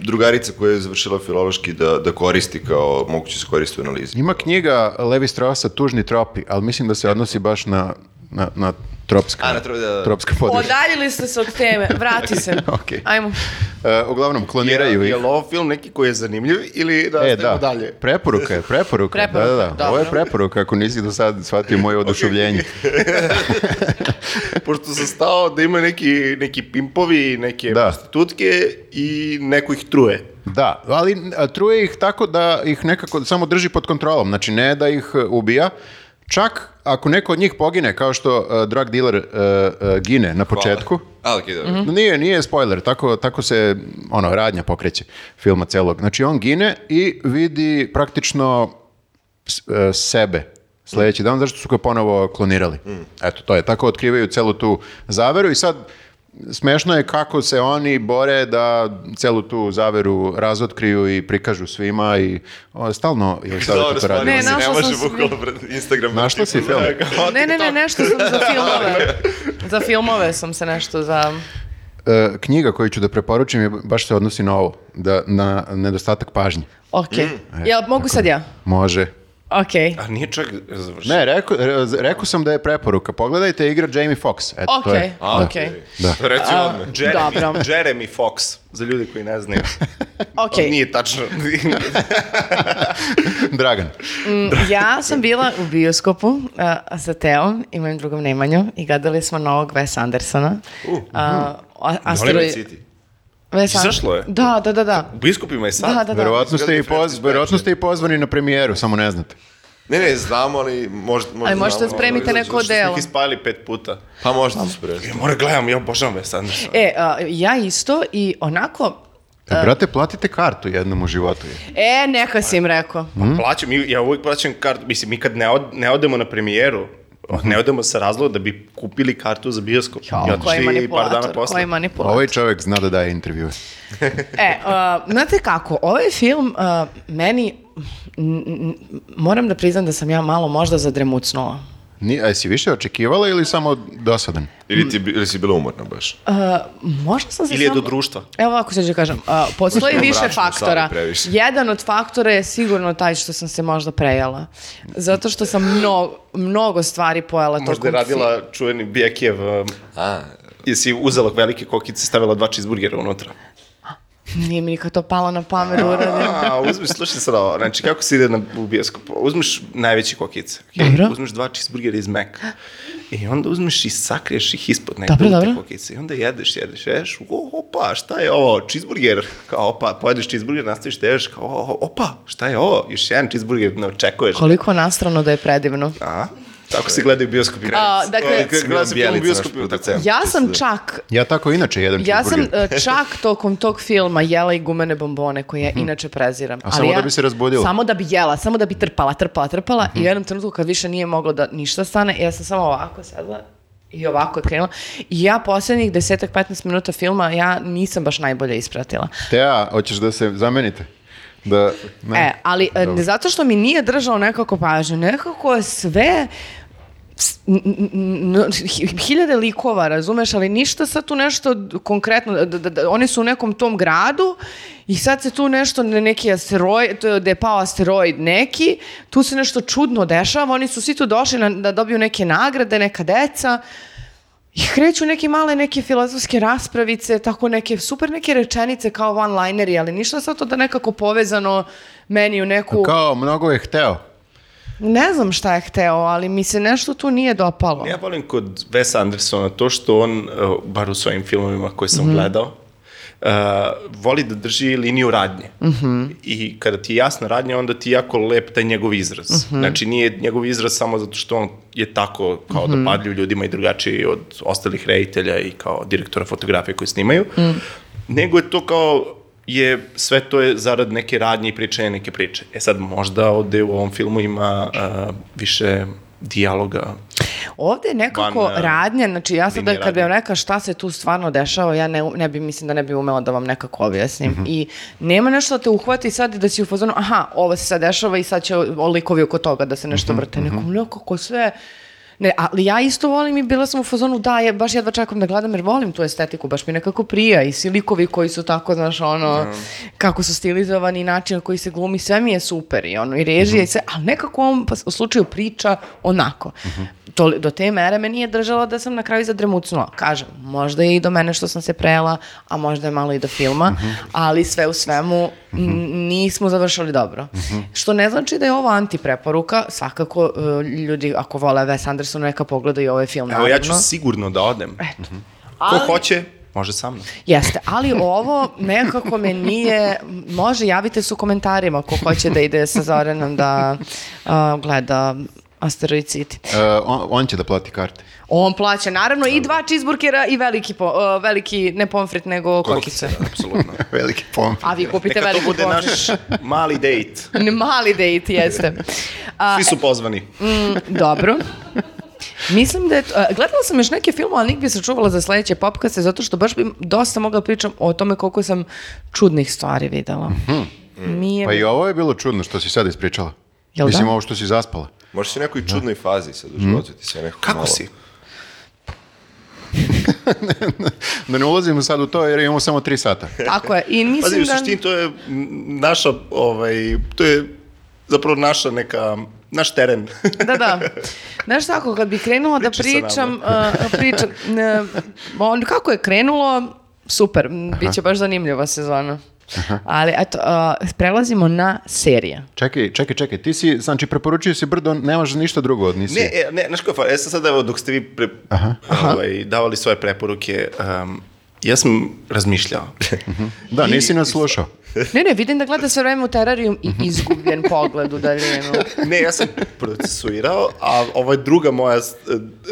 C: drugarica koja je završila filološki da, da koristi kao, moguće da se koristi u analizi.
A: Ima knjiga Levi Straussa Tužni tropi, ali mislim da se odnosi baš na, na, na tropska,
C: A, na tro- da, da.
A: tropska područja.
B: Odaljili ste se od teme. Vrati
A: (laughs)
B: se.
A: Okej.
B: Ajmo.
A: E, uglavnom, kloniraju ih.
D: Jel ovo film neki koji je zanimljiv ili da
A: E,
D: nastavimo
A: da.
D: dalje?
A: Preporuka je, preporuka. je, da, da, da.
B: Preporuka,
A: Ovo je
B: dobro.
A: preporuka, ako nisi do sad shvatio moje oduševljenje.
D: Pošto sam stao da ima neki, neki pimpovi, neke
A: Da.
D: prostitutke i neko ih truje.
A: Da, ali a, truje ih tako da ih nekako samo drži pod kontrolom, znači ne da ih e, ubija. Čak ako neko od njih pogine, kao što e, drug dealer e, e, gine na početku,
C: A, okej, dobro.
A: Nije, nije spoiler, tako, tako se ono, radnja pokreće filma celog. Znači on gine i vidi praktično s- e, sebe
C: Mm.
A: sljedeći dan, zašto su ga ponovo klonirali. Eto, to je. Tako otkrivaju celu tu zaveru i sad smešno je kako se oni bore da celu tu zaveru razotkriju i prikažu svima i o, stalno
C: (laughs)
A: je sada
C: Dobro,
A: to radi.
C: stvarno
B: Ne,
C: se
B: našla
C: može
B: sam se-
C: bukvalno pred Instagram.
A: da
C: da
A: Našla si film?
B: Ne, ne, ne, nešto sam
A: (laughs)
B: za filmove. za filmove sam se nešto za...
A: E, knjiga koju ću da preporučim je baš se odnosi na ovo, da, na nedostatak pažnje.
D: Mm.
B: Ok. Jel mogu sad ja?
A: Može.
D: (laughs)
B: Okej.
D: A nije čak završio.
B: Znači-
A: Ne, rekao, re- rekao sam da je preporuka. Pogledajte igra Jamie Foxx. Eto, to
B: Okej,
A: je.
B: okej.
A: Da. (laughs)
C: Reci odmah.
D: Jeremy,
B: Dobro.
D: Jeremy Fox, za ljudi koji ne znaju. Znači,
B: Okej. (laughs)
D: Nije tačno.
A: Dragan.
B: Mm, Ja sam bila u bioskopu uh, sa Teom i mojim drugom Nemanjom i gledali smo novog Wes Andersona.
D: uh-huh.
B: Uh,
D: Oliver City. Izašlo je?
B: Da, da, da, da.
D: U biskupima je sad.
B: Da, da, da.
A: Verovatno ste, i poz, verovatno ste i pozvani na premijeru, samo ne znate.
C: Ne, ne, znamo, ali možda... možda
B: Ali možete
C: znamo.
B: spremite neko
D: Što smo
B: delo.
D: ih ispali pet puta.
C: Pa možda spremite.
D: Ja moram gledam, ja obožavam Wes Andersona.
A: Mhm.
B: E, uh, ja isto i onako...
A: E, brate, platite kartu jednom u životu. je.
B: E, neka si im rekao.
D: E, pa Plaćam, i- ja uvijek plaćam kartu, mislim, mi kad ne, od, ne odemo na premijeru,
A: Mhm.
D: ne odemo sa razloga da bi kupili kartu za bioskop.
B: Kao,
D: I otišli
B: koji
D: Znači, par dana
B: manipulator,
D: posle.
B: koji manipulator.
A: Ovaj čovjek zna da daje intervjue.
B: E, uh, znate kako, ovaj film uh, meni, n- n- moram da priznam da sam ja malo možda zadremucnula.
A: Ni, a si više očekivala ili samo dosadan?
C: Ili, ti, ili si bila umorna baš?
B: Možda sam se
D: Ili je do
B: samo-
D: društva.
B: Evo ovako sad ću kažem, uh, postoji
C: Možda
B: više
C: mračno,
B: faktora.
C: sad previše.
B: Jedan od faktora je sigurno taj što sam se možda prejela. Zato što sam mnogo, mnogo stvari pojela tokom
D: Možda je
B: filma.
D: radila čuveni Bijekijev, um,
C: A,
D: jesi uzela velike kokice i stavila dva cheeseburgera unutra.
B: Nije mi nikad to palo na pamet da uradim.
D: A, uzmiš, slušaj sad ovo, znači kako se ide na, u bioskop, uzmiš najveće kokice, okay?
B: Dobro.
D: uzmiš dva cheeseburgera iz Meka i onda uzmiš i sakriješ ih ispod nekde
B: Dobro,
D: u te
B: dobro.
D: kokice i onda jedeš, jedeš, jedeš, o, opa, šta je ovo, cheeseburger, kao opa, pojedeš cheeseburger, nastaviš da jedeš, kao o, opa, šta je ovo, još jedan cheeseburger, ne očekuješ.
B: Koliko nastrano da je predivno.
D: A? Tako se gledaju bioskopi.
B: A, dakle-
D: Gleda se film u
C: Bjelica, naš
D: bioskopu, tako.
C: producent.
B: Ja
D: da
B: sam čak
A: Ja tako inače jedem
B: Ja sam
A: cheeseburger. (laughs)
B: e, čak tokom tog filma jela i gumene bombone koje ja inače preziram. Ali
A: Mhm. samo
B: ja-
A: da bi se Mhm. razbudila?
B: Samo da bi jela, samo da bi trpala, trpala, trpala i u jednom trenutku kad više nije moglo da ništa stane, ja sam samo ovako sedla i ovako krenula. I ja posljednjih desetak, 15 minuta filma ja nisam baš najbolje ispratila.
A: Teja, hoćeš da se zamenite? Da, ne.
B: E, ali e,
A: Dobro.
B: zato što mi nije držao nekako pažnju, nekako je sve s- n- n- n- hi- hiljade likova, razumeš, ali ništa sad tu nešto d- konkretno, d- d- d- oni su u nekom tom gradu i sad se tu nešto, ne- neki asteroid, to je da je pao asteroid neki, tu se nešto čudno dešava, oni su svi tu došli na- da dobiju neke nagrade, neka deca, i kreću neke male neke filozofske raspravice, tako neke super neke rečenice kao one-lineri, ali ništa sad to da nekako povezano meni u neku...
A: Kao, mnogo je hteo.
B: Ne znam šta je hteo, ali mi se nešto tu nije dopalo.
D: Ja volim kod Wes Andersona to što on, eh, bar u svojim filmovima koje sam gledao, eh, voli da drži liniju radnje. I kada ti je jasna radnja, onda ti je jako lep taj njegov izraz. Znači, nije njegov izraz samo zato što on je tako kao dopadljiv ljudima i drugačiji od ostalih reditelja i kao direktora fotografije koji snimaju, nego je to kao je sve to je zarad neke radnje i pričanja neke priče. E sad možda ovde u ovom filmu ima eh, više dijaloga,
B: Ovde je nekako
D: Van, eh,
B: radnja, znači ja sad
D: linije
B: kad bi
D: radnje.
B: vam rekla šta se tu stvarno dešava, ja ne, ne bi, mislim da ne bi umela da vam nekako objasnim.
D: Mhm.
B: I nema nešto da te uhvati sad i da si u fazonu, aha, ovo se sad dešava i sad će o- o likovi oko toga da se
D: Mhm,
B: nešto vrte. Nekom, nekako sve... Ne, ali ja isto volim i bila sam u fazonu, da, je, baš jedva čekam da gledam jer volim tu estetiku, baš mi nekako prija i svi likovi koji su tako, znaš, ono,
D: Da.
B: kako su stilizovani, način na koji se glumi, sve mi je super i ono, i režija i
D: Mhm.
B: sve, ali nekako on pa, u slučaju priča onako.
D: Mhm.
B: To, do te mere me nije držala da sam na kraju zadremucnula. Kažem, možda je i do mene što sam se prejela, a možda je malo i do filma,
D: Mhm.
B: ali sve u svemu n- nismo završili dobro.
D: Mhm.
B: Što ne znači da je ovo antipreporuka, svakako e, ljudi ako vole Wes Anderson neka pogledaju ovaj film,
D: Evo,
B: naravno.
D: ja ću sigurno da odem. Eto. Ko
B: Ali-
D: hoće, može sa mnom.
B: Jeste, ali ovo nekako me nije, može javite se u komentarima ko hoće da ide sa Zoranom da a, gleda Asteroid City.
A: E, on, on će da plati karte.
B: On plaća naravno i dva cheeseburgera i veliki, po, a, veliki ne pomfrit nego kokice.
D: da, Apsolutno.
A: (laughs) Veliki pom.
B: A vi kupite
D: Neka to
B: veliki
D: bude naš
B: pomfrit.
D: mali dejt.
B: Ne, Mali date, jeste. A,
D: Svi su pozvani.
B: Dobro. Mislim da je... to- a, Gledala sam još neke filmove, ali nik bi se čuvala za sledeće popkaste, zato što baš bi dosta mogla pričam o tome koliko sam čudnih stvari videla.
D: Mhm.
B: Nije...
A: Pa i ovo je bilo čudno što si sad ispričala.
B: Jel da?
A: Mislim, ovo što si zaspala.
C: možda si u nekoj čudnoj fazi sad u životu, ti se nekako
D: Kako
C: malo...
D: si?
A: Da ne ulazimo sad u to jer imamo samo tri sata.
B: Tako je. I mislim
D: Pazi, Pa u
B: da...
D: suštini to je m, naša, ovaj, to je zapravo naša neka, naš teren.
A: (laughs)
B: Da, da. Znaš tako, kad bih krenula da
D: Pričaj sa
B: pričam, uh, pričam, ne, on, kako je krenulo, super, m, bit će baš zanimljiva sezona. Ali, eto, uh, prelazimo na serije.
A: Čekaj, čekaj, čekaj, ti si, znači preporučio si brdo, nemaš ništa drugo od nisi.
D: Ne, e, ne, znaš koja je fora? Ja sam sad, evo, dok ste vi pre, ovaj, davali svoje preporuke, um, ja sam razmišljao.
A: Da, nisi nas slušao.
B: Ne, ne, vidim da gleda sve vreme u terarijum
D: Mhm.
B: i izgubljen pogled u
D: (laughs)
B: daljinu.
D: (laughs) ne, ja sam procesuirao, a ova druga moja s-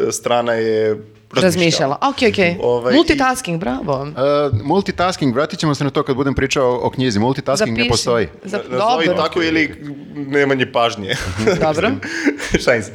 D: e, strana je
B: Razmišljala. Ok, ok.
D: Ovaj, i-
B: Multitasking, bravo.
A: E, multitasking, vratit ćemo se na to kad budem pričao o knjizi. Multitasking ne
B: Zapiši.
A: postoji.
B: Zap-
D: Nazovi
B: dobro,
D: tako ili nemanje pažnje. (laughs)
B: dobro.
D: Šalim se.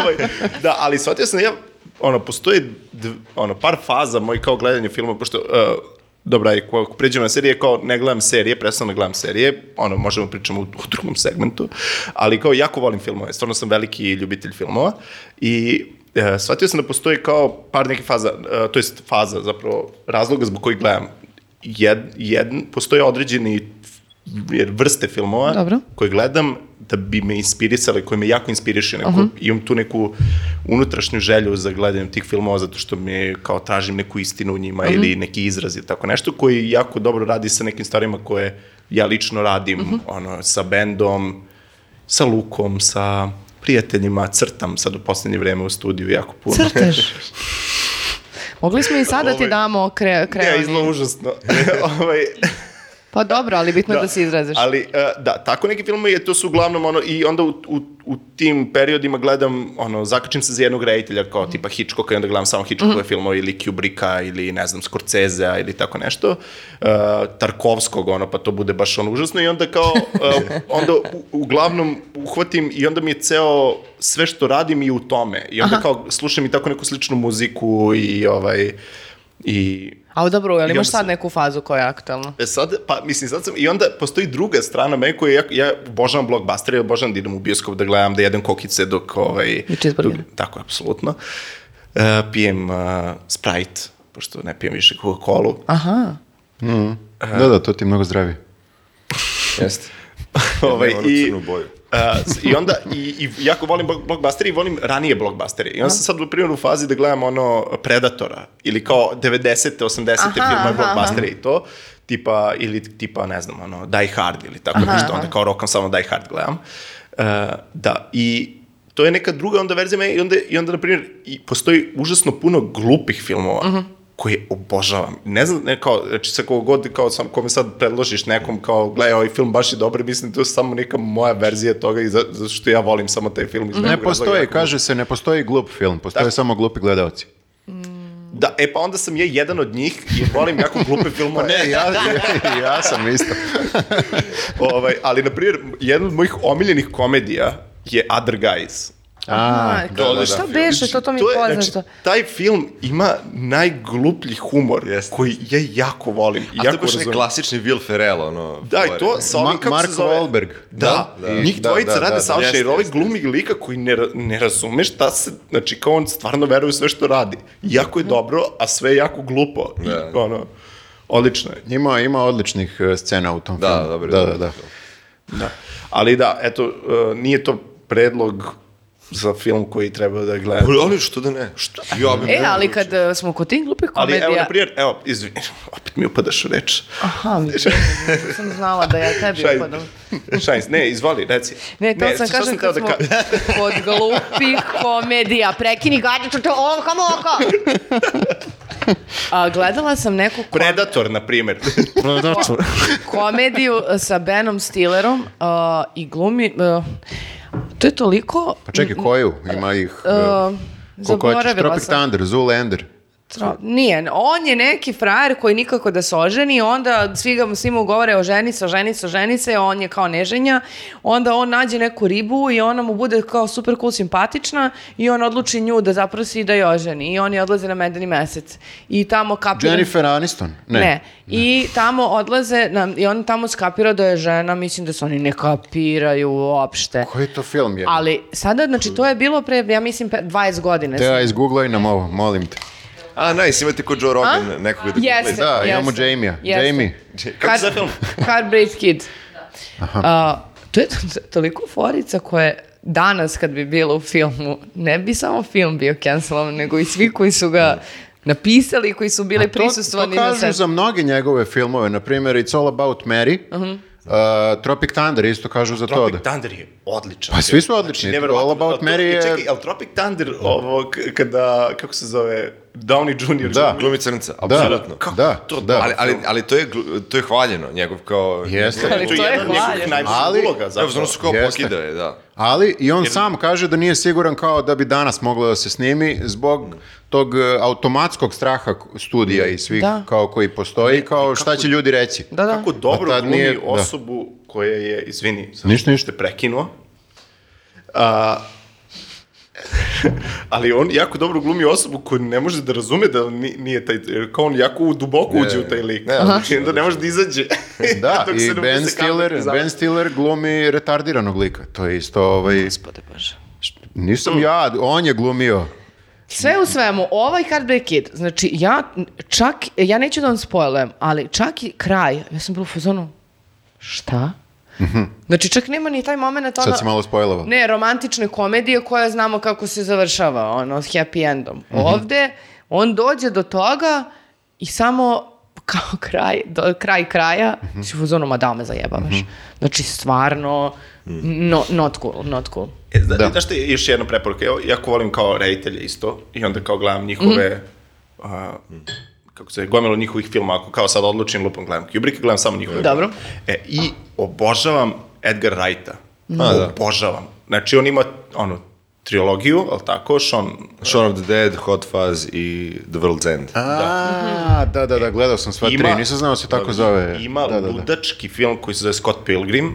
D: Ovaj, da, ali shvatio sam da ja, ono, postoji dv, ono, par faza moj kao gledanje filma, pošto, uh, dobra, ako ako pređemo na serije, kao ne gledam serije, presno ne gledam serije, ono, možemo da pričamo u, u drugom segmentu, ali kao jako volim filmove, stvarno sam veliki ljubitelj filmova i uh, shvatio sam da postoji kao par nekih faza, uh, to jest faza zapravo razloga zbog kojih gledam. Jed, jedn, postoje određeni jer vrste filmova
B: Dobro.
D: koje gledam da bi me inspirisali, koji me jako inspirišu. Neko, Imam tu neku unutrašnju želju za gledanjem tih filmova zato što mi kao tražim neku istinu u njima ili neki izraz ili tako nešto koji jako dobro radi sa nekim stvarima koje ja lično radim, ono, sa bendom, sa Lukom, sa prijateljima, crtam sad u poslednje vreme u studiju jako puno. (laughs)
B: Crteš. Mogli smo i sada ti
D: Ovaj,
B: damo kre,
D: Ne,
B: krevani.
D: izgleda užasno. ovaj,
B: Pa dobro, ali bitno je da se izraziš.
D: Ali, uh, da, tako neki filmovi, je, to su uglavnom ono, i onda u, u, u tim periodima gledam, ono, zakačim se za jednog reditelja kao tipa Hitchcocka i onda gledam samo
B: Mhm.
D: Hitchcockove filmove ili Kubricka ili, ne znam, Scorsesea ili tako nešto, uh, Tarkovskog, ono, pa to bude baš ono užasno i onda kao, uh,
B: (laughs)
D: onda u, uglavnom uhvatim i onda mi je ceo, sve što radim i u tome. I onda kao slušam i tako neku sličnu muziku i ovaj, i
B: A dobro, ali
D: I
B: imaš
D: onda
B: sad
D: se-
B: neku fazu koja je aktualna?
D: E sad, pa mislim, sad sam, i onda postoji druga strana mene koja, ja, ja obožavam blockbuster, ja obožavam da idem u bioskop da gledam, da jedem kokice dok, ovaj,
B: I cheeseburger.
D: dok- tako, apsolutno. E, pijem e, Sprite, pošto ne pijem više Coca-Cola.
B: Aha.
A: Da, da, to ti je mnogo zdravi.
C: (laughs) Jeste.
D: ovaj,
C: Nema
D: i,
C: crnu boju.
D: Uh, I onda, i, i jako volim blo- blockbustere i volim ranije blockbustere. I onda sam sad, na primjer, u fazi da gledam ono Predatora ili kao 90-te, 80-te
B: Aha,
D: filmove
B: aha,
D: blockbustere i to, tipa, ili tipa, ne znam, ono, Die Hard ili tako nešto, onda kao rokam samo Die Hard gledam. Uh, da, i to je neka druga onda verzija me i onda, i onda na primjer, i postoji užasno puno glupih filmova
A: Mhm.
D: koje obožavam. Ne znam, ne, kao, znači sa kogo god, kao sam, kome sad predložiš nekom, kao, gledaj, ovaj film baš je dobar, mislim, to je samo neka moja verzija toga i za- zato što ja volim samo taj film. Iz
A: Ne
D: nekog razloga
A: postoji,
D: jako-
A: kaže se, ne postoji glup film, postoje samo glupi gledalci.
D: Da, e pa onda sam ja jedan od njih jer volim jako
A: (laughs)
D: glupe filmove.
A: Ne, ja, ja, ja sam isto.
D: ovaj, ali, na primjer, jedan od mojih omiljenih komedija je Other Guys.
A: A,
B: Aha,
A: da, da, da.
B: Šta beše, to, to mi je
D: je,
B: poznato.
D: Znači, taj film ima najgluplji humor koji ja jako volim. i
C: A to je
D: jako
C: baš onaj
D: razumem.
C: klasični Will Ferrell, ono...
D: Da, i
C: fore.
D: to sa ovim,
A: Ma-
D: kako
A: Mark
D: se zove?
A: Wahlberg.
D: Da,
A: Da, da.
D: njih
A: Da,
D: dvojica
A: da,
D: rade
A: da,
D: savršeno,
C: jeste,
D: jer ovaj
C: jeste.
D: glumi lika koji ne, ra- ne razume šta se, znači kao on stvarno veruje u sve što radi.
B: Mhm.
D: Jako je dobro, a sve je jako glupo. I,
C: Da.
D: ono, odlično je.
A: Ima, ima odličnih eh, scena u tom
C: Da,
A: filmu.
C: dobro,
A: Da, da,
C: dobro.
A: da.
D: Da. Ali da, eto, uh, nije to predlog za film koji treba da gledam.
C: Ali, ali što da ne? Što? Ja bih
B: E, ali kad e, smo kod tih glupih
D: Ali
B: komedija...
D: evo, na primjer, evo, izvini, (laughs) opet mi upadaš u reč.
B: (laughs) Aha, mi sam
D: (laughs)
B: znala da ja tebi
D: Šajn,
B: upadam.
D: šajn, ne, izvoli, reci.
B: Ne, to sam
D: šta
B: kažem
D: teo
B: kad
D: da
B: smo
D: ka- (laughs)
B: (laughs) kod glupih komedija. Prekini gađa, to to ovo, kamo oko! A, gledala sam neku ko-
D: Predator, na primjer.
B: komediju sa Benom Stillerom a, i glumi... a, to je toliko...
A: Pa čekaj, koju? Ima ih... eh,
B: Uh,
A: koliko hoćeš?
B: Mm, zaboravila
A: Tropic
B: sam.
A: Thunder, Zoolander.
B: Tra- Nije, on je neki frajer koji nikako da se oženi, onda svi ga svima ugovore o ženi se, o ženi se, o ženi se, on je kao neženja, onda on nađe neku ribu i ona mu bude kao super cool simpatična i on odluči nju da zaprosi da je oženi i oni odlaze na medeni mesec. I tamo kapira...
A: Jennifer Aniston? Ne.
B: Ne. I tamo odlaze, na, i on tamo skapira da je žena, mislim da se oni ne kapiraju uopšte.
A: Koji to film je? Da.
B: Ali sada, znači, to je bilo pre, ja mislim, pe- 20 godina.
A: Teo, izgooglaj nam ovo, molim te.
C: A, nice, imate kod Joe Rogan nekoga da
B: Jeste.
C: Da.
A: Da, imamo
B: Jeste.
A: Jamie-a.
B: Jeste.
A: Jamie.
D: Kako se zove film?
B: Heartbreak Kid. A, to je (laughs) to- toliko forica koje danas kad bi bilo u filmu, ne bi samo film bio cancelovan, nego i svi koji su ga
D: Da.
B: napisali i koji su bili prisustvani
A: to, to
B: na
A: kažu
B: setu.
A: za mnoge njegove filmove, na primjer It's All About Mary,
B: Mhm.
A: Uh, Tropic Thunder isto kažu za to
D: Tropic
A: da.
D: Thunder je odličan.
A: Pa svi su odlični,
D: neverovatno.
A: All About
D: Ali to-
A: Mary je-
D: Čekaj, ali Tropic Thunder, ovo, k- kada, kako se zove, Downey Jr.
A: Da.
C: Glumi crnca,
A: Da,
C: apsolutno.
A: da,
D: Kako to-
A: da.
C: Ali, ali, ali to, je, gl- to je hvaljeno, njegov kao...
A: Jeste.
B: Ali to je
D: jedan od njegovih
B: hvaljen.
D: najboljih
A: Ali-
D: uloga,
C: Evo,
D: zapravo.
C: znam su kao
A: Jeste.
C: pokidao je, da.
A: Ali i on sam kaže da nije siguran kao da bi danas moglo da se snimi zbog tog e, automatskog straha k- studija i svih
B: Da.
A: kao koji postoji, kao šta će ljudi reći.
B: Da, da.
D: Kako dobro
A: Pa tad
D: glumi
A: nije- da.
D: osobu koja je, izvini, sam
A: Ništa, ništa.
D: te prekinuo, a, (laughs) ali on jako dobro glumi osobu koju ne može da razume da ni- nije taj, jer kao on jako duboko uđe u taj lik.
C: Ne,
D: Ne,
C: odlično,
D: onda ne može da izađe.
A: (laughs) Da,
D: (laughs) Dok se
A: i
D: ne
A: Ben
D: upuse kamera
A: Stiller,
D: i završi.
A: ben Stiller glumi retardiranog lika. To je isto, ovaj,
B: Gospode Bože.
A: nisam ja, on je glumio.
B: Sve u svemu, ovaj Heartbreak Kid, znači ja čak, ja neću da vam spoilujem, ali čak i kraj, ja sam bila u fazonu, šta? Znači čak nema ni taj moment ono...
A: Mhm. Sad si malo spojlova.
B: Ne, romantične komedije koja znamo kako se završava, ono, s happy endom.
A: Mhm.
B: Ovde, on dođe do toga i samo kao (laughs) kraj, do, kraj kraja,
A: Mhm.
B: si u zonu, ma da me zajebavaš. Znači, stvarno,
A: Mhm.
B: no, not cool, not cool.
D: E, zna, da. Znaš šta je još jedna preporuka? Ja jako volim kao reditelje isto i onda kao gledam njihove... a, kako se zove, gomilo njihovih filma, ako kao sad odlučim lupom gledam Kubricka, gledam samo njihove.
B: Dobro.
D: E, I obožavam Edgar Wrighta. Obožavam. Znači, on ima, ono, trilogiju, ali tako, Sean...
C: Shaun of the Dead, Hot Fuzz i The World's End.
D: Da.
A: A, da, da, da, gledao sam sva tri, nisam znao da se tako zove.
D: Ima
A: da, da, da.
D: ludački film koji se zove Scott Pilgrim,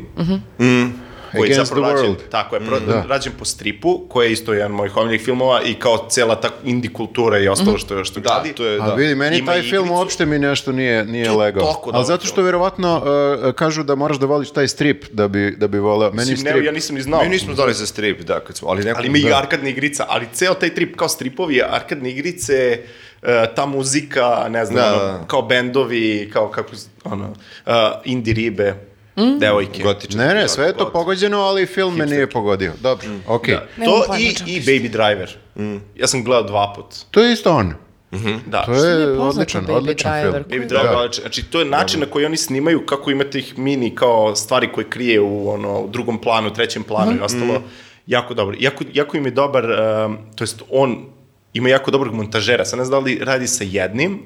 D: mm, koji je
A: Against
D: zapravo
A: the
D: rađen,
A: World. Mm, da.
D: tako je, pro, rađen po stripu, koji je isto jedan od mojih omiljenih filmova i kao cela ta indie kultura i ostalo što, što
C: Da,
D: gradi.
C: to je,
A: A
C: da.
A: vidi, meni
D: Ima
A: taj
D: igricu.
A: film uopšte mi nešto nije, nije
D: To je
A: legao.
D: toliko
A: Ali
D: dobar
A: zato što
D: film.
A: verovatno uh, kažu da moraš da voliš taj strip da bi, da bi voleo. Meni
D: Mislim, ne,
A: strip...
D: ja nisam ni znao.
C: Mi nismo znali za strip, da, kad smo, ali neko...
D: Ali ima i
C: da.
D: arkadne igrica, ali ceo taj trip kao stripovi, arkadne igrice, e, ta muzika, ne znam,
C: Da,
D: ono,
C: da.
D: kao bendovi, kao kako, s- ono, uh, indie ribe, devojke.
C: Gotičan.
A: Ne,
D: da
A: ne, sve je to
D: God.
A: pogođeno, ali film me nije pogodio. Dobro,
D: Mm.
A: okej.
B: Nemam
D: To
B: pojma
D: i,
B: čak
D: i Baby Driver. Mm. Ja sam gledao dva put.
A: To je isto on.
D: Da.
A: Mm. To je
B: poznato,
A: odličan,
B: Baby
A: odličan
B: Driver.
A: film.
D: Baby Driver,
A: Da.
D: ali č- znači to je način na koji oni snimaju kako imate ih mini kao stvari koje krije u ono u drugom planu, trećem planu
A: Mhm.
D: i ostalo. Jako dobro. Jako, jako im je dobar, um, to jest on ima jako dobrog montažera. Sad ne znam da li radi sa jednim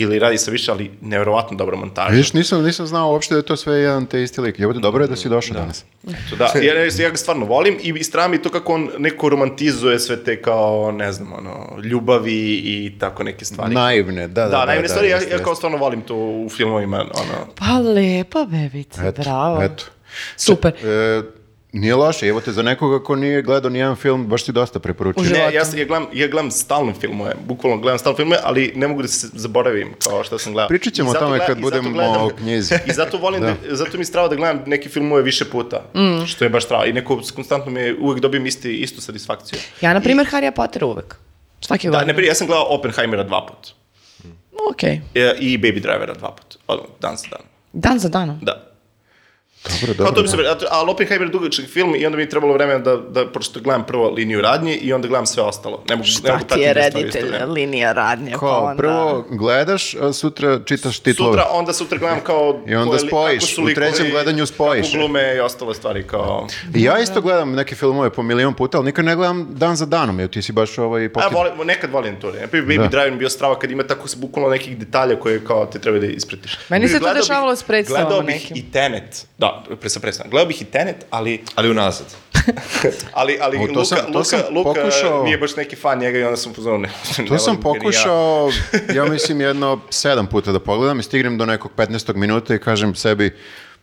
D: ili radi sa više, ali nevjerovatno dobra montaža.
A: Vidiš, nisam, nisam znao uopšte da je to sve jedan te isti lik. Ljubav, dobro je da si došao danas.
D: Eto,
A: (laughs)
D: da, ja, ja, ja ga stvarno volim i, i strava mi to kako on neko romantizuje sve te kao, ne znam, ono, ljubavi i tako neke stvari.
A: Naivne, da, da.
D: da, najmanje stvari, ja,
A: jeste,
D: ja
A: jeste.
D: kao stvarno volim to u filmovima, ono,
B: Pa lepa bebica,
A: Eto,
B: bravo.
A: eto.
B: Super.
A: E, nije loše, evo te za nekoga ko nije gledao nijedan film, baš ti dosta preporučio.
B: Uživo.
D: Ne,
B: života.
D: ja, sam- ja, gledam, ja gledam stalno filmove, bukvalno gledam stalno filmove, ali ne mogu da se zaboravim kao što sam gledao.
A: Pričat ćemo
D: I
A: o
D: zato
A: tome
D: gleda-
A: kad
D: i zato
A: budemo
D: gledam-
A: o knjizi.
D: (laughs) I zato volim, da. zato mi je strava da gledam neke filmove više puta, što je baš strava. I neko, konstantno mi je, uvek dobijem isti, istu satisfakciju.
B: Ja, na primjer, Harry Potter uvek. Svake
D: Da,
B: godine.
D: ne prije, ja sam gledao Oppenheimera dva put.
B: Okej.
D: E, I Baby Drivera dva put. Odmah, dan za dan.
B: Dan za danom.
D: Da.
A: Dobro, da.
D: Kao to
A: dobro.
D: mi se, a- ali Oppenheimer je dugačak film i onda mi je trebalo vremena da, da pročito gledam prvo liniju radnje i onda gledam sve ostalo. Ne mogu, ne
B: Šta
D: mogu
B: ti
D: pratiti
B: je
D: dve stvari isto
B: reditelj,
D: vremena.
B: linija radnja, pa
A: Kao,
B: onda...
A: prvo gledaš, a sutra čitaš titlove.
D: sutra, onda sutra gledam kao...
A: I onda
D: koje li-
A: spojiš,
D: kako su
A: u
D: likovi,
A: trećem gledanju spojiš.
D: Kako glume i ostale stvari kao...
A: I ja isto gledam neke filmove po milion puta, ali nikad ne gledam dan za danom, jer ti si baš ovaj
D: A,
A: pokid.
D: volim, nekad volim to. Ne? Baby
A: Da.
D: Driver mi je bio strava kad ima tako se bukvalno nekih detalja koje kao te treba da ispratiš.
B: Meni se to
D: Gledao bih-
B: dešavalo s predstavama
D: Gledao bih
B: nekim.
D: i Tenet. Da, pre sa predstavom. Gledao bih i Tenet, ali...
C: Ali unazad.
D: Ali, ali
A: O, to
D: Luka,
A: sam- to
D: Luka,
A: sam
D: Luka
A: pokušao-
D: nije baš neki fan njega i onda sam pozvao ne. ne
A: To sam
D: volim ga ni ja. (laughs)
A: pokušao, ja mislim, jedno sedam puta da pogledam i stignem do nekog 15. minuta i kažem sebi,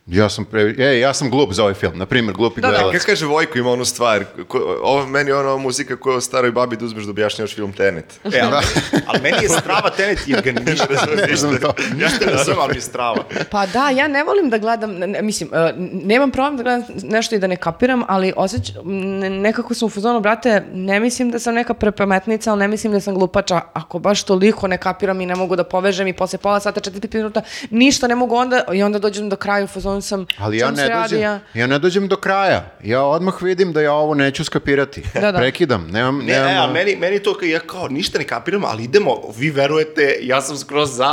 A: Ja sam, pre... e, ja sam glup za ovaj film, na primjer, glupi
B: Da, da.
A: gledalac.
C: Kako kaže Vojko ima onu stvar, ko, ovo meni je ona muzika koju staroj babi da uzmeš da objašnjavaš film Tenet.
D: E, ali, (laughs) ali meni je strava tenet jer ga ništa
A: Ne znam to.
D: Ja te razumem, ali mi je strava.
B: Pa da, ja ne volim da gledam, ne- ne, mislim, e, nemam problem da gledam nešto i da ne kapiram, ali osjeć, ne- nekako sam u fazonu, brate, ne mislim da sam neka prepametnica, ali ne mislim da sam glupača. Ako baš toliko ne kapiram i ne mogu da povežem i posle pola sata, 45 minuta, ništa ne mogu onda, i onda dođem do kraja u fazonu sam,
A: Ali ja
B: čemu
A: ne,
B: se radi,
A: dođem, ja.
B: ja? (laughs)
A: ne dođem do kraja. Ja odmah vidim da ja ovo neću skapirati.
B: Da, da.
A: Prekidam. Nemam,
D: Ne,
A: nemam,
D: e, a
A: uh,
D: meni, meni to kao, ja kao, ništa ne kapiram, ali idemo, vi verujete, ja sam skroz
A: (laughs)
D: za.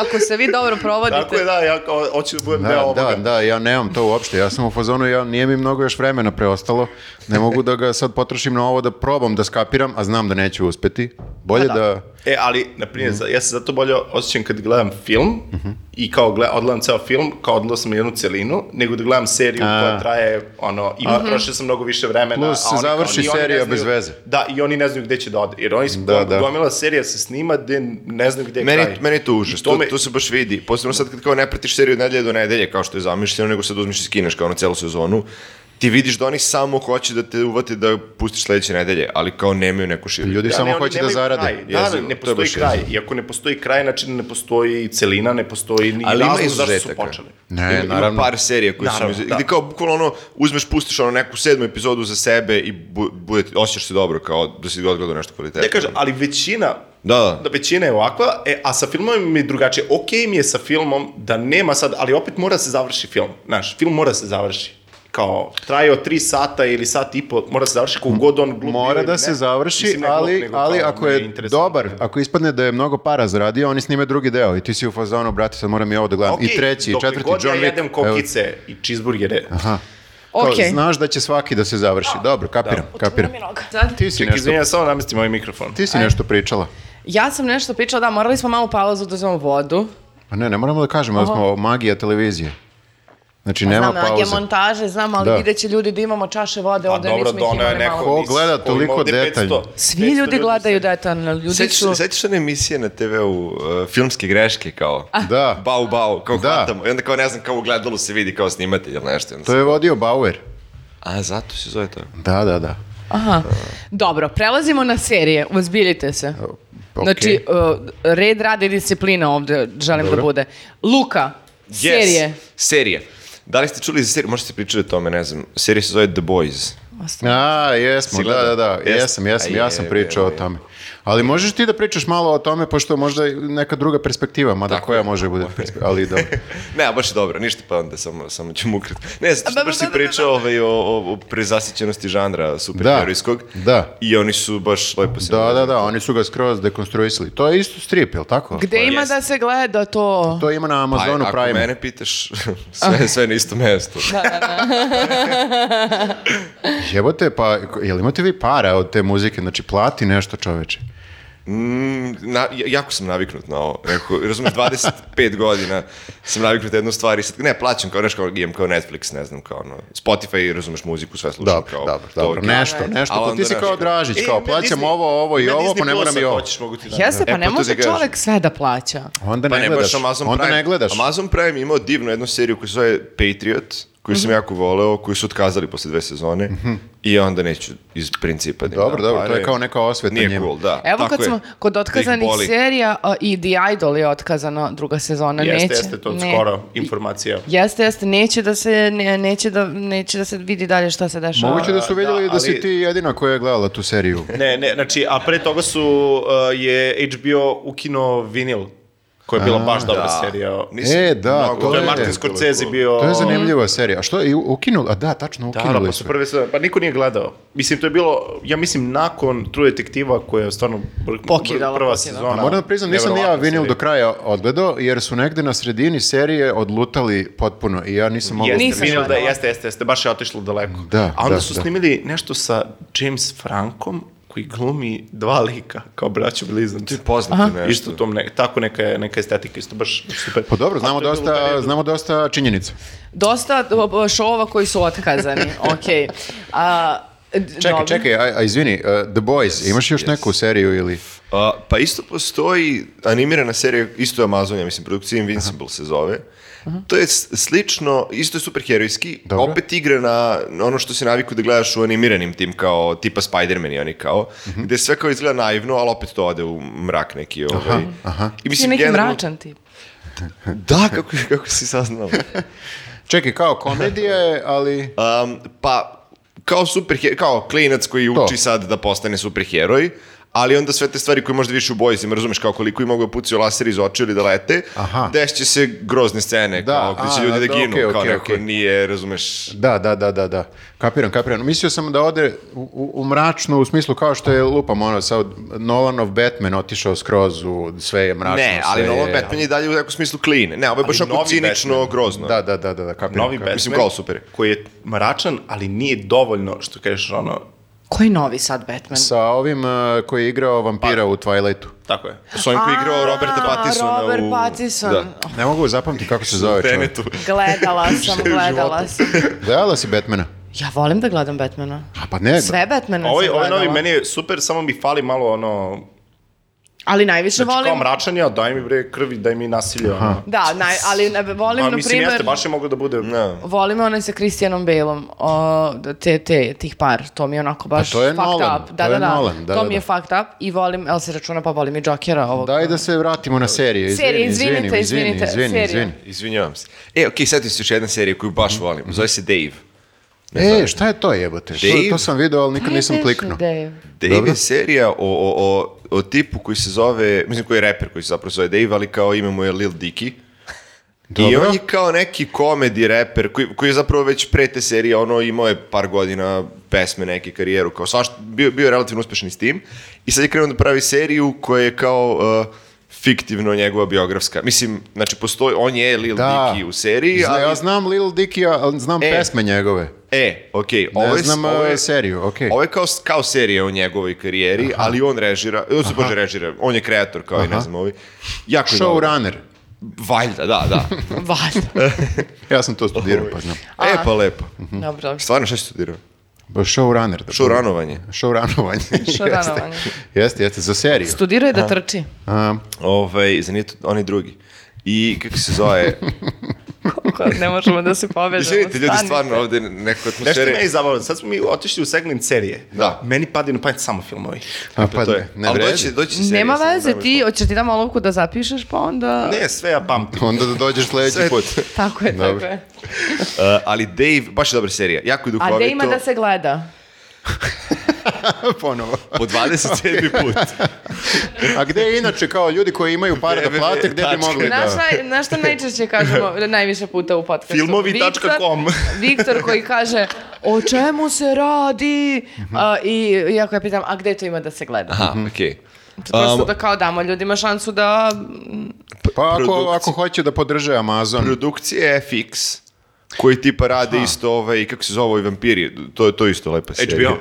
B: Ako se vi dobro provodite.
D: Tako je, da, ja kao, hoću da budem deo
A: Da,
D: ovoga.
A: da, da, ja nemam to uopšte. Ja sam u fazonu, ja, nije mi mnogo još vremena preostalo. Ne mogu da ga sad potrošim na ovo da probam da skapiram, a znam da neću uspeti. Bolje da...
D: E, ali, na primjer,
A: Mhm.
D: za- ja se zato bolje osjećam kad gledam film i kao gled, odgledam ceo film, kao odgledao sam jednu celinu, nego da gledam seriju
A: A. Mhm.
D: koja traje, ono, i potrošio sam mnogo više vremena.
A: Plus
D: a
A: se
D: oni kao-
A: završi
D: i oni ne
A: serija bez
D: znaju-
A: veze.
D: Da, i oni ne znaju gde će da ode, jer oni su
A: Da, da.
D: gomila serija se snima gde ne znaju gde je
C: Meni,
D: E, kraj.
C: meni je to užas,
D: I to
C: to,
D: me-
C: to se baš vidi. Posebno sad kad kao ne pratiš seriju od nedelje do nedelje, kao što je zamišljeno, nego sad uzmiš i skineš kao na celu sezonu, ti vidiš da oni samo hoće da te uvate da pustiš sledeće nedelje, ali kao nemaju neku E, širu.
A: Ljudi
D: Da,
A: samo
D: ne, oni
A: hoće da
D: nemaju
A: zarade.
D: kraj. Da,
C: Jezivo,
D: da,
C: to je
D: ne postoji
C: baš
D: kraj.
C: jezivo.
D: I ako ne postoji kraj, znači ne postoji celina, ne postoji ni
C: Ali ima
D: razlog zašto su
C: izuzetaka.
D: počeli.
A: Ne,
C: ima,
A: naravno.
C: ima par serija koje
D: e, Naravno,
C: su mi...
D: da.
C: Da. Gde kao bukvalno ono, uzmeš, pustiš ono neku sedmu epizodu za sebe i bu, bude, osjećaš se dobro kao da si odgledao nešto kvalitetno.
D: Ne kažem, ali većina
C: Da, da.
D: da većina je ovakva, e, a sa filmom mi je drugačije. Ok mi je sa filmom da nema sad, ali opet mora da se završi film. Znaš, film mora da se završi. Kao, traje od tri sata ili sat i po, mora da se završi kako god on glup. bio
A: Mora
D: ili
A: da
D: ne.
A: se završi,
D: Mislim, ne glup,
A: ali,
D: nego
A: ali
D: kao
A: ako je
D: neinteresantno.
A: dobar, ako ispadne da je mnogo para zaradio, oni snime drugi deo i ti si u fazonu, brate, sad moram i ovo da gledam. I
D: Okej,
A: treći, i
D: dokle
A: četvrti,
D: god
A: John
D: ja
A: Wick.
D: jedem
A: Evo,
D: kokice i čizburgere.
A: Aha.
B: Okej.
A: Kao, znaš da će svaki da se završi. Dobro, kapiram,
C: Da.
A: kapiram.
B: Sad?
A: Ti si
D: Čekaj,
A: nešto,
D: izvinjam, samo namestim ovaj mikrofon.
A: ti si nešto pričala.
B: Ja sam nešto pričala, da, morali smo malu pauzu da uzmemo vodu.
A: Pa ne, ne moramo da kažemo da smo magija televizije. Znači, nema
B: Pa znam,
A: pauze.
B: Znam, montaže, znam, ali
A: Da.
B: vidjet će ljudi da imamo čaše vode
D: Pa
B: ovde,
D: dobro,
B: nismo ih
D: dono je
B: imali
D: neko...
B: malo.
A: Ko gleda
D: ko ima
A: toliko
D: ovde
A: detaljno?
D: 500,
B: Svi
D: 500
B: ljudi gledaju da
D: sad.
B: detaljno, ljudi
C: Sećaš,
B: su...
C: se- sećaš se one emisije na TV-u, uh, filmske greške kao?
A: Da.
C: Bau, bau, kao
A: Da.
C: hvatamo. I onda kao ne znam, kao u gledalu se vidi kao snimati ili nešto. i Onda
A: To je vodio Bauer.
C: A, zato se zove to.
A: Da, da, da.
B: Aha. Dobro, prelazimo na serije, uzbiljite se.
A: okej.
B: Znači, uh, red, rad i disciplina ovde želim da bude. Luka, serije.
C: Serije. Da li ste čuli za seriju? Možete pričati o tome, ne znam. Serija se zove The
B: (laughs)
C: Boys.
A: A, jesmo,
C: Si
A: da, da,
C: gledao?
A: da,
C: Jes-
A: jesam, jesam,
C: A
A: ja sam
C: je,
A: pričao
C: je,
A: o
C: je.
A: tome. Ali možeš ti da pričaš malo o tome, pošto možda je neka druga perspektiva, mada koja može bude perspektiva, ali dobro.
C: Ne, a baš je dobro, ništa pa onda samo, samo ću mukrat. Ne, zato
B: Da, da,
C: što baš si
B: da, da,
C: pričao ovaj, o, o, o prezasićenosti žanra superherojskog.
A: da.
C: I oni su baš lepo se...
A: Da, da, da, oni su ga skroz dekonstruisali. To je isto strip, jel tako?
B: Gde ima
D: jest.
B: da se gleda to?
A: To ima na
C: Pa,
A: Amazonu
C: ako
A: Prime.
C: mene pitaš, (laughs) sve, sve na isto
B: (laughs)
C: mesto.
A: Jebote, pa jel imate vi para od te muzike? Znači, plati nešto čoveče.
C: Mm, na, ja- jako sam naviknut na ovo. Rekao, razumeš, 25 godina sam naviknut na jednu stvar i sad, ne, plaćam kao, nešto kao, imam kao Netflix, ne znam, kao ono, Spotify, razumeš, muziku, sve slušam.
A: Dobro,
C: kao,
A: dobro,
C: to
A: dobro.
C: je kao-
A: Nešto, nešto. Pa
C: Ali
A: ti
C: Da, onda
A: si
C: nešto
A: kao Dražić, kao
D: na
A: plaćam
D: E, Disney-
A: ovo, ovo i
D: na
A: ovo, pa
D: Disney
A: ne moram
D: Plusa
A: i ovo.
D: Hoćeš, mogu ti da.
B: Jeste,
C: E,
B: pa
C: pa
B: ne
C: to ti
B: može
C: kažem.
B: čovek sve da plaća.
A: Onda
C: Pa
A: ne,
C: ne, baš
A: gledaš.
C: Amazon
A: Onda
C: Prime.
A: ne gledaš.
C: Amazon Prime je imao divnu jednu seriju koja se zove Patriot, koju
B: Mhm.
C: sam jako voleo, koju su otkazali posle dve sezone i onda neću iz principa da im
A: Mhm. Dobro,
C: dam
A: dobro, to
C: pare.
A: je kao neka osveta
C: Nije
A: njima.
C: cool, da.
B: Evo
C: tako
B: kad
C: je,
B: smo kod
C: da ih
B: otkazanih
C: boli.
B: serija a, i The Idol je otkazano druga sezona,
D: Jeste,
B: neće.
D: jeste, to
B: ne-
D: skoro informacija.
B: Jeste, jeste, neće da se, ne- neće, da, neće da se vidi dalje šta se dešava.
A: Moguće da su
D: Da,
A: vidjeli da,
D: ali-
A: si ti jedina koja je gledala tu seriju.
D: Ne, ne, znači, a pre toga su, uh, je HBO ukinuo vinil, koja je bila baš dobra
C: Da.
D: serija.
C: Nisam
A: E, da,
C: mnogo-
A: to
D: To je
A: je-
D: Martin Scorsese bio...
A: To je zanimljiva serija. A što je ukinuli? A da, tačno
D: Da, da,
A: ukinuli
D: pa
A: su.
D: su prve sve, pa niko nije gledao. Mislim, to je bilo, ja mislim, nakon True Detektiva koja je stvarno br- br-
B: Pokidala,
D: prva
B: pokidala.
D: sezona.
A: Moram da priznam, nisam ni ja
D: nevjerovatna
A: vinil
D: serija.
A: do kraja odgledao, jer su negde na sredini serije odlutali potpuno i ja nisam mogao...
D: Jeste,
B: Nisam
D: vinil da,
B: gledala.
D: jeste, jeste, jeste, baš je otišlo daleko.
A: Da,
D: A onda
A: da,
D: su
A: da.
D: snimili nešto sa James Frankom, koji glumi dva lika, kao braću blizanci.
C: Poznato je nešto.
D: Isto tom, ne, tako neka, je- neka estetika, isto baš super.
A: Pa dobro, znamo
D: A to je bilo u
A: dosta,
D: periodu-
A: znamo dosta činjenica.
B: Dosta o, o, šova koji su otkazani, okej. A, d-
A: Čekaj,
B: dobro.
A: čekaj, a, a izvini, uh, The Boys, imaš još neku seriju ili...
C: A, pa isto postoji animirana serija, isto je Amazon, ja mislim, produkcija Invincible se zove, To je s- slično, isto je superherojski,
A: Dobro.
C: opet igra na ono što si naviku da gledaš u animiranim tim kao tipa Spider-Man i oni kao, gde sve kao izgleda naivno, ali opet to ode u mrak neki. Ovaj. Mhm. Aha, aha. I
B: Ti je
C: mislim,
B: neki
C: generalno-
B: mračan tip.
C: Da, kako, kako si saznao?
A: Čekaj, kao komedija je, ali...
C: Um, pa, kao super, kao klinac koji
A: To.
C: uči sad da postane superheroj, ali onda sve te stvari koje možda više u bojzima, razumeš kao koliko i mogu da pucaju laser iz očiju ili da lete,
A: Aha.
C: dešće se grozne scene,
A: Da,
C: kao gde će
A: a,
C: ljudi da
A: da,
C: ginu,
A: okej,
C: kao
A: okej,
C: neko
A: okej.
C: nije, razumeš,
A: Da, da, da, da, da. Kapiram, kapiram. Mislio sam da ode u, u, u mračno, u smislu kao što je lupam, ono, sad Nolanov Batman otišao skroz u sve je mračno.
C: ne, ali
A: sve
C: novo
A: je-
C: Batman je dalje u nekom smislu clean. Ne, ovo je baš
D: Ali
C: onako
D: novi
C: cinično
D: Batman.
C: grozno.
A: Da, da, da, da, da kapiram.
D: Novi Batman,
A: kapiram.
C: Mislim, kao super.
D: koji je mračan, ali nije dovoljno, što kažeš, ono,
B: Koji novi sad Batman?
A: Sa ovim eh, koji je igrao vampira u Twilightu.
D: tako je.
C: S onim koji je igrao Roberta
B: A,
C: Pattisona
B: Robert
C: u...
B: Pattinson.
C: Da.
A: Ne mogu zapamtiti kako se zove čovjek.
C: Tenetu.
B: Gledala sam, gledala sam.
A: Gledala si Batmana?
B: Ja volim da gledam Batmana.
A: A pa ne.
B: Sve Batmana
D: Ovo,
B: sam
D: ovo
B: gledala.
D: ovaj, novi meni je super, samo mi fali malo ono,
B: Ali najviše
D: znači
B: volim...
D: kao mračan je, a daj mi bre krvi, daj mi nasilje, ono.
B: Da, naj, ali ne, volim,
D: A
B: na
D: mislim, jeste,
B: primjer...
D: baš je mogao da bude...
C: Da.
B: Volim onaj sa Christianom Baleom, o, te, te, tih par, to mi je onako baš
A: Pa to je
B: fucked
A: Nolan,
B: up.
A: to
B: Da,
A: je
B: da, da,
A: Nolan, da,
B: to
A: da,
B: mi je
A: da.
B: fucked up i volim, el se računa, pa volim i Jokera ovog.
A: Daj da se vratimo na seriju. Izvini,
B: Serije,
A: izvini,
B: izvinite,
A: izvini,
B: izvinite,
A: izvini,
B: serije.
A: izvini.
C: Izvinjavam se. E, okej, okay, setim se još jedna serija koju
A: Mhm.
C: baš volim. Zove se Dave.
A: E, šta je to jebote? To,
C: Dave?
A: to sam video, ali nikad nisam kliknuo.
B: Dave. da.
C: Dave
A: Dobro.
C: je serija o, o, o, o tipu koji se zove, mislim koji je reper koji se zapravo zove Dave, ali kao ime mu je Lil Dicky. I
A: Dobro.
C: on je kao neki komedi reper koji, koji je zapravo već pre te serije, ono imao je par godina pesme neke karijeru, kao svašta, bio, bio je relativno uspešan i s tim. I sad je krenuo da pravi seriju koja je kao uh, fiktivno njegova biografska. Mislim, znači postoji, on je Lil
A: Da.
C: Dicky u seriji,
A: Zna,
C: ali...
A: ja znam Lil Dicky, ali znam
C: E.
A: pesme njegove.
C: E, okej,
A: Ne
C: ovo je...
A: znam
C: ovo je-
A: eh, seriju, okej.
C: Ovo je kao, kao serija o njegovoj karijeri, ali on režira, on se bože režira, on je kreator kao i ne
A: Aha.
C: znam ovi. Jako je dobro.
A: Showrunner.
C: Valjda, da,
B: (laughs)
C: da.
B: (laughs) Valjda.
A: Ja sam to studirao, pa znam.
C: e, pa lepo.
A: Mhm.
B: Dobro, dobro.
C: Stvarno, šta si studirao?
A: Ba, Showrunner. Da
C: Showranovanje.
A: Showrunovanje.
B: Showrunovanje.
A: jeste, jeste, jeste, za seriju.
B: Studirao je da trči.
A: A,
C: Ovaj, za nije to, oni drugi. I kako se
B: (laughs)
C: zove?
B: Koliko ne možemo da se povežemo.
C: Izvinite, ljudi,
B: stanite.
C: stvarno ovde neko
D: Nešto je meni
C: atmosfere.
D: zabavno, sad smo mi otišli u segment serije.
C: Da.
D: Meni pade na pamet samo ovaj. filmovi.
A: a pa
C: To je.
A: ne
C: Ali
A: vredi.
C: doći, doći serija.
B: Nema
C: samo da,
B: veze,
C: vremena.
B: ti, hoćeš ti dam olovku da zapišeš, pa onda...
D: Ne, sve ja pamtim.
A: Onda da dođeš
C: Sve
A: sledeći
B: (laughs)
A: put.
C: put.
B: Tako je, tako
A: Dobro.
B: je.
C: Uh, ali Dave, baš je dobra serija. Jako je
B: A
C: duhovito.
B: gde ima da se gleda?
A: Ponovo.
C: Po 27. put.
B: (laughs)
A: A gde je inače kao ljudi koji imaju pare da plate, gde bi
C: (laughs)
A: mogli
B: Znaš,
A: da...
B: naj, znaš šta najčešće kažemo najviše puta u podcastu?
D: Filmovi.com.
B: (laughs) Viktor koji kaže o čemu se radi a, i ja koja pitam a gde to ima da se gleda?
C: Mhm. Aha, okej.
B: Prosto
C: Um,
B: da kao damo ljudima šansu da...
A: Pa ako,
C: produkcija.
A: ako hoće da podrže Amazon,
C: produkcije FX koji tipa rade isto ovaj, kako se zove ovi vampiri, to je to je isto lepa serija.
D: HBO.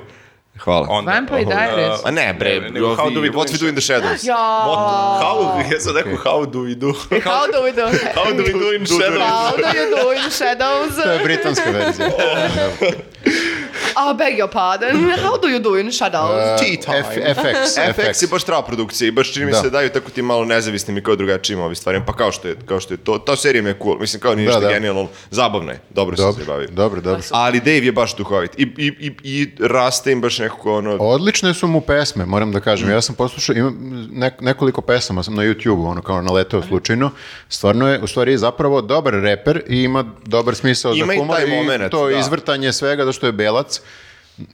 C: Hvala.
D: Onda,
B: Vampire Diaries.
C: A ne bre,
D: Ne, nego
C: ovi,
D: How Do We Do
C: What
D: in
C: We Do in the Shadows.
B: Ja,
D: What- How, ja sam rekao how do we do.
B: E, how do we do?
D: (laughs) How do we do in shadow?
B: How do you do in
C: (laughs)
A: to je
B: shadows?
A: britanska verzija.
B: I beg your pardon. How do you do in
C: Uh,
B: shadows?
D: Tea time.
A: Ovaj, F-
C: (laughs)
A: FX.
C: FX je baš trava produkcija i baš čini mi
A: Da.
C: se daju tako ti malo nezavisnim i kao drugačijim ovi stvarima, pa kao što je, kao što je to, ta serija mi je cool, mislim kao nije
A: Da,
C: ništa
A: da.
C: genijalno, zabavno je, dobro, sam se
A: Dobro,
C: bavio.
A: dobro, dobro.
C: Ali Dave je baš duhovit i, i, i, i raste im baš nekako ono,
A: Odlične su mu pesme, moram da kažem. Ja sam poslušao, imam nek- nekoliko pesama sam na YouTube-u, ono kao naletao slučajno. Stvarno je, u stvari, zapravo dobar reper i ima dobar smisao
C: Ima i
A: za humor
C: taj moment,
A: to
C: da.
A: izvrtanje svega, da što je belac.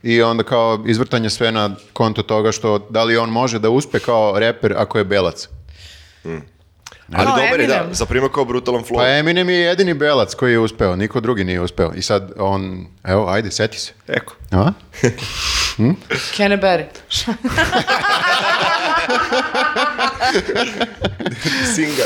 A: I onda kao izvrtanje sve na konto toga što da li on može da uspe kao reper ako je belac.
C: ali
B: Kao
C: dobar je da,
B: Eminem.
C: zaprima kao brutalan flow.
A: Pa Eminem je jedini belac koji je uspeo, niko drugi nije uspeo. I sad on, evo, ajde, seti se.
D: Eko.
A: A?
C: (laughs)
B: Canterbury.
D: Singa.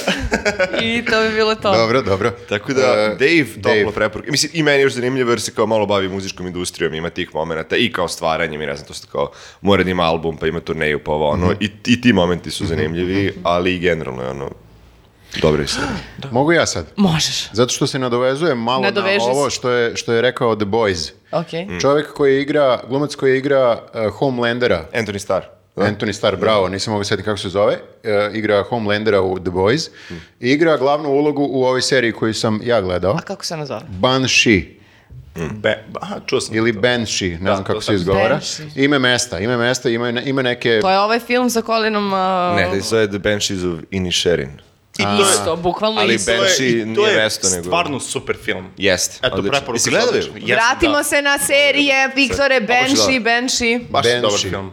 B: I to bi bilo to.
A: Dobro, dobro.
C: Pa. Tako da,
A: E,
C: Dave,
A: Dave.
C: toplo preporuka. Mislim, i meni je još zanimljivo jer se kao malo bavi muzičkom industrijom, ima tih momenta i kao stvaranjem i ne znam, to se kao mora da ima album, pa ima turneju, pa ovo ono, i, i ti momenti su zanimljivi, ali i generalno je ono, dobro je sve.
A: Mogu ja sad?
B: Možeš.
A: Zato što se nadovezuje malo
B: Nadoveži se.
A: na ovo što je, što je rekao The Boys.
B: Okej.
C: Mm.
A: Čovjek koji igra, glumac koji igra uh, Homelandera.
C: (laughs) Anthony Starr.
A: Anthony Starr, bravo, nisam mogu sjetiti kako se zove, e, igra Homelandera u The Boys, i igra glavnu ulogu u ovoj seriji koju sam ja gledao,
B: A kako se ona zove?
A: Banshee,
D: Be, aha, čuo sam.
A: ili Banshee, ne znam kako
D: to
A: se
D: sam-
A: izgovara.
B: Banshee.
A: Ime mesta, ime mesta, ima, ima neke...
B: To je ovaj film sa Colinom... Uh,
C: Ne, to se zove The Banshees of Inisherin.
D: I to je,
B: Isto, bukvalno
C: Ali
B: isto.
C: Ben- Banshee
D: i to
C: nije
D: je
C: mesto, nego-
D: stvarno super film.
C: Jeste,
D: Eto,
C: odlično.
D: preporuka.
C: Jesi gledali?
D: odlična. Jesam,
B: Vratimo
D: da.
B: se na serije, Viktore, Benši, Benši.
D: Baš je dobar
A: Banshee.
D: film.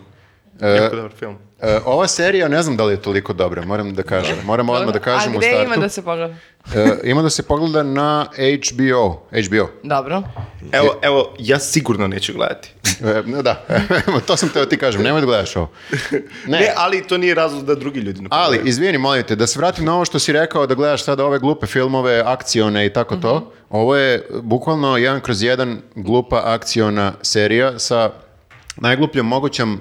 D: Jako dobar film.
A: E, ova serija, ne znam da li je toliko dobra, moram da kažem. Moram odmah da kažem
B: A
A: u
B: gde
A: startu.
B: ima da se pogleda?
A: E, ima da se pogleda na HBO. HBO.
B: Dobro.
D: Evo, evo, ja sigurno neću gledati.
A: E, no da, (laughs) to sam teo ti kažem, nemoj da gledaš ovo. Ne,
D: Ne, ali to nije razlog da drugi ljudi ne
A: ali
D: pogledaju.
A: izvini, molim te, da se vratim na ovo što si rekao, da gledaš sada ove glupe filmove, akcione i tako to. Ovo je e, bukvalno jedan kroz jedan glupa akciona serija sa najglupljom mogućom,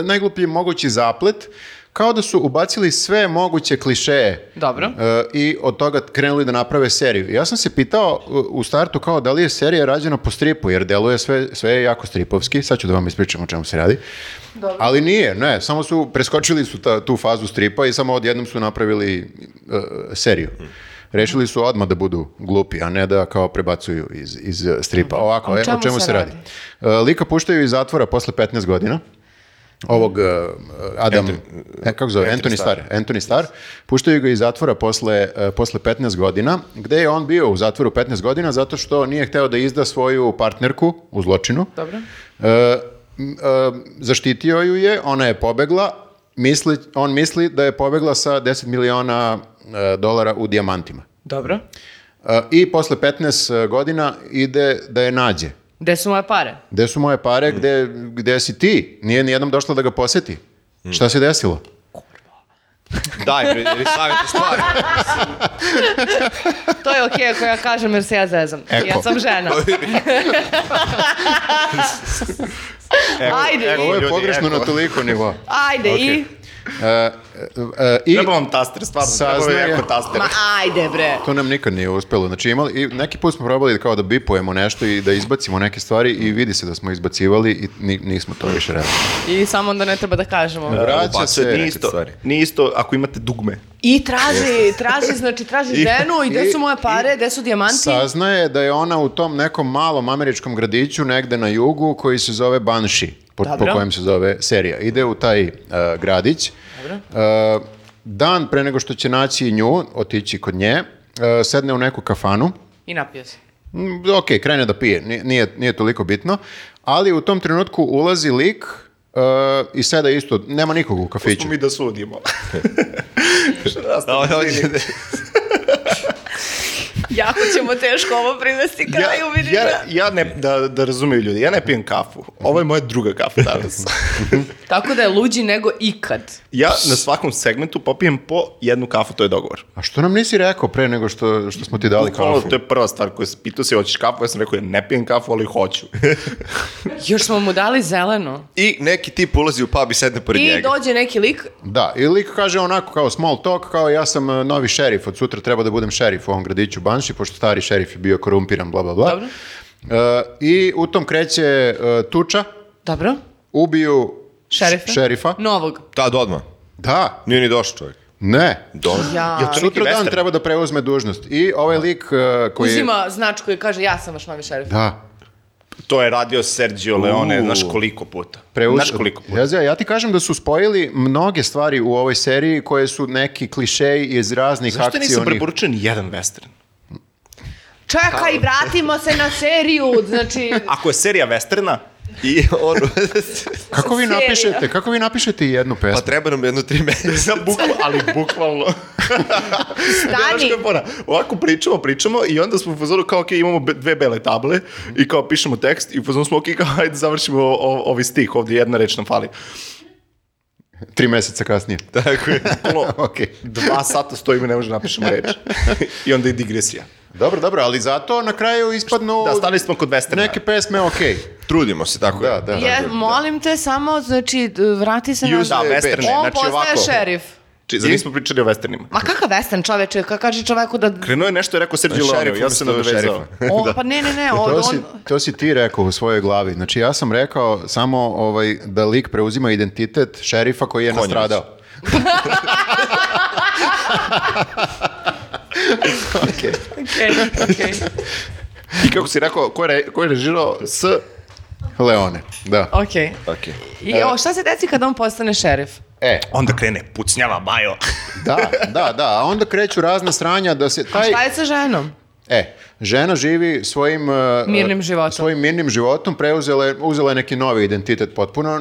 A: e, najgluplji mogući zaplet, kao da su ubacili sve moguće klišeje
B: Dobro.
A: E, I od toga krenuli da naprave seriju. Ja sam se pitao u- u startu kao da li je serija rađena po stripu, jer deluje sve, sve je jako stripovski, sad ću da vam ispričam o čemu se radi. Ali nije, ne, samo su preskočili su ta, tu fazu stripa i samo odjednom su napravili e, seriju. Rešili su odmah da budu glupi, a ne da kao prebacuju iz, iz stripa. Ovako,
B: Mm. O
A: e,
B: čemu
A: o čemu
B: se
A: se radi?
B: radi?
A: E, lika puštaju iz zatvora posle 15 godina ovog uh, Adam, e, kako zove, Anthony Starr, Anthony Starr, puštaju ga iz zatvora posle, uh, posle 15 godina, gde je on bio u zatvoru 15 godina zato što nije hteo da izda svoju partnerku u zločinu.
B: Dobro.
A: Uh, m, uh, zaštitio ju je, ona je pobegla, misli, on misli da je pobegla sa 10 miliona uh, dolara u dijamantima.
B: Dobro.
A: Uh, I posle 15 godina ide da je nađe.
B: Gde su moje pare?
A: Gde su moje pare? Gde, gde si ti? Nije nijednom došla da ga poseti. Šta se desilo?
C: Daj, bre, ili savjeti stvari.
B: To je okej ako ja kažem jer se ja zezam. Ja sam žena. (laughs) Ajde,
A: Ovo
B: i,
A: je
D: Ljudi,
A: pogrešno
D: eto.
A: na toliko
D: (laughs)
A: nivo. E,
B: ajde, i.
A: I
D: (laughs) Treba vam taster, stvarno, treba
A: Saznaja-
D: vam jako taster.
B: Ma ajde bre.
A: to nam nikad nije uspelo. Znači imali, i neki put smo probali kao da bipujemo nešto i da izbacimo neke stvari i vidi se da smo izbacivali i ni- nismo to više radili.
B: I samo onda ne treba da kažemo.
A: Vraća
C: ubacuje
A: se...
D: Nije
C: neke
D: isto,
C: stvari.
D: nije isto ako imate dugme.
B: I traži, traži, znači traži ženu i gde su moje pare, gde su dijamanti.
A: Saznaje da je ona u tom nekom malom američkom gradiću negde na jugu koji se zove Banshee, po, po
B: Dobro.
A: kojem se zove serija. Ide u taj uh, gradić. Uh, dan pre nego što će naći nju, otići kod nje, uh, sedne u neku kafanu,
B: I napio se.
A: Mm, ok, krene da pije, ni- nije, nije toliko bitno, ali u tom trenutku ulazi lik uh, i sada isto, nema nikog u kafiću.
D: Smo mi da
A: (laughs)
D: sudimo.
C: Da, on hoće da-
B: Jako ćemo teško ovo privesti kraju, vidiš
D: ja,
B: da.
D: ja ne, da, da razumiju ljudi, ja ne pijem kafu. Ovo je moja druga kafa danas.
B: Tako da je luđi nego ikad.
D: ja na svakom segmentu popijem po jednu kafu, to je dogovor.
A: A što nam nisi rekao pre nego što, što smo ti dali
D: Bukvalno,
A: kafu?
D: to je prva stvar koju se pitao si, hoćeš kafu? Ja sam rekao, ja ne pijem kafu, ali hoću.
B: Još smo mu dali zeleno.
C: I neki tip ulazi u pub i sedne pored
B: I
C: njega.
B: dođe neki lik,
A: Da, i lik kaže onako kao small talk, kao ja sam uh, novi šerif, od sutra treba da budem šerif u ovom gradiću Banši, pošto stari šerif je bio korumpiran, bla, bla, bla.
B: Dobro.
A: Uh, I u tom kreće uh, tuča,
B: dobro,
A: ubiju
B: šerife.
A: š- šerifa.
B: Novog.
C: Tad odmah.
A: Da,
C: Nije ni došao čovjek.
A: ne.
C: Dobro.
B: Ja.
D: to Da, neki
A: Sutra dan
D: western?
A: treba da preuzme dužnost. I ovaj lik uh, koji...
B: Uzima značku i kaže ja sam vaš novi šerif.
A: Da,
D: to je radio Sergio Leone,
A: U.
D: znaš koliko puta.
A: Preuz...
D: Znaš koliko puta.
A: Ja, ja ti kažem da su spojili mnoge stvari u ovoj seriji koje su neki klišeji iz raznih
D: Zašto nisam
A: akcionih...
D: preporučio ni jedan western?
B: Čekaj, vratimo se na seriju. Znači,
D: Ako je serija
A: (laughs)
D: westerna,
C: I (laughs) on...
A: Kako vi
B: Serija.
A: napišete? Kako vi napišete jednu pesmu?
C: pa treba nam jedno tri meseca.
D: za bukval, ali bukvalno. Znaš
B: stani.
D: koja je fora? Ovako pričamo, pričamo i onda smo u fazoru kao, ok, imamo be- dve bele table i kao pišemo tekst i u fazoru smo, ok, kao, hajde završimo o, o, ovi stih, ovdje jedna reč nam fali.
A: Tri meseca kasnije.
C: (laughs)
A: (laughs) Da,
C: Tako je.
D: Ono,
A: Ok.
D: dva sata stojimo i ne možemo da napišemo reč. I onda je digresija.
A: Dobro, dobro, ali zato na kraju ispadnu
D: Da, stali smo kod westerna.
A: neke pesme ok.
C: Trudimo se, tako
A: Da, da.
B: Je, molim te samo, znači, d- vrati se na...
D: Use- da, western,
B: On
D: znači
B: postaje
D: ovako.
B: šerif.
D: Či, zar nismo pričali o westernima?
B: Ma kakav western čoveče, kako kaže čoveku da...
D: Krenuo je nešto, je rekao Sergio Leone,
C: Šerif
D: ja sam se
C: umesto
D: nadovezao.
C: šerifa.
B: O, pa ne, ne, ne, on,
A: To si,
B: (laughs) on,
A: to si ti rekao u svojoj glavi. Znači ja sam rekao samo ovaj, da lik preuzima identitet šerifa koji je
C: Konjac.
A: nastradao.
B: okej, okej.
D: I kako si rekao, ko je, re- ko je režirao s...
A: Leone, da.
B: Okej.
C: Okay.
B: I o, šta se deci kad on postane šerif?
A: E,
D: Onda krene, pucnjava, bajo.
A: da, da, da. A onda kreću razna sranja da se... Taj,
B: Šta Pa je sa ženom?
A: E, žena živi svojim... e,
B: Mirnim životom.
A: Svojim mirnim životom, preuzela je, uzela je neki novi identitet potpuno. E,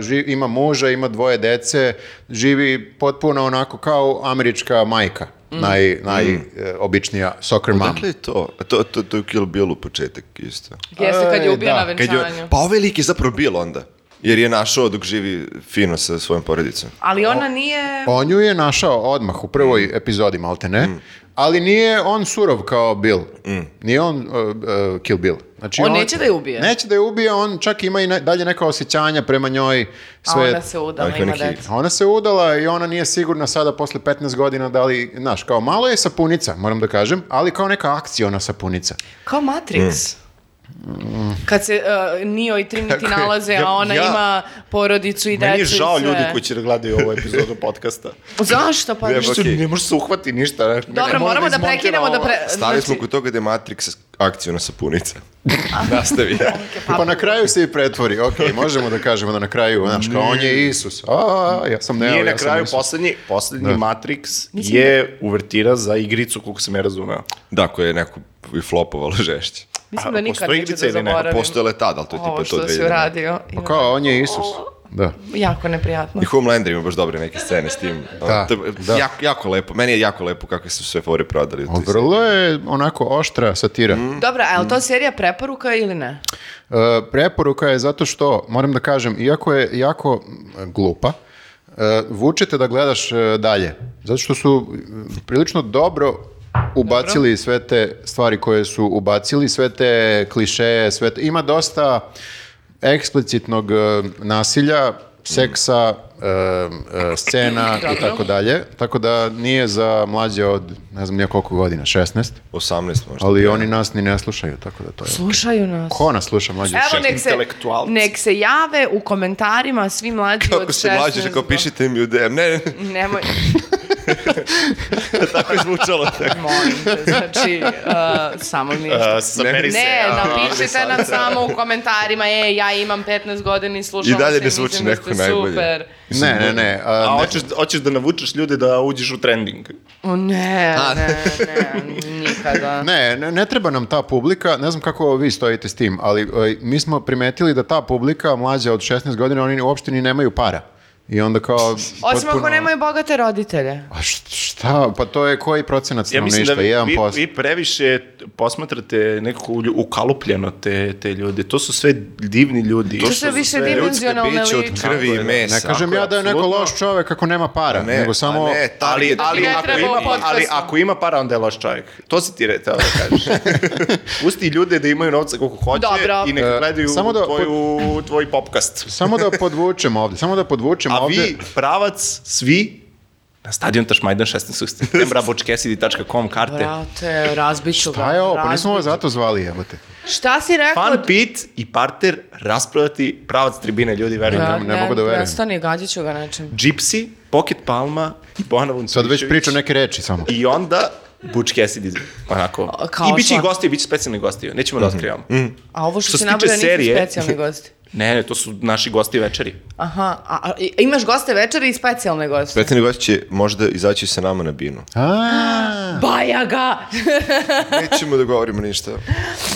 A: ži- ima muža, ima dvoje dece, živi potpuno onako kao američka majka.
B: Mm.
A: Naj, najobičnija soccer mom.
C: Dakle je to? A To, to, to je u Kill Billu početak isto.
B: Jeste kad je
A: Ej,
B: ubio
A: da,
B: na
A: kad
C: Kad je,
B: venčanju.
C: pa ovaj lik je zapravo Bill onda. Jer je našao dok živi fino sa svojom porodicom.
B: Ali ona nije...
A: On ju je našao odmah u prvoj
C: Mm.
A: epizodi, malte ne, ali nije on surov kao Bill.
C: Mm.
A: Nije on uh, uh, Kill Bill. Znači,
B: On neće da je ubije.
A: Neće da je ubije, on čak ima i ne- dalje neka osjećanja prema njoj.
B: A
A: Sve,
B: ona se udala,
C: Dakle,
B: ima
C: neki-
B: decu.
A: A ona se udala i ona nije sigurna sada posle 15 godina da li, znaš, kao malo je sapunica, moram da kažem, ali kao neka akciona sapunica.
B: Kao Matrix. Kad se uh, Neo i Trinity
D: je.
B: nalaze,
D: Ja-
B: a ona
D: ja-
B: ima porodicu i decu i sve.
D: Meni je žao ljudi koji će da gledaju ovu epizodu podcasta.
B: Zašto pa?
C: Jebo-
D: Što
C: Okej.
D: ne može se uhvati ništa. ne- ne-
B: Dobro,
D: mora
B: moramo da
D: izmontira
B: prekinemo da
D: ovo.
B: pre...
C: Stali smo
B: znači-
C: kod toga da je Matrix akcijona
B: (laughs)
C: sapunica. Da, Nastavi.
A: Pa na kraju se i pretvori, ok, možemo da kažemo da na kraju, znaš, kao on je Isus, a, ja sam Neo,
D: Nije na
A: ja sam
D: kraju
A: Isus.
D: poslednji, poslednji Matrix
B: Mislim da-
D: je uvertira za igricu koliko sam ja razumeo.
C: Da, koje je neko i flopovalo žešće. Pa
B: Mislim
D: A,
B: da nikad
D: postoji
B: neću
D: igrica
B: da
D: ili ne?
B: zaboravim.
C: Postojala je tada, ali to je
B: Ovo
C: tipa to
B: što si
C: 2000.
B: uradio.
A: Pa kao, on je Isus, da.
B: Jako neprijatno.
C: I Homelander ima baš dobre neke scene s tim.
A: Da,
C: To je
A: da.
C: Jako, jako lepo. Meni je jako lepo kako su sve fore prodali. u toj seriji.
A: Vrlo je onako oštra satira.
D: Mm.
B: Dobra, a je li e, to serija preporuka ili ne?
A: E, preporuka je zato što, moram da kažem, iako je jako mm, glupa, e, vučete da gledaš e, dalje. Zato što su mm, prilično dobro ubacili sve te stvari koje su ubacili, sve te klišeje, sve te- Ima dosta eksplicitnog e, nasilja, seksa, e, e, scena i tako dalje. Tako da nije za mlađe od, ne znam, nije koliko godina, 16,
C: 18 možda.
A: ali oni nas ni ne slušaju, tako da to je...
B: Slušaju nas.
A: Ko nas sluša mlađe od 16?
B: Evo nek se,
D: intelektualci.
B: nek se jave u komentarima svi mlađi od da. Znači,
C: Kako
B: 16.
C: se mlađeš, ako
B: do-
C: pišite mi u DM. Ne, ne,
B: Nemoj,
C: ne, (laughs) tako je zvučalo.
B: molim te, znači, uh, samo ništa.
D: Uh, Sameri se.
B: Ne,
D: a,
B: napišite nam samo u komentarima, e, ja imam 15 godina i slušam
C: I dalje
B: se
C: ne zvuči
B: mislim da
C: neko
B: ste
C: najbolje.
B: Super.
A: Ne, ne, ne. a,
D: A
A: ne.
D: hoćeš, hoćeš da navučeš ljude da uđeš u trending.
B: O, ne, ne, ne,
C: (laughs)
B: nikada.
A: Ne, ne, ne treba nam ta publika, ne znam kako vi stojite s tim, ali e, mi smo primetili da ta publika mlađa od 16 godina, oni uopšte ni nemaju para. I onda kao...
B: (laughs) Osim ako
A: potpuno-
B: nemaju bogate roditelje.
A: A št- šta? Pa to je koji procenat
D: Ja mislim
A: stanovništva?
D: da vi, vi,
A: 1%.
D: vi previše posmatrate nekako ulju- ukalupljeno te, te ljude. To su sve divni ljudi.
B: To su više dimenzionalne
C: biće od
B: liče.
C: krvi i mesa.
A: Ne kažem
D: Tako je,
A: ja da je neko
D: apsolutno.
A: loš čovek ako nema para,
C: Ne,
A: nego samo...
C: a ne,
D: Ali,
C: target.
D: ali,
B: Ne
D: ako
B: treba
D: ima,
B: podcast.
D: ali ako ima para, onda je loš čovjek. To si ti retao da
B: (laughs)
D: kažeš. Pusti ljude da imaju novca koliko hoće
B: Dobro.
D: i neka
A: E,
D: gledaju
A: samo da-
D: tvoju, tvoj popkast.
A: Samo da podvučem ovde, samo da podvučem
D: A
A: ovde.
D: vi, pravac, svi, na stadion Tašmajdan 16. septembra, bočkesidi.com karte.
B: Brate, razbiću ga.
A: Šta je ovo? Pa nismo
B: razbiću.
A: ovo zato zvali, jebote.
B: Šta si rekao?
D: Fan pit i parter rasprodati pravac tribine, ljudi, verujem.
B: Ja,
A: ne mogu da verujem.
B: Prestani, gađat ću ga nečem.
D: Gypsy, Pocket Palma i Bojana
A: Sad
D: Vuncovićević.
A: već pričam neke reči samo.
D: I onda Butch Cassidy, onako.
B: A, kao
D: I bit će i
B: šta?
D: gosti, bit će specijalni gosti, nećemo da
A: Mhm.
D: otkrivamo.
B: A ovo što,
D: Što
B: se si
D: se tiče
B: nabrao nisu
D: serije-
B: specijalni gosti.
D: Ne, ne, to su naši gosti večeri.
B: Aha, a, a i- imaš goste večeri i specijalne goste.
C: Petani gost će možda izaći sa nama na binu.
A: A,
B: Baja ga!
C: Nećemo da govorimo ništa.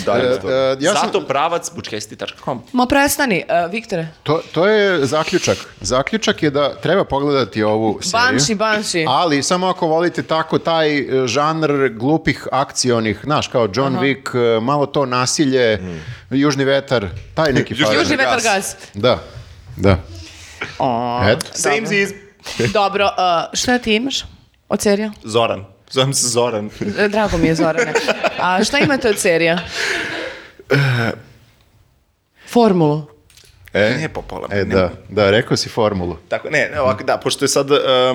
C: Dalje
A: e,
C: od toga.
A: e, ja sam-
D: Zato pravac butchcassidy.com.
B: Ma prestani, e, Viktore.
A: To, to je zaključak. Zaključak je da treba pogledati ovu seriju.
B: Banši, banši.
A: Ali samo ako volite tako taj e, žanr glupih akcionih, znaš, kao John Wick, e, malo to nasilje, južni vetar, taj neki
C: Južni-
A: fazon.
B: Južni vetar
C: gas.
B: gas.
A: Da, da. Eto.
B: Da,
D: Same is
B: Dobro, e, šta ti imaš od serija?
D: Zoran. Zovem se (laughs) Zoran.
B: E, Drago mi je Zorane. A šta imate od serija? Formulu.
A: E,
D: Ne, popola.
A: e, da, da, rekao si formulu.
D: Tako, ne, ne, ovako, da, pošto je sad... um, eh,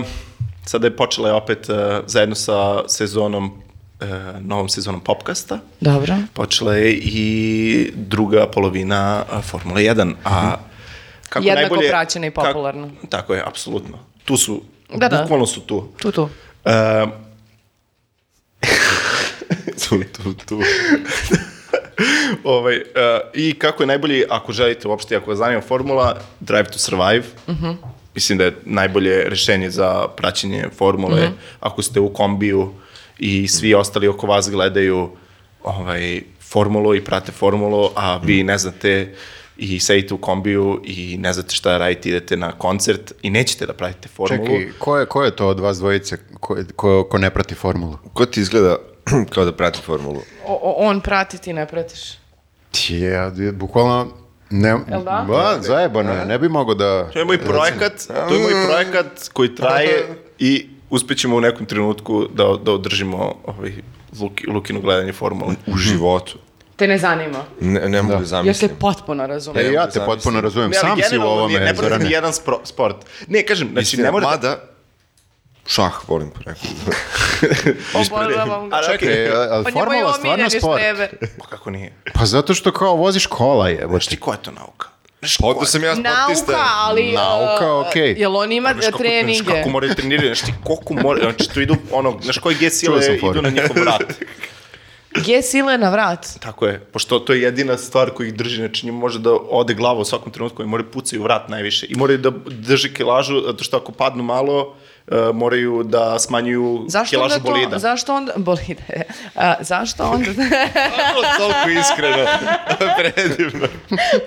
D: Sada je počela je opet uh, zajedno sa sezonom, uh, novom sezonom Popkasta.
B: Dobro.
D: Počela je i druga polovina uh, Formule 1, a kako
B: Jednako
D: najbolje...
B: praćena i
D: kako-
B: popularna.
D: tako je, apsolutno. Tu su,
B: Da, da.
D: bukvalno su tu.
B: Tu, tu.
D: Um, (laughs) tu, tu, tu. ovaj, uh, I kako je najbolji, ako želite uopšte, ako vas zanima formula, Drive to Survive. Mislim da je najbolje rešenje za praćenje formule. Ako ste u kombiju i svi ostali oko vas gledaju ovaj, formulu i prate formulu, a vi ne znate i sedite u kombiju i ne znate šta radite, idete na koncert i nećete da pratite formulu.
A: Čekaj, ko je, ko je to od vas dvojice ko, ko, ko ne prati formulu?
C: Ko ti izgleda (clears throat) kao da prati formulu?
B: O, o, on prati, ti ne pratiš.
A: Ti ja, ja bukvalno... Ne,
B: Jel da?
A: Ba, zajebano je, ne bi mogao da...
D: To je moj projekat, to je
A: Mm.
D: moj projekat koji traje i uspećemo u nekom trenutku da, da održimo ovaj, Luki, Lukino gledanje formule.
C: U životu.
B: Te ne zanima.
C: Ne, ne mogu da.
B: Ja se
C: zamislim.
B: potpuno razumem.
A: Pa E, ja te
C: zamislim.
A: potpuno razumem,
D: Ne, ali
A: sam si u
D: generalno nije-
A: ovome,
D: ne prati
A: Zorane.
D: ni jedan spro- sport. Ne, kažem, znači
C: Istina,
D: ne morate...
C: Mada, da- šah volim po nekom.
B: Obožavam ga.
D: Ali okej,
A: Čekaj, E, a- ali
B: Pa njemu je
A: formula stvarno
B: omiljeni
A: sport.
B: štreber.
D: pa kako nije?
A: Pa zato što kao voziš kola je.
D: Znaš ti koja je to nauka? Znaš
C: Ovdje sam ja sportista.
B: Nauka, ali...
A: Nauka,
B: uh,
A: okej.
B: Jel on ima
D: kako-
B: treninge?
D: Znaš kako moraju trenirati, znaš ti koliko moraju, znači tu idu ono, znaš koji G
A: Čuo sam
D: sile
A: foru.
D: idu na njihov
A: (laughs)
D: vrat.
B: Gdje sile na vrat?
D: Tako je, pošto to je jedina stvar koji ih drži, znači njima može da ode glava u svakom trenutku i moraju pucaju vrat najviše i moraju da drže kilažu, zato što ako padnu malo, e, moraju da smanjuju
B: Zašto
D: kilažu
B: onda to,
D: bolida. (laughs)
B: zašto onda, bolide, a, zašto onda,
C: Toliko
B: (laughs)
C: iskreno. Predivno.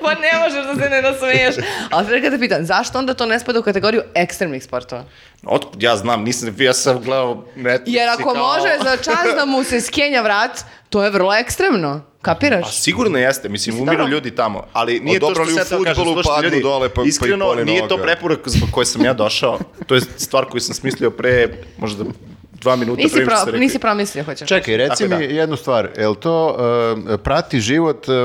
B: pa ne možeš da se ne nasmeješ, ali sve kada pitan, zašto onda to ne spada u kategoriju ekstremnih sportova?
D: Otkud ja znam, nisam, ja sam gledao Netflix
B: Jer ako
D: i kao...
B: može za čas da mu se skenja vrat, to je vrlo ekstremno,
D: Pa
B: kapiraš?
D: sigurno jeste, mislim, umiru
B: dobro.
D: ljudi tamo, ali nije to što
C: Odobrali u
D: sad ja kažem,
C: fudbalu,
D: slušajte
C: padnu
D: ljudi,
C: dole, pa- pa ih
D: iskreno
C: boli
D: nije to
C: noga.
D: preporuka zbog koje sam ja došao, to je stvar koju sam smislio pre možda dva minuta
B: Nisi,
D: pre nego što
B: pro,
D: ste da rekli.
B: nisi promislio, hoćeš.
A: Čekaj, reci
D: Tako da.
A: mi
D: je,
A: jednu stvar, je li to e, prati život e, e,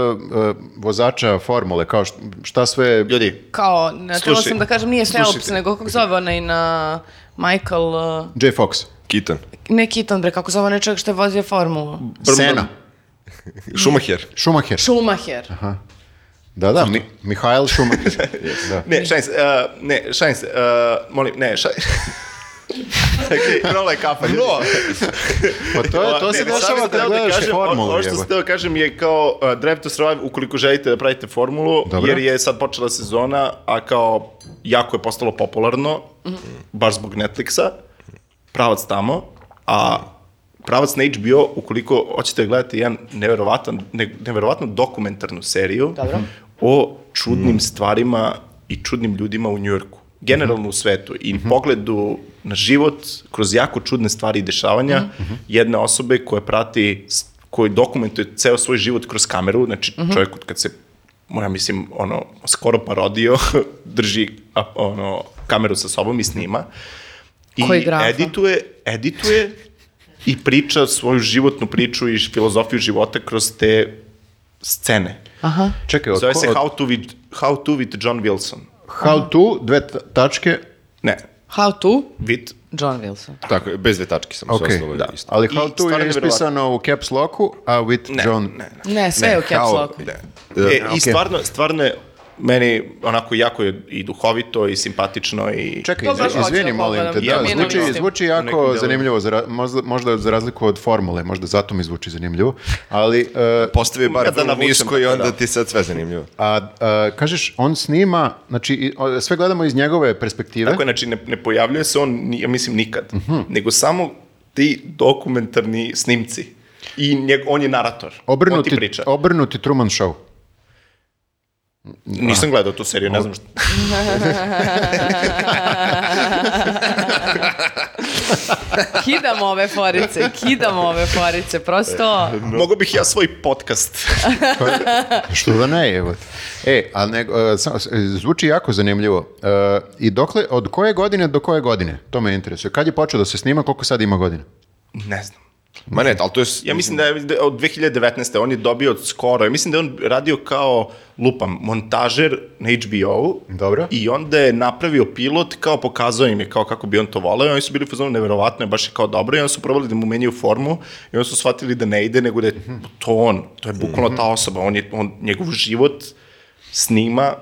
A: vozača formule, kao št- šta sve...
D: Ljudi,
B: Kao, ne, trebala
D: Slušaj,
B: sam da kažem, nije Phelps,
D: slušajte.
B: nego kako zove onaj na Michael, uh,
A: J. Fox,
C: Kitan.
B: ne Keaton, bre, kako zove onaj čovjek što je vozio formulu?
A: Sena,
C: Šumacher.
A: Schumacher.
B: Schumacher.
A: Da, da, Mi, Mihajl Schumacher. da.
D: Ne, šajns, uh, ne, šajns, uh, molim, ne, šajns. (laughs) Čekaj, rola je kafa. ljudi.
A: Pa to,
D: (laughs)
A: je, to
D: Ne,
A: se
D: ne,
A: dešava
D: sad sam
A: kad
D: teo
A: gledaš
D: kažem,
A: formulu.
D: Ovo što
A: jebote.
D: sam teo kažem je kao uh, Drive to Survive ukoliko želite da pravite formulu,
A: Dobro.
D: jer je sad počela sezona, a kao jako je postalo popularno, baš zbog Netflixa, pravac tamo, a pravac na HBO, ukoliko hoćete gledati jedan neverovatan, ne, neverovatnu dokumentarnu seriju
B: Dobro.
D: o čudnim stvarima i čudnim ljudima u Njujorku, generalno u svetu i pogledu na život kroz jako čudne stvari i dešavanja jedne osobe koja prati, s- koji dokumentuje ceo svoj život kroz kameru, znači čovjek od kad se ja mislim, ono, skoro parodio, (laughs) drži a, ono, kameru sa sobom i snima. I
B: Koji grafa?
D: edituje, edituje i priča svoju životnu priču i filozofiju života kroz te scene.
B: Aha.
A: Čekaj, od,
D: Zove
A: ko-
D: se
A: od-
D: How to, with, How to with John Wilson.
A: how to, dve t- tačke,
D: Ne,
B: How to?
D: with
B: John Wilson.
C: Tako, je, bez dve tačke sam
A: Ok,
C: se ostalo.
D: da.
C: isto.
A: ali
D: I
A: how to
D: stvarno
A: je
D: nevjerovatno.
A: ispisano u caps locku, a with
D: ne,
A: John...
D: ne, ne.
B: Ne, sve je u caps
C: Kao-
B: locku.
C: da.
D: E,
A: okej.
D: I stvarno, stvarno je meni onako jako je i duhovito i simpatično i...
A: Čekaj,
B: To baš
A: izvi-
B: hoću
A: izvini,
B: da
A: molim te,
B: pogledam.
A: da,
D: Ja mislim
A: zvuči,
D: da
B: isto.
A: zvuči
D: U nekom
A: jako
D: delu.
A: zanimljivo, za ra- možda, možda za razliku od formule, možda zato mi zvuči zanimljivo, ali, e,
C: Postavi bar
D: Da, da
C: vrlo
D: navučem,
C: nisko i
D: da.
C: onda ti sad sve zanimljivo.
A: a, a, kažeš, on snima, znači, i- o- sve gledamo iz njegove perspektive,
D: Tako je, znači ne, ne pojavljuje se on, ni- ja mislim, nikad.
A: Mhm.
D: Nego samo ti dokumentarni snimci. I njeg, on je narator. on ti
A: obrnuti,
D: priča.
A: obrnuti Truman Show.
D: Nisam gledao tu seriju, ne znam što.
B: Kidamo ove forice, kidamo ove forice, prosto...
D: Mogu bih ja svoj podcast.
A: Što da ne, evo. E, a nego, e, sa- s- e, zvuči jako zanimljivo. E, I dokle, od koje godine do koje godine? To me interesuje. Kad je počeo da se snima, koliko sad ima godina?
D: (laughs) ne znam.
C: Ma ne, ali to je... s-
D: Ja mislim da je da je od 2019. on je dobio skoro, ja mislim da je on radio kao, lupam, montažer na HBO-u.
A: Dobro.
D: I onda je napravio pilot, kao pokazao im je kao kako bi on to voleo i oni su bili u fazonu neverovatno je baš je kao dobro i onda su probali da mu menjaju formu i onda su shvatili da ne ide, nego da je to on, to je bukvalno ta osoba, on je, on, njegov život snima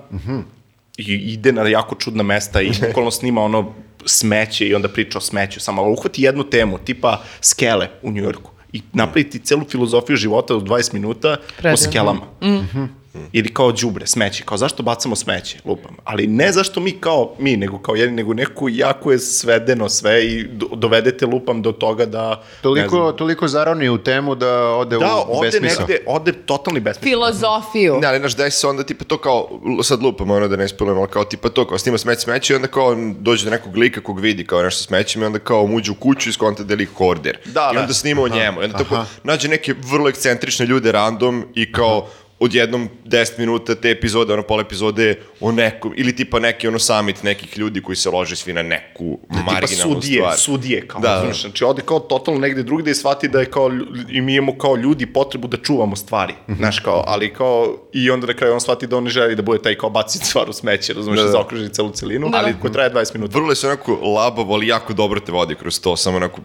D: i ide na jako čudna mesta i bukvalno snima ono smeće i onda priča o smeću samo, ali uhvati jednu temu, tipa skele u Njujorku i napravi ti celu filozofiju života u 20 minuta
B: Predivno.
D: o skelama. Mhm. Ili kao đubre, smeće, kao zašto bacamo smeće, lupam. Ali ne zašto mi kao mi, nego kao jedni, nego neko jako je svedeno sve i do- dovedete lupam do toga da... ne znam,
A: Toliko, toliko zaroni u temu da ode
D: Da,
A: u
D: ovde
A: besmisao.
D: negde, ovde totalni besmisao.
B: Filozofiju.
D: Da.
C: Ne, Da, ali znaš, daj se onda tipa to kao, l- sad lupam ono da ne ispolujem, ali kao tipa to, kao snima smeće smeće i onda kao dođe do nekog lika kog vidi kao nešto smećem i onda kao muđu u kuću i skonta da je lik horder.
D: Da,
C: I
D: da.
C: onda snima o njemu. I onda tako nađe neke vrlo ekscentrične ljude random i kao odjednom 10 minuta te epizode, ono pola epizode je o nekom, ili tipa neki ono summit nekih ljudi koji se lože svi na neku
D: Da, Tipa
C: marginalnu
D: sudije,
C: stvar.
D: sudije, kao,
C: Da, da.
D: da, znaš, znači ode kao totalno negde drugde i shvati da je kao, lju- i mi imamo kao ljudi potrebu da čuvamo stvari,
A: Mhm.
D: znaš, kao, ali kao, i onda na kraju on shvati da on ne želi da bude taj kao baci stvar u smeće, razumeš, da, da. zaokruži celu celinu,
B: Da.
D: da. ali koja traje 20 minuta.
C: Vrlo je se onako labavo, ali jako dobro te vodi kroz to, samo onako,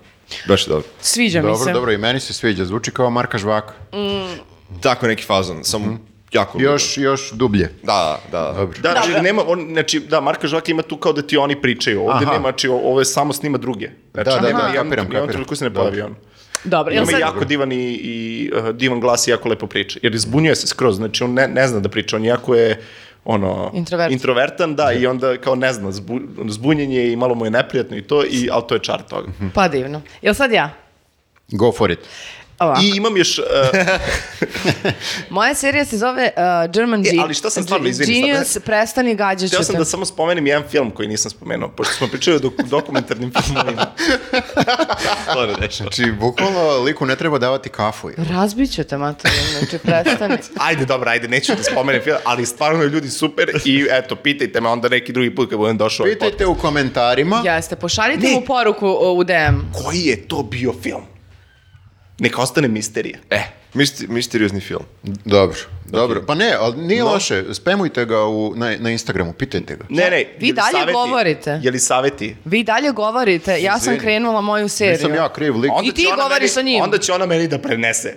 C: baš je dobro.
B: Sviđa mi se.
A: Dobro, dobro, i meni se sviđa. Zvuči kao Marka Žvaka.
C: Tako neki fazon, samo
D: Mhm.
C: jako...
A: Još, još dublje.
C: Da, da, da.
A: Dobro.
D: Da, znači, nema, on, znači, da, Marka Žvaka ima tu kao da ti oni pričaju, ovde
A: Aha.
D: nema, znači, o- ovo je samo snima druge. Znači,
A: Da, da,
D: nema,
A: da,
D: ni jedan-
A: kapiram,
D: ni jedan
A: kapiram.
D: trenutku se ne
A: Dobro.
D: pojavi on.
B: Dobro, jel
D: Ima
B: sad...
D: jako divan i, i uh, divan glas i jako lepo priča. Jer izbunjuje se skroz, znači on ne, ne zna da priča, on jako je ono,
B: Introvert.
D: introvertan, da, i onda kao ne zna, zbu, zbunjen je i malo mu je neprijatno i to, i, ali to je čar toga.
B: Pa divno. Jel sad ja?
A: Go for it.
B: Ovako.
D: I imam još, uh,
B: Moja serija se zove uh, German Genius.
D: E, ali šta sam stvarno, izvini, sad-
B: Genius, prestani gađat ću
D: hteo sam
B: te.
D: da samo spomenem jedan film koji nisam spomenuo, pošto smo pričali o dok, dokumentarnim filmovima.
A: Znači, bukvalno liku ne treba davati kafu.
B: Razbit ću te, mater, znači
D: (laughs)
B: prestani.
D: Ajde, dobro, ajde, neću da spomenem film, ali stvarno je ljudi super i eto, pitajte me onda neki drugi put kad budem došao. u ovaj
A: Pitajte u komentarima.
B: Jeste, pošaljite
D: Ne.
B: mu poruku o, u DM.
D: podcast. Koji je to bio film? Neka ostane misterija.
C: E, mister, misteriozni film.
A: Dobro, dobro. Pa ne, ali nije loše. Spemujte ga u, na, na Instagramu, pitajte ga.
D: Ne, ne,
B: Vi dalje govorite.
D: Je li saveti?
B: Vi dalje govorite, ja sam
A: Izvini.
B: krenula moju seriju.
A: Nisam ja kriv lik.
B: E, Onda- I ti
D: će ona
B: govoriš
D: meni-
B: sa njim.
D: Onda će ona meni da prenese.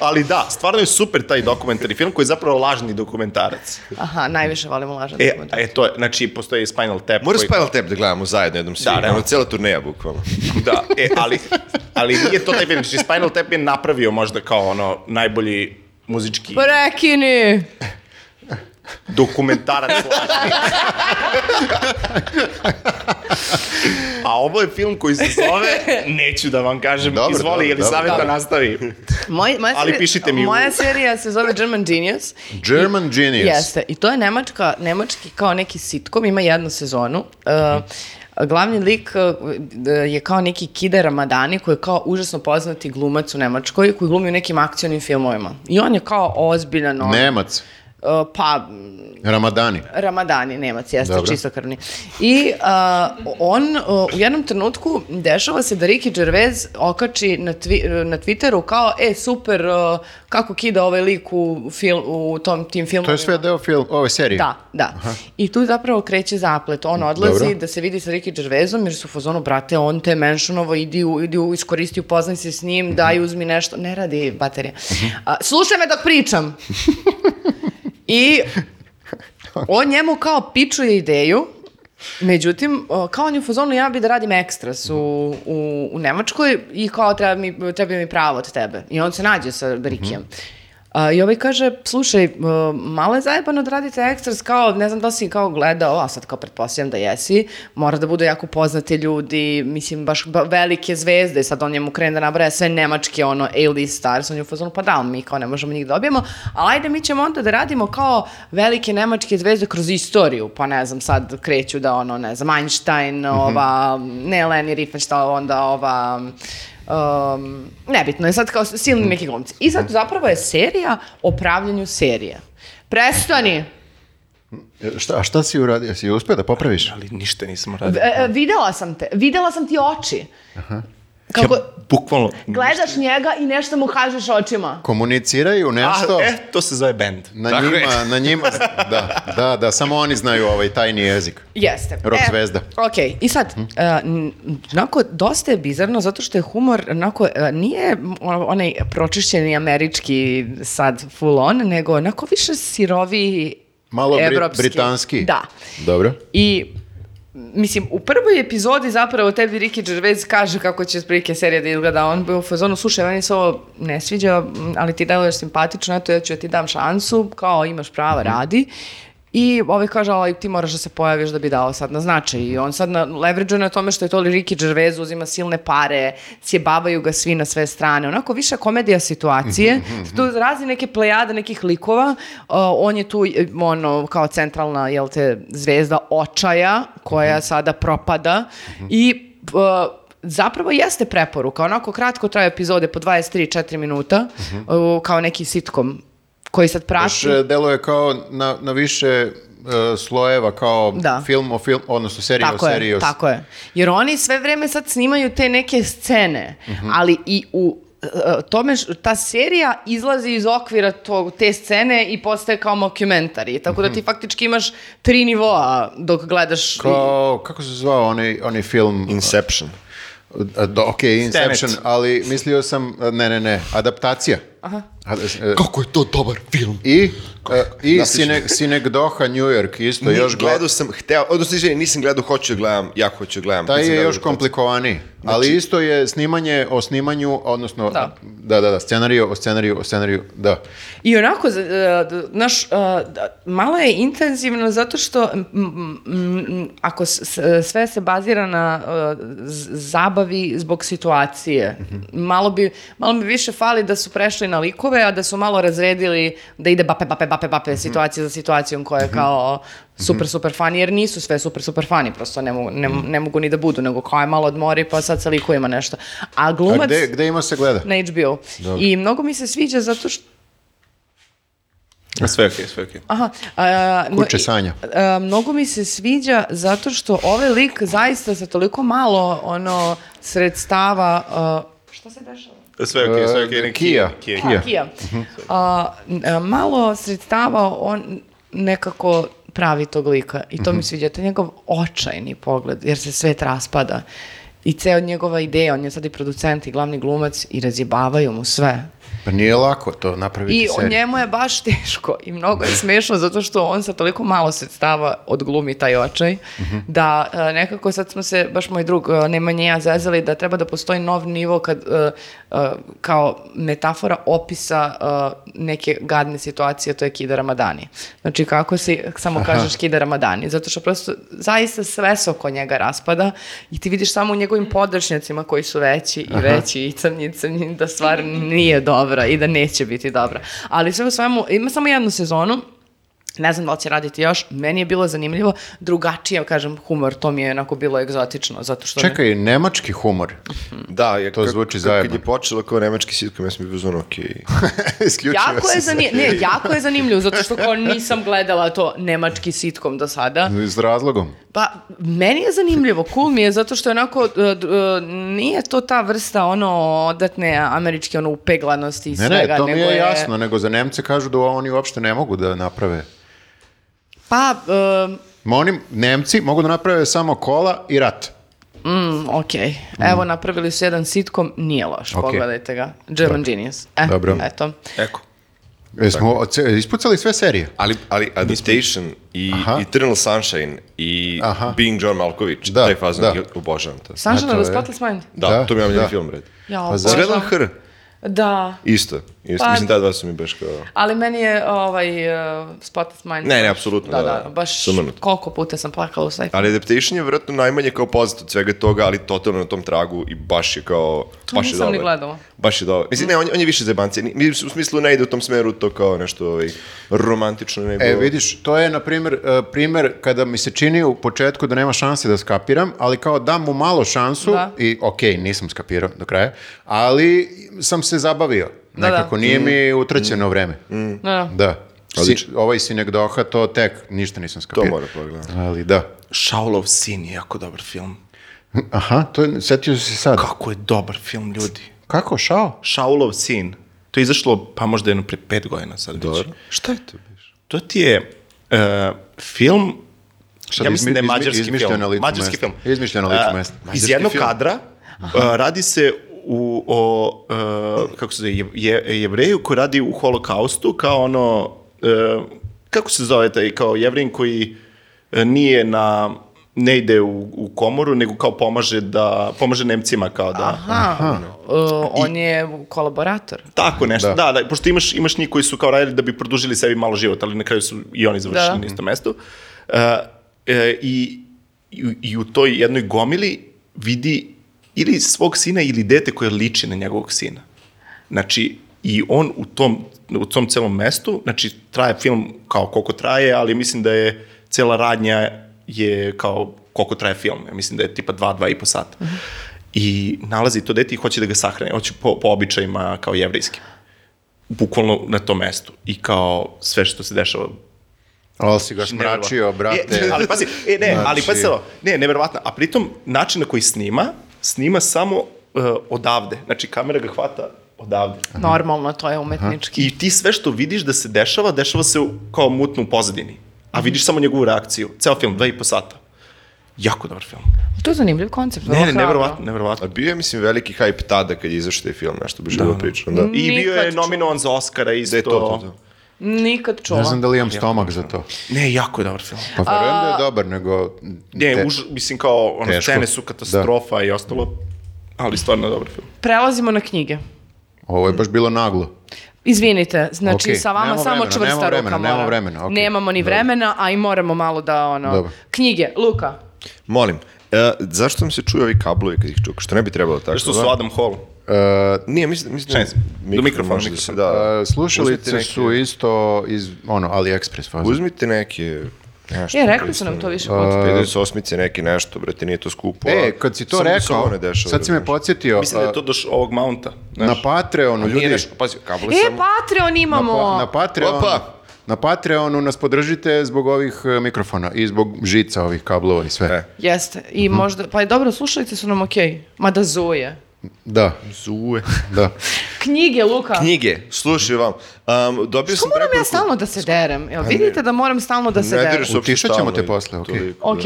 D: Ali da, stvarno je super taj dokumentarni film koji je zapravo lažni dokumentarac.
B: Aha, najviše volim lažan
D: E,
B: dokumentar.
D: e to je, znači, postoji Spinal Tap.
C: Mora
D: koji-
C: Spinal Tap da gledamo zajedno jednom svi. Da,
D: realno.
C: ono, cijela turneja, bukvalno.
D: Da, e, ali, ali nije to taj film. Znači, Spinal Tap je napravio možda kao ono najbolji muzički
B: Prekini!
D: dokumentarac lažni. A ovo je film koji se zove, neću da vam kažem,
A: Dobro,
D: izvoli,
A: dobro,
D: jeli saveta
A: dobro.
D: nastavi.
B: Moj, moja
D: Ali
B: serija,
D: pišite mi u-
B: Moja serija se zove German Genius.
A: German Genius.
B: Jeste, i to je nemačka, nemački kao neki sitkom, ima jednu sezonu. Uh, glavni lik uh, d- je kao neki Kide Ramadani koji je kao užasno poznati glumac u Nemačkoj koji glumi u nekim akcionim filmovima. I on je kao ozbiljan, on,
A: Nemac.
B: uh, pa
A: Ramadani.
B: Ramadani, Nemac, jeste
A: Dobro.
B: čistokrvni. I a, on a, u jednom trenutku dešava se da Ricky Gervais okači na, twi na Twitteru kao, e, super, a, kako kida ovaj lik u, fil u tom, tim filmovima.
A: To je sve deo film, ove serije.
B: Da, da. I tu zapravo kreće zaplet. On odlazi
A: Dobro.
B: da se vidi sa Ricky Gervaisom jer su u fazonu, brate, on te menšunovo, idi, u, idi u, iskoristi, upoznaj se s njim, daj,
A: Mhm.
B: uzmi nešto. Ne radi baterija. A, slušaj me dok
A: (laughs)
B: pričam. I (laughs) on njemu kao pičuje ideju, Međutim, o, kao on je u fazonu, ja bi da radim ekstras u, u, u Nemačkoj i kao treba mi, treba mi pravo od tebe. I on se nađe sa Rikijem. A, I ovaj kaže, slušaj, o, malo je zajebano da radite ekstras, kao, ne znam da li si kao gledao, a sad kao pretpostavljam da jesi, mora da budu jako poznati ljudi, mislim, baš ba- velike zvezde, sad on njemu krene da nabraja sve nemačke, ono, A-list stars, on je u fazonu, pa da, ali mi kao ne možemo njih da dobijemo, ali ajde mi ćemo onda da radimo kao velike nemačke zvezde kroz istoriju, pa ne znam, sad kreću da, ono, ne znam, Einstein, ova, ne Leni Riefenstahl, onda ova, um, nebitno je sad kao silni neki glumci. I sad zapravo je serija o pravljenju serije. Prestani!
A: E, Šta, a šta si uradio? Si uspio da popraviš?
D: Ali ništa nisam radio.
B: E, e, videla sam te, videla sam ti oči. Kako,
D: Ja bukvalno...
B: gledaš njega i nešto mu kažeš očima.
A: Komuniciraju
D: A,
A: nešto.
D: e, to se zove band.
A: Na
C: Tako je.
A: njima, na njima, da, da, da, samo oni znaju ovaj tajni jezik.
B: Jeste. E,
A: Rock zvezda. Mhm.
B: Ok, i sad, e, n- onako, dosta je bizarno zato što je humor, onako, e, nije ono- onaj pročišćeni američki sad full on, nego onako više sirovi
A: Malo bri-
B: evropski.
A: britanski.
B: Da.
A: Dobro.
B: I Mislim, u prvoj epizodi zapravo tebi Ricky Gervais kaže kako će sprike serija da izgleda. On bio u fazonu, slušaj, meni se ovo ne sviđa, m, ali ti deluješ simpatično, eto ja ću da ti dam šansu, kao imaš prava, radi. I ovaj kaže, ali ti moraš da se pojaviš da bi dao sad na značaj. I on sad na, leverageuje na tome što je to Ricky Gervais uzima silne pare, sjebavaju ga svi na sve strane. Onako više komedija situacije.
A: Mhm,
B: tu razni neke plejade nekih likova. Uh, on je tu eh, ono, kao centralna jel te, zvezda očaja
A: Mhm.
B: koja sada propada i uh, zapravo jeste preporuka. Onako kratko traju epizode po 23-4 minuta uh, kao neki sitkom koji sad prati.
A: Mhm. Baš e, deluje kao na, na više e, slojeva, kao
B: Da.
A: film o film, odnosno serija
B: tako
A: o seriji
B: je,
A: o
B: tako je. Jer oni sve vreme sad snimaju te neke scene, ali i u e, e, tome š- ta serija izlazi iz okvira tog, te scene i postaje kao mockumentary, tako da ti faktički imaš tri nivoa dok gledaš
A: Kao, kako se zvao onaj, onaj film?
C: Inception.
A: A, da, ok, Inception,
D: Tenet.
A: ali mislio sam, a, ne, ne, ne, adaptacija. Aha.
C: Kako je to dobar film?
A: I, e, i Sine, Sinegdoha New York, isto, još
C: Još
A: go,
C: gledao sam, hteo, odnosno izvini, nisam gledao, hoću da gledam, jako hoću da gledam.
A: Taj
C: Nisam
A: je
C: gledao
A: još
C: do-
A: komplikovaniji,
C: Znači-
A: ali isto je snimanje o snimanju, odnosno,
B: Da.
A: da, da, da, scenariju o scenariju o scenariju, da.
B: I onako, za- e, d- znaš, e, da- malo je intenzivno zato što m, m, m, ako s- s- sve se bazira na e, z- zabavi zbog situacije,
A: Mhm.
B: malo, bi, malo bi više fali da su prešli na likove, a da su malo razredili da ide bape, bape, bape,
A: Mhm.
B: bape, situacija za situacijom koja je kao super, super fani, jer nisu sve super, super fani, prosto ne mogu, ne,
A: Mhm.
B: ne mogu ni da budu, nego kao je malo odmori, pa sad sa likovima nešto. A glumac...
A: A gde, gde ima se gleda?
B: Na HBO. I mnogo mi se sviđa zato što
D: Sve je okej, sve je okej.
B: Aha, a, no,
A: Kuće
B: i-
A: Sanja.
B: a, mnogo mi se sviđa zato što ovaj lik zaista sa toliko malo ono sredstava a, šta se dešava?
D: Sve je okej, sve je
A: E,
D: okej. neki-
A: Kia.
D: Kia.
A: Kia. Mhm.
B: Kija. A, n- a, malo sredstava on nekako pravi tog lika i to mi
A: Mhm.
B: sviđa, to je njegov očajni pogled jer se svet raspada i ceo njegova ideja, on je sad i producent i glavni glumac i razjebavaju mu sve.
A: Pa nije lako to napraviti
B: I
A: seriju.
B: njemu je baš teško i mnogo je smešno zato što on sa toliko malo sredstava odglumi taj očaj da e, nekako sad smo se, baš moj drug e, Nemanja i ja zezali da treba da postoji nov nivo kad, e, e, kao metafora opisa e, neke gadne situacije, to je Kida Ramadani. Znači kako si, samo kažeš Kida Ramadani, zato što prosto zaista sve se oko njega raspada i ti vidiš samo u njegovim podršnjacima koji su veći i veći i crnji i crnji da stvar nije dobra i da neće biti dobra. Ali sve u svemu, ima samo jednu sezonu, ne znam da li će raditi još, meni je bilo zanimljivo, drugačije, kažem, humor, to mi je onako bilo egzotično, zato što... Pa ne-
A: Čekaj, nemački humor.
C: Da, je,
A: To zvuči
C: Kad
A: zajebano.
C: je počelo kao nemački sitkom, ja sam bio zvon, okej.
A: (laughs) Isključio
B: Jako
A: sam se.
B: je, zani... ne, jako je zanimljivo, zato što kao nisam gledala to nemački sitkom do sada.
A: S razlogom.
B: Pa, meni je zanimljivo, cool mi je, zato što je onako, e, d- d- nije to ta vrsta ono odatne američke ono upeglanosti i
A: Ne,
B: svega.
A: ne, to mi
B: nego
A: je jasno, nego za Nemce kažu da oni uopšte ne mogu da naprave.
B: Pa, um,
A: Ma oni, Nemci, mogu da naprave samo kola i rat.
B: mm, okej. Evo, napravili su jedan sitkom, nije loš,
A: Okej.
B: pogledajte ga. German Genius. E,
A: Dobro.
B: Eto.
D: Eko.
A: Jesmo oce- ispucali sve serije.
C: Ali, ali Adaptation i
A: Aha.
C: Eternal Sunshine i
A: Aha.
C: Being John Malkovich,
A: Da,
C: taj fazon,
A: da.
C: ja obožavam to.
B: Sanšana
A: Eto,
B: da
A: e.
B: Spotless Mind.
C: Da,
A: Da,
C: to mi je omljeni
A: da.
C: film, red.
B: Ja,
A: Pa
B: obožavam.
A: zašto?
C: Zgledala Hr,
B: Da.
C: isto. isto.
B: Pa-
C: Mislim, ta dva su mi baš kao...
B: Ali meni je ovaj uh, Spotless Mind.
C: Ne, ne, apsolutno,
B: Da,
C: da,
B: da,
C: da.
B: baš
C: Sumrnut.
B: koliko puta sam plakala u sajfu.
C: Ali Adaptation je vjerojatno najmanje kao pozit od svega toga, ali totalno na tom tragu i baš je kao...
B: To
C: baš je
B: nisam ni
C: dobar.
B: gledala.
C: Baš je dobar. Mislim, ne, on, je- on je više zebancija. Mi u smislu ne ide u tom smeru to kao nešto ovaj, romantično, nego...
A: E, vidiš, to je, na primjer, e, primjer kada mi se čini u početku da nema šanse da skapiram, ali kao dam mu malo šansu
B: Da.
A: i okej, nisam skapirao do kraja, ali sam se zabavio.
B: Da, Mm. da.
A: Nekako, nije mi utraćeno vreme.
B: Da, da.
A: Da. Si, ovaj Sinegdoha, to tek, ništa nisam
C: To
A: skapirao.
C: mora pogledati.
A: Ali da.
D: Shaolov sin je jako dobar film.
A: Aha, to je, setio si se sad. Kako?
D: Kako je dobar film, ljudi.
A: Kako, šao?
D: Shaolov sin. To je izašlo, pa možda jedno pre pet godina sad Dobar. već.
C: Šta je to? biš?
D: To ti je uh, film,
A: Šta,
D: ja mislim da je
A: izmi- izmi-
D: mađarski
A: izmišljeno
D: film.
A: licu
D: Mađarski
A: mesta.
D: film.
A: Izmišljeno licu
D: A,
A: mesta.
D: iz
A: Mađarski
D: jednog
A: film.
D: kadra uh, radi se u, o, uh, kako se zove, je, je, jevreju koji radi u holokaustu, kao ono, uh, kako se zove taj, kao jevrin koji uh, nije na, ne ide u, u komoru, nego kao pomaže da, pomaže Nemcima kao da...
B: Aha, Uh, on je kolaborator.
D: Tako nešto,
A: Da.
D: da, da, pošto imaš, imaš njih koji su kao radili da bi produžili sebi malo život, ali na kraju su i oni završili
B: Da.
D: na istom mestu. Uh, e, i, i, u- I u toj jednoj gomili vidi ili svog sina ili dete koje liči na njegovog sina. Znači, i on u tom, u tom celom mestu, znači, traje film kao koliko traje, ali mislim da je cela radnja je kao koliko traje film. Ja mislim da je tipa dva, dva i po sata. I nalazi to dete i hoće da ga sahrane. Hoće po, po običajima kao jevrijskim. Bukvalno na tom mestu. I kao sve što se dešava
A: Ali si ga smračio,
D: neverovatno.
A: brate.
D: E, (laughs) ali pazi, e, ne,
A: Znači-
D: ali pazi, sad ovo, ne, neverovatno. A pritom, način na koji snima, snima samo uh, odavde. Znači, kamera ga hvata odavde.
B: Normalno, to je umetnički.
D: I ti sve što vidiš da se dešava, dešava se u, kao mutno u pozadini. A
C: Mhm.
D: vidiš samo njegovu reakciju. Ceo film, dva i po sata. Jako dobar film.
B: To je zanimljiv koncept.
D: Ne,
B: vrlo
D: ne,
B: hrabro.
D: neverovatno,
C: A
D: neverovatno.
C: bio je, mislim, veliki hype tada kad je izašao taj film, nešto bi želeo da. pričam. Da.
B: Mhm.
D: I bio
B: Nikad
D: je
B: čuo.
D: nominovan za Oscara isto.
C: Da je to, to, to.
B: Nikad čula.
A: Ne znam da li imam stomak za to.
D: Ne, jako je dobar film.
A: Pa verujem da je dobar, nego...
D: Ne,
A: te-
D: už, mislim kao, ono,
A: Teško.
D: scene
C: Da.
D: su katastrofa i ostalo, ali stvarno je dobar film.
B: Prelazimo na knjige.
A: Ovo je baš bilo naglo.
B: Izvinite, znači
A: Okej,
B: sa vama
A: nemamo
B: samo
A: vremena,
B: čvrsta
A: nemamo vremena,
B: ruka mora.
A: nemamo vremena, okej.
B: Nemamo ni vremena, a i moramo malo da ono...
A: Dobro.
B: Knjige, Luka.
C: Molim, e, zašto mi se čuju ovi kablovi kad ih čuka? Što ne bi trebalo tako?
D: Što
C: da?
D: su Adam Hall.
A: E,
C: Nije, mislim, mislim
D: Čekaj, do mikrofona,
C: može da se
D: mikrofona.
C: da.
A: e, slušalice
C: Uzmite neke-
A: su isto iz, ono, AliExpress faze.
C: Uzmite neke... Nešto,
B: Je, e, rekli su nam to
A: Pa,
B: više puta.
C: 58 neke nešto, brate, nije to skupo.
A: E,
C: a
A: kad si to
C: samo da se ovo
A: rekao,
C: ne dešava,
A: sad si me
C: razumeš.
A: podsjetio,
D: Mislim da je to do š- ovog mounta.
A: a, Pa- na pa- Patreonu,
C: Nije
A: ljudi,
C: nešto, pazi, kablo
B: E,
C: samo...
B: Patreon imamo!
A: Pa, na Patreonu,
C: Opa!
A: na Patreonu nas podržite zbog ovih e, mikrofona i zbog žica ovih kablova i sve.
C: E.
B: Jeste, i
A: Mhm.
B: možda... Pa je dobro, slušalice su nam okej. Mada zuje.
A: Da,
C: Zuje.
A: (laughs) da.
B: Knjige, Luka.
C: Knjige, slušaj vam. Um,
B: Što
C: dobio sam
B: moram ja
C: preporuku-
B: stalno da se derem? Jel vidite da moram stalno da se
C: Ne
B: derem?
C: diraš uopšte
A: Utišat ćemo
C: stalno
A: te
C: i
A: posle, okej.
C: toliko,
B: Ok.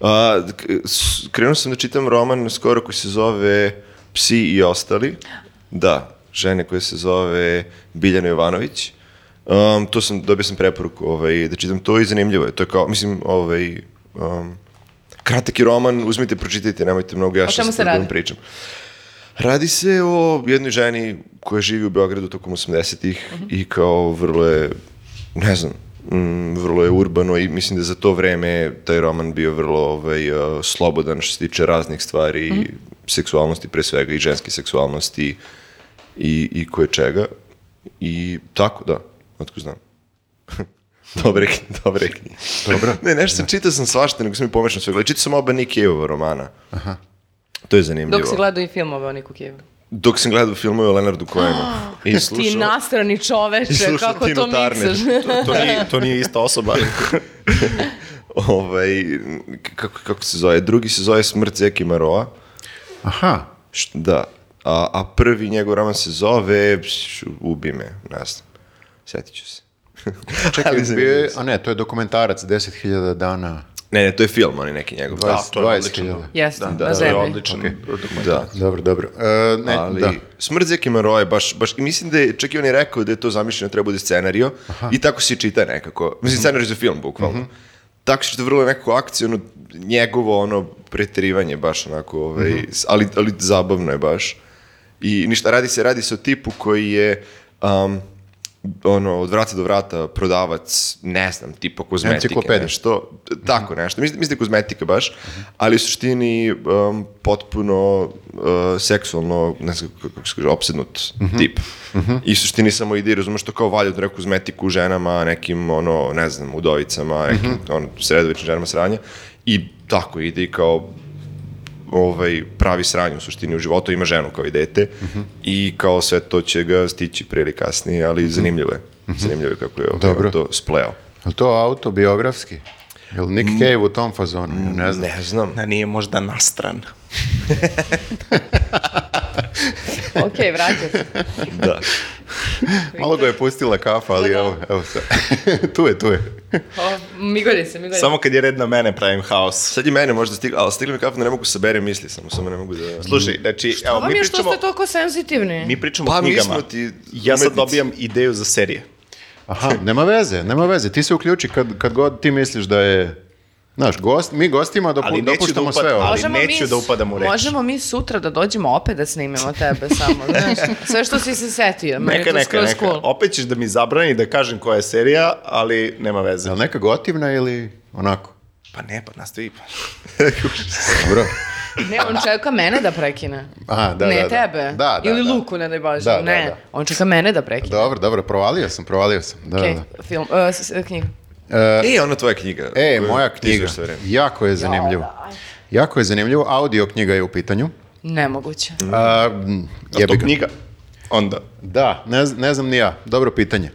C: A, k- s- krenuo sam da čitam roman skoro koji se zove Psi i ostali. Da, žene koje se zove Biljana Jovanović. Um, to sam, dobio sam preporuku ovaj, da čitam to i zanimljivo je. To je kao, mislim, ovaj, um, kratak je roman, uzmite, pročitajte, nemojte mnogo ja
B: O
C: što
B: čemu
C: sam
B: se
C: da vam
B: radi?
C: pričam. Radi se o jednoj ženi koja živi u Beogradu tokom 80-ih i kao vrlo je, ne znam, mm, vrlo je urbano i mislim da je za to vreme taj roman bio vrlo ovaj, uh, slobodan što se tiče raznih stvari, seksualnosti pre svega i ženske seksualnosti i, i koje čega. I tako, da, otko znam. (laughs) dobre, knjige, dobre knjige. Dobro. Da. ne, nešto sam čitao sam svašta, nego sam mi pomešao sve. Gledaj, Čitao sam oba Nikijeva romana. Aha. To je zanimljivo.
B: Dok si gledao i filmove o Niku Kijevu.
C: Dok sam gledao filmove o Leonardu Cohenu. I slušao...
B: Ah. Ti
A: (laughs)
B: nasrani
C: I
B: čoveče,
C: slušao
B: kako
C: Tinu
B: to
C: Turner.
B: miksaš. (laughs)
D: To nije, to nije ista osoba.
C: Ovaj, k- kako, kako se zove? Drugi se zove Smrt Zeki Maroa.
A: Aha,
C: Št- Da. A, a prvi njegov roman se zove pš, Ubi me, ne znam. Sjetit ću se.
A: čekaj,
C: Ali
A: bio je,
C: zanimljivo.
A: a ne, to je dokumentarac 10.000 dana,
C: Ne, ne, to je film, on je neki njegov.
A: 20
D: to je odlično.
A: 20.000.
B: Jeste,
C: da,
B: na
C: to
D: To je
B: zemlji.
D: odličan dokument.
C: Da.
A: Dobro, dobro. E, ne,
C: ali
A: da.
C: da. Smrt Zeki Maroa je baš, baš, i mislim da je, čak i on je rekao da je to zamišljeno da treba bude scenario i tako se i čita nekako, mislim scenario za film bukvalno. Tako se čita vrlo nekako akciju, ono, njegovo ono preterivanje baš onako, ovaj, s- ali, ali zabavno je baš. I ništa, radi se, radi se o tipu koji je um, ono, od vrata do vrata prodavac, ne znam, tipa kozmetike,
A: Enciklopedija.
C: nešto što, t- tako nešto, mislim, mislim da je kozmetika baš, ali u suštini um, potpuno uh, seksualno, ne znam kako, kako se kaže, obsednut tip. I u suštini samo ide i razumeš to kao valja od neku kozmetiku ženama, nekim, ono, ne znam, udovicama, nekim, ono, sredovičnim ženama sranja. I tako ide i kao ovaj, pravi sranje u suštini u životu, Mhm. Mhm. ima ženu kao i dete i kao sve to će ga stići prije ili kasnije, ali zanimljivo je. Zanimljivo je kako je
A: Dobro.
C: ovaj to spleo.
A: Je li to autobiografski? Je li Nick Cave u tom fazonu? Ja Mm. ne znam.
C: Ne znam.
D: Da nije možda nastran.
B: Ok, vraća se.
C: Da.
A: Malo ga je pustila kafa, ali evo, evo sad. Da, (laughs) tu je, tu je.
B: O, migolje se, migolje.
D: Samo (laughs) kad je red na mene pravim haos.
C: Sad je mene možda stigla, ali stigla mi kafa da ne mogu saberem misli, samo samo ne mogu da...
D: Slušaj, znači, evo,
B: Ovo
D: mi
B: mi je što
D: pričamo,
B: ste toliko senzitivni.
D: mi pričamo
C: Pa,
D: o
C: mi
D: knjigama.
C: smo ti
D: ja sad
C: umetnici.
D: dobijam ideju za serije.
A: Aha, nema veze, nema veze. Ti se uključi kad, kad god ti misliš da je... Znaš, gost, mi gostima dopu,
D: Ali neću da
A: dopuštamo
D: upad-
A: sve ovo.
D: ali- neću da upadam u reč.
B: Možemo mi sutra da dođemo opet da snimimo tebe samo, znaš. Sve što si se setio, meni je
D: Neka,
B: to
D: neka,
B: skroz
D: neka.
B: cool.
D: Opet ćeš da mi zabrani da kažem koja je serija, ali nema veze.
A: Je li neka gotivna ili onako?
D: Pa ne, pa nastavi. pa.
A: Dobro.
B: Ne, on čeka mene da prekine.
A: Aha, da,
B: ne
A: da, da.
B: tebe.
A: Da, da,
B: Ili
A: da.
B: Luku, ne daj Bože.
A: Da, da,
B: ne,
A: da.
B: on čeka mene da prekine.
A: Dobro, dobro, provalio sam, provalio sam. Da,
B: Okej,
A: da.
B: film, uh, s- s- knjigu.
C: E, ona tvoja knjiga.
A: E,
C: koju
A: moja
C: ti
A: knjiga.
C: izveštaj vreme.
A: Jako je zanimljivo.
B: da.
A: Jako je zanimljivo. Audio knjiga je u pitanju.
B: Nemoguće.
A: A,
D: Je to
A: jebi ga.
D: knjiga? Onda.
A: Da, ne, z- ne znam ni ja. Dobro pitanje.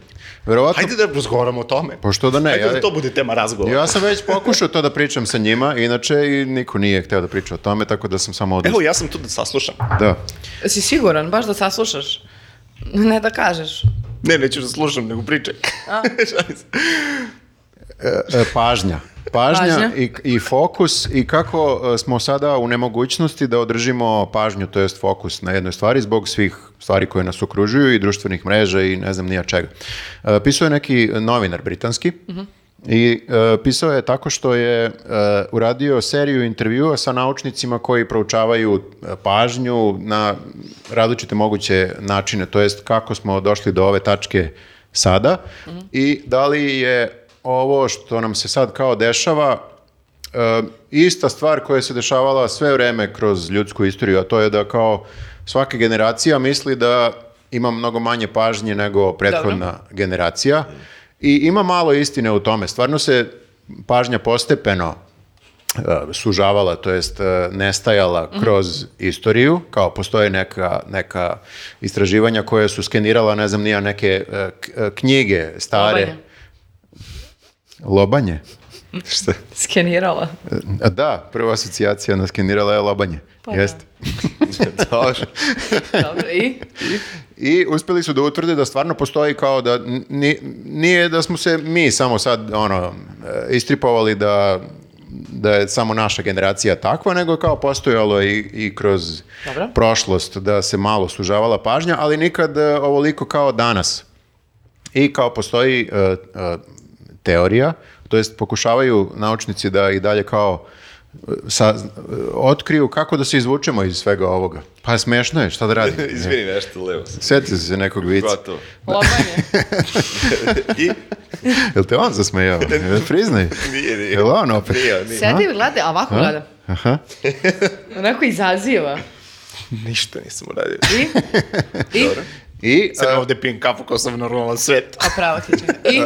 A: Verovatno,
D: Hajde da razgovaramo o tome.
A: Pa što da ne,
D: Hajde
A: ja-
D: da to bude tema razgovora.
A: ja sam već pokušao to da pričam sa njima, inače i niko nije hteo da priča o tome, tako da sam samo odustao.
D: Evo, ja sam tu da saslušam.
A: Da.
B: Si siguran, baš da saslušaš? Ne da kažeš.
D: Ne, neću da slušam, nego pričaj. (laughs) Šalim se.
A: E, pažnja. Pažnja,
B: Pažnja.
A: I, i fokus i kako e, smo sada u nemogućnosti da održimo pažnju, to jest fokus na jednoj stvari zbog svih stvari koje nas okružuju i društvenih mreža i ne znam nija čega. E, pisao je neki novinar britanski i e, pisao je tako što je e, uradio seriju intervjua sa naučnicima koji proučavaju e, pažnju na različite moguće načine, to jest kako smo došli do ove tačke sada i da li je ovo što nam se sad kao dešava e, ista stvar koja se dešavala sve vreme kroz ljudsku istoriju, a to je da kao svaka generacija misli da ima mnogo manje pažnje nego prethodna generacija i ima malo istine u tome. Stvarno se pažnja postepeno e, sužavala, to jest e, nestajala kroz istoriju, kao postoje neka, neka istraživanja koje su skenirala, ne znam, nija neke e, k- e, knjige stare.
B: Lobanje.
A: Lobanje? Šta?
B: Skenirala.
A: A Da, prva asocijacija na skenirala je lobanje.
B: Pa da.
A: Jeste.
C: Dobro.
B: Dobro, i?
A: I uspeli su da utvrde da stvarno postoji kao da n- ni- nije da smo se mi samo sad ono e, istripovali da da je samo naša generacija takva, nego je kao postojalo i, i kroz
B: Dobro.
A: prošlost da se malo sužavala pažnja, ali nikad e, ovoliko kao danas. I kao postoji e, e, teorija, to jest pokušavaju naučnici da i dalje kao e, sa, e, otkriju kako da se izvučemo iz svega ovoga. Pa smešno je, šta da radim?
C: (laughs)
A: (laughs)
C: Izvini nešto, levo sam.
A: Sjetio si se nekog vica.
C: Gotovo.
B: Lobanje.
C: I
A: Jel te on
C: (laughs)
A: zasmejao? Jel Priznaj.
C: nije, nije.
A: Jel on opet?
C: Nije, nije.
B: Sedi i gleda, a ovako gleda.
A: Aha.
B: Onako izaziva.
D: Ništa nisam uradio.
B: I? I?
A: I
D: Sad
A: a,
D: ovde pijem kafu kao sam normalan svet.
B: A Pa pravo
C: (laughs)
B: ti
C: Da,
B: će. I?
A: e,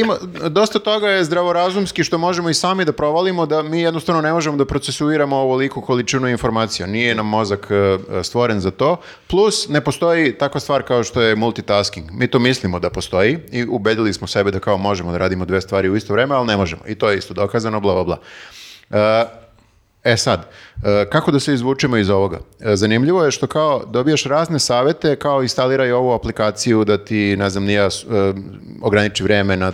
A: ima, dosta toga je zdravorazumski što možemo i sami da provalimo da mi jednostavno ne možemo da procesuiramo ovoliku količinu informacija. Nije nam mozak e, e, stvoren za to. Plus, ne postoji takva stvar kao što je multitasking. Mi to mislimo da postoji i ubedili smo sebe da kao možemo da radimo dve stvari u isto vreme, ali ne možemo. I to je isto dokazano, bla, bla, bla. E, E sad, e, kako da se izvučemo iz ovoga? E, Zanimljivo je što kao dobijaš razne savete, kao instaliraj ovu aplikaciju da ti, ne znam, nija s- e, ograniči vreme na...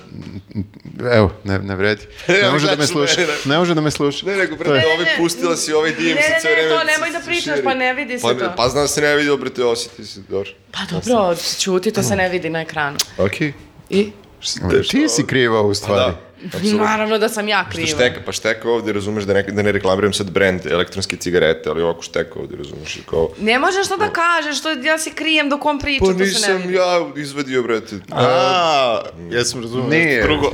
A: Evo, ne, ne vredi.
C: (laughs)
A: Ne može da me sluša. Ne može da me sluša.
C: Ne, nego brate,
B: ne,
C: ovi
B: ne.
C: pustila si ovaj dim
B: Ne,
C: sa
B: ne,
C: sve
B: ne,
C: vreme.
B: to nemoj da
C: se
B: pričaš,
C: širi.
B: pa ne vidi se
C: Pa ne-
B: to.
C: Pa znam da se ne vidi, brate, osjeti se, dobro.
B: Pa dobro, čuti, to se ne vidi na ekranu.
A: Okej.
B: I?
A: Ti si kriva u stvari.
C: Da.
B: Naravno da sam ja kriva.
C: Šteka, pa šteka ovde, razumeš da ne, da ne reklamiram sad brand elektronske cigarete, ali ovako šteka ovde, razumeš, i kao...
B: Ne možeš to da kažeš, to ja se krijem dok on priča, to
C: Pa
B: se ne
C: nisam
B: vidi.
C: ja izvadio, brate.
D: A, ja sam razumio.
A: Nije, (laughs)
D: Drugo,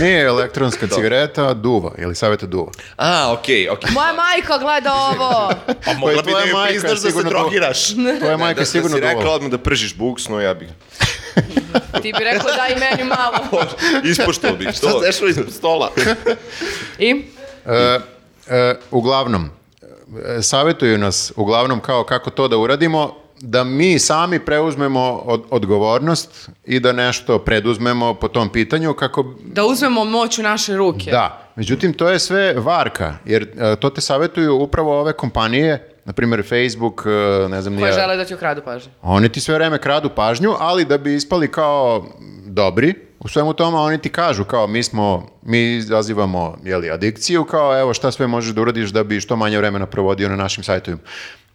A: nije
C: (laughs)
A: elektronska
C: Da.
A: cigareta, duva, ili saveta duva.
C: A, okej, okej.
B: Moja majka gleda ovo.
D: pa mogla bi
A: tvoja
D: da mi
A: majka
D: priznaš da se
A: sigurno to-
D: (laughs) drogiraš.
A: Tvoja majka
C: Da,
A: je sigurno
C: da si rekla
A: duvala.
C: odmah da pržiš buksno, ja bih (laughs)
B: Ti bi rekao daj meni malo.
C: ispoštovao
A: (laughs)
C: bih to.
D: Šta se dešava ispod
C: (laughs)
D: stola?
B: I?
A: E, e, uglavnom, e, savjetuju nas uglavnom kao kako to da uradimo, da mi sami preuzmemo od, odgovornost i da nešto preduzmemo po tom pitanju kako
B: Da uzmemo moć u naše ruke.
A: Da, međutim to je sve varka, jer e, to te savjetuju upravo ove kompanije, na primjer Facebook, e, ne znam ni
B: Koje
A: ja.
B: žele da ti ukradu pažnju.
A: Oni ti sve vreme kradu pažnju, ali da bi ispali kao dobri, u svemu tome oni ti kažu kao mi smo, mi izazivamo jeli, adikciju, kao evo šta sve možeš da uradiš da bi što manje vremena provodio na našim sajtovima.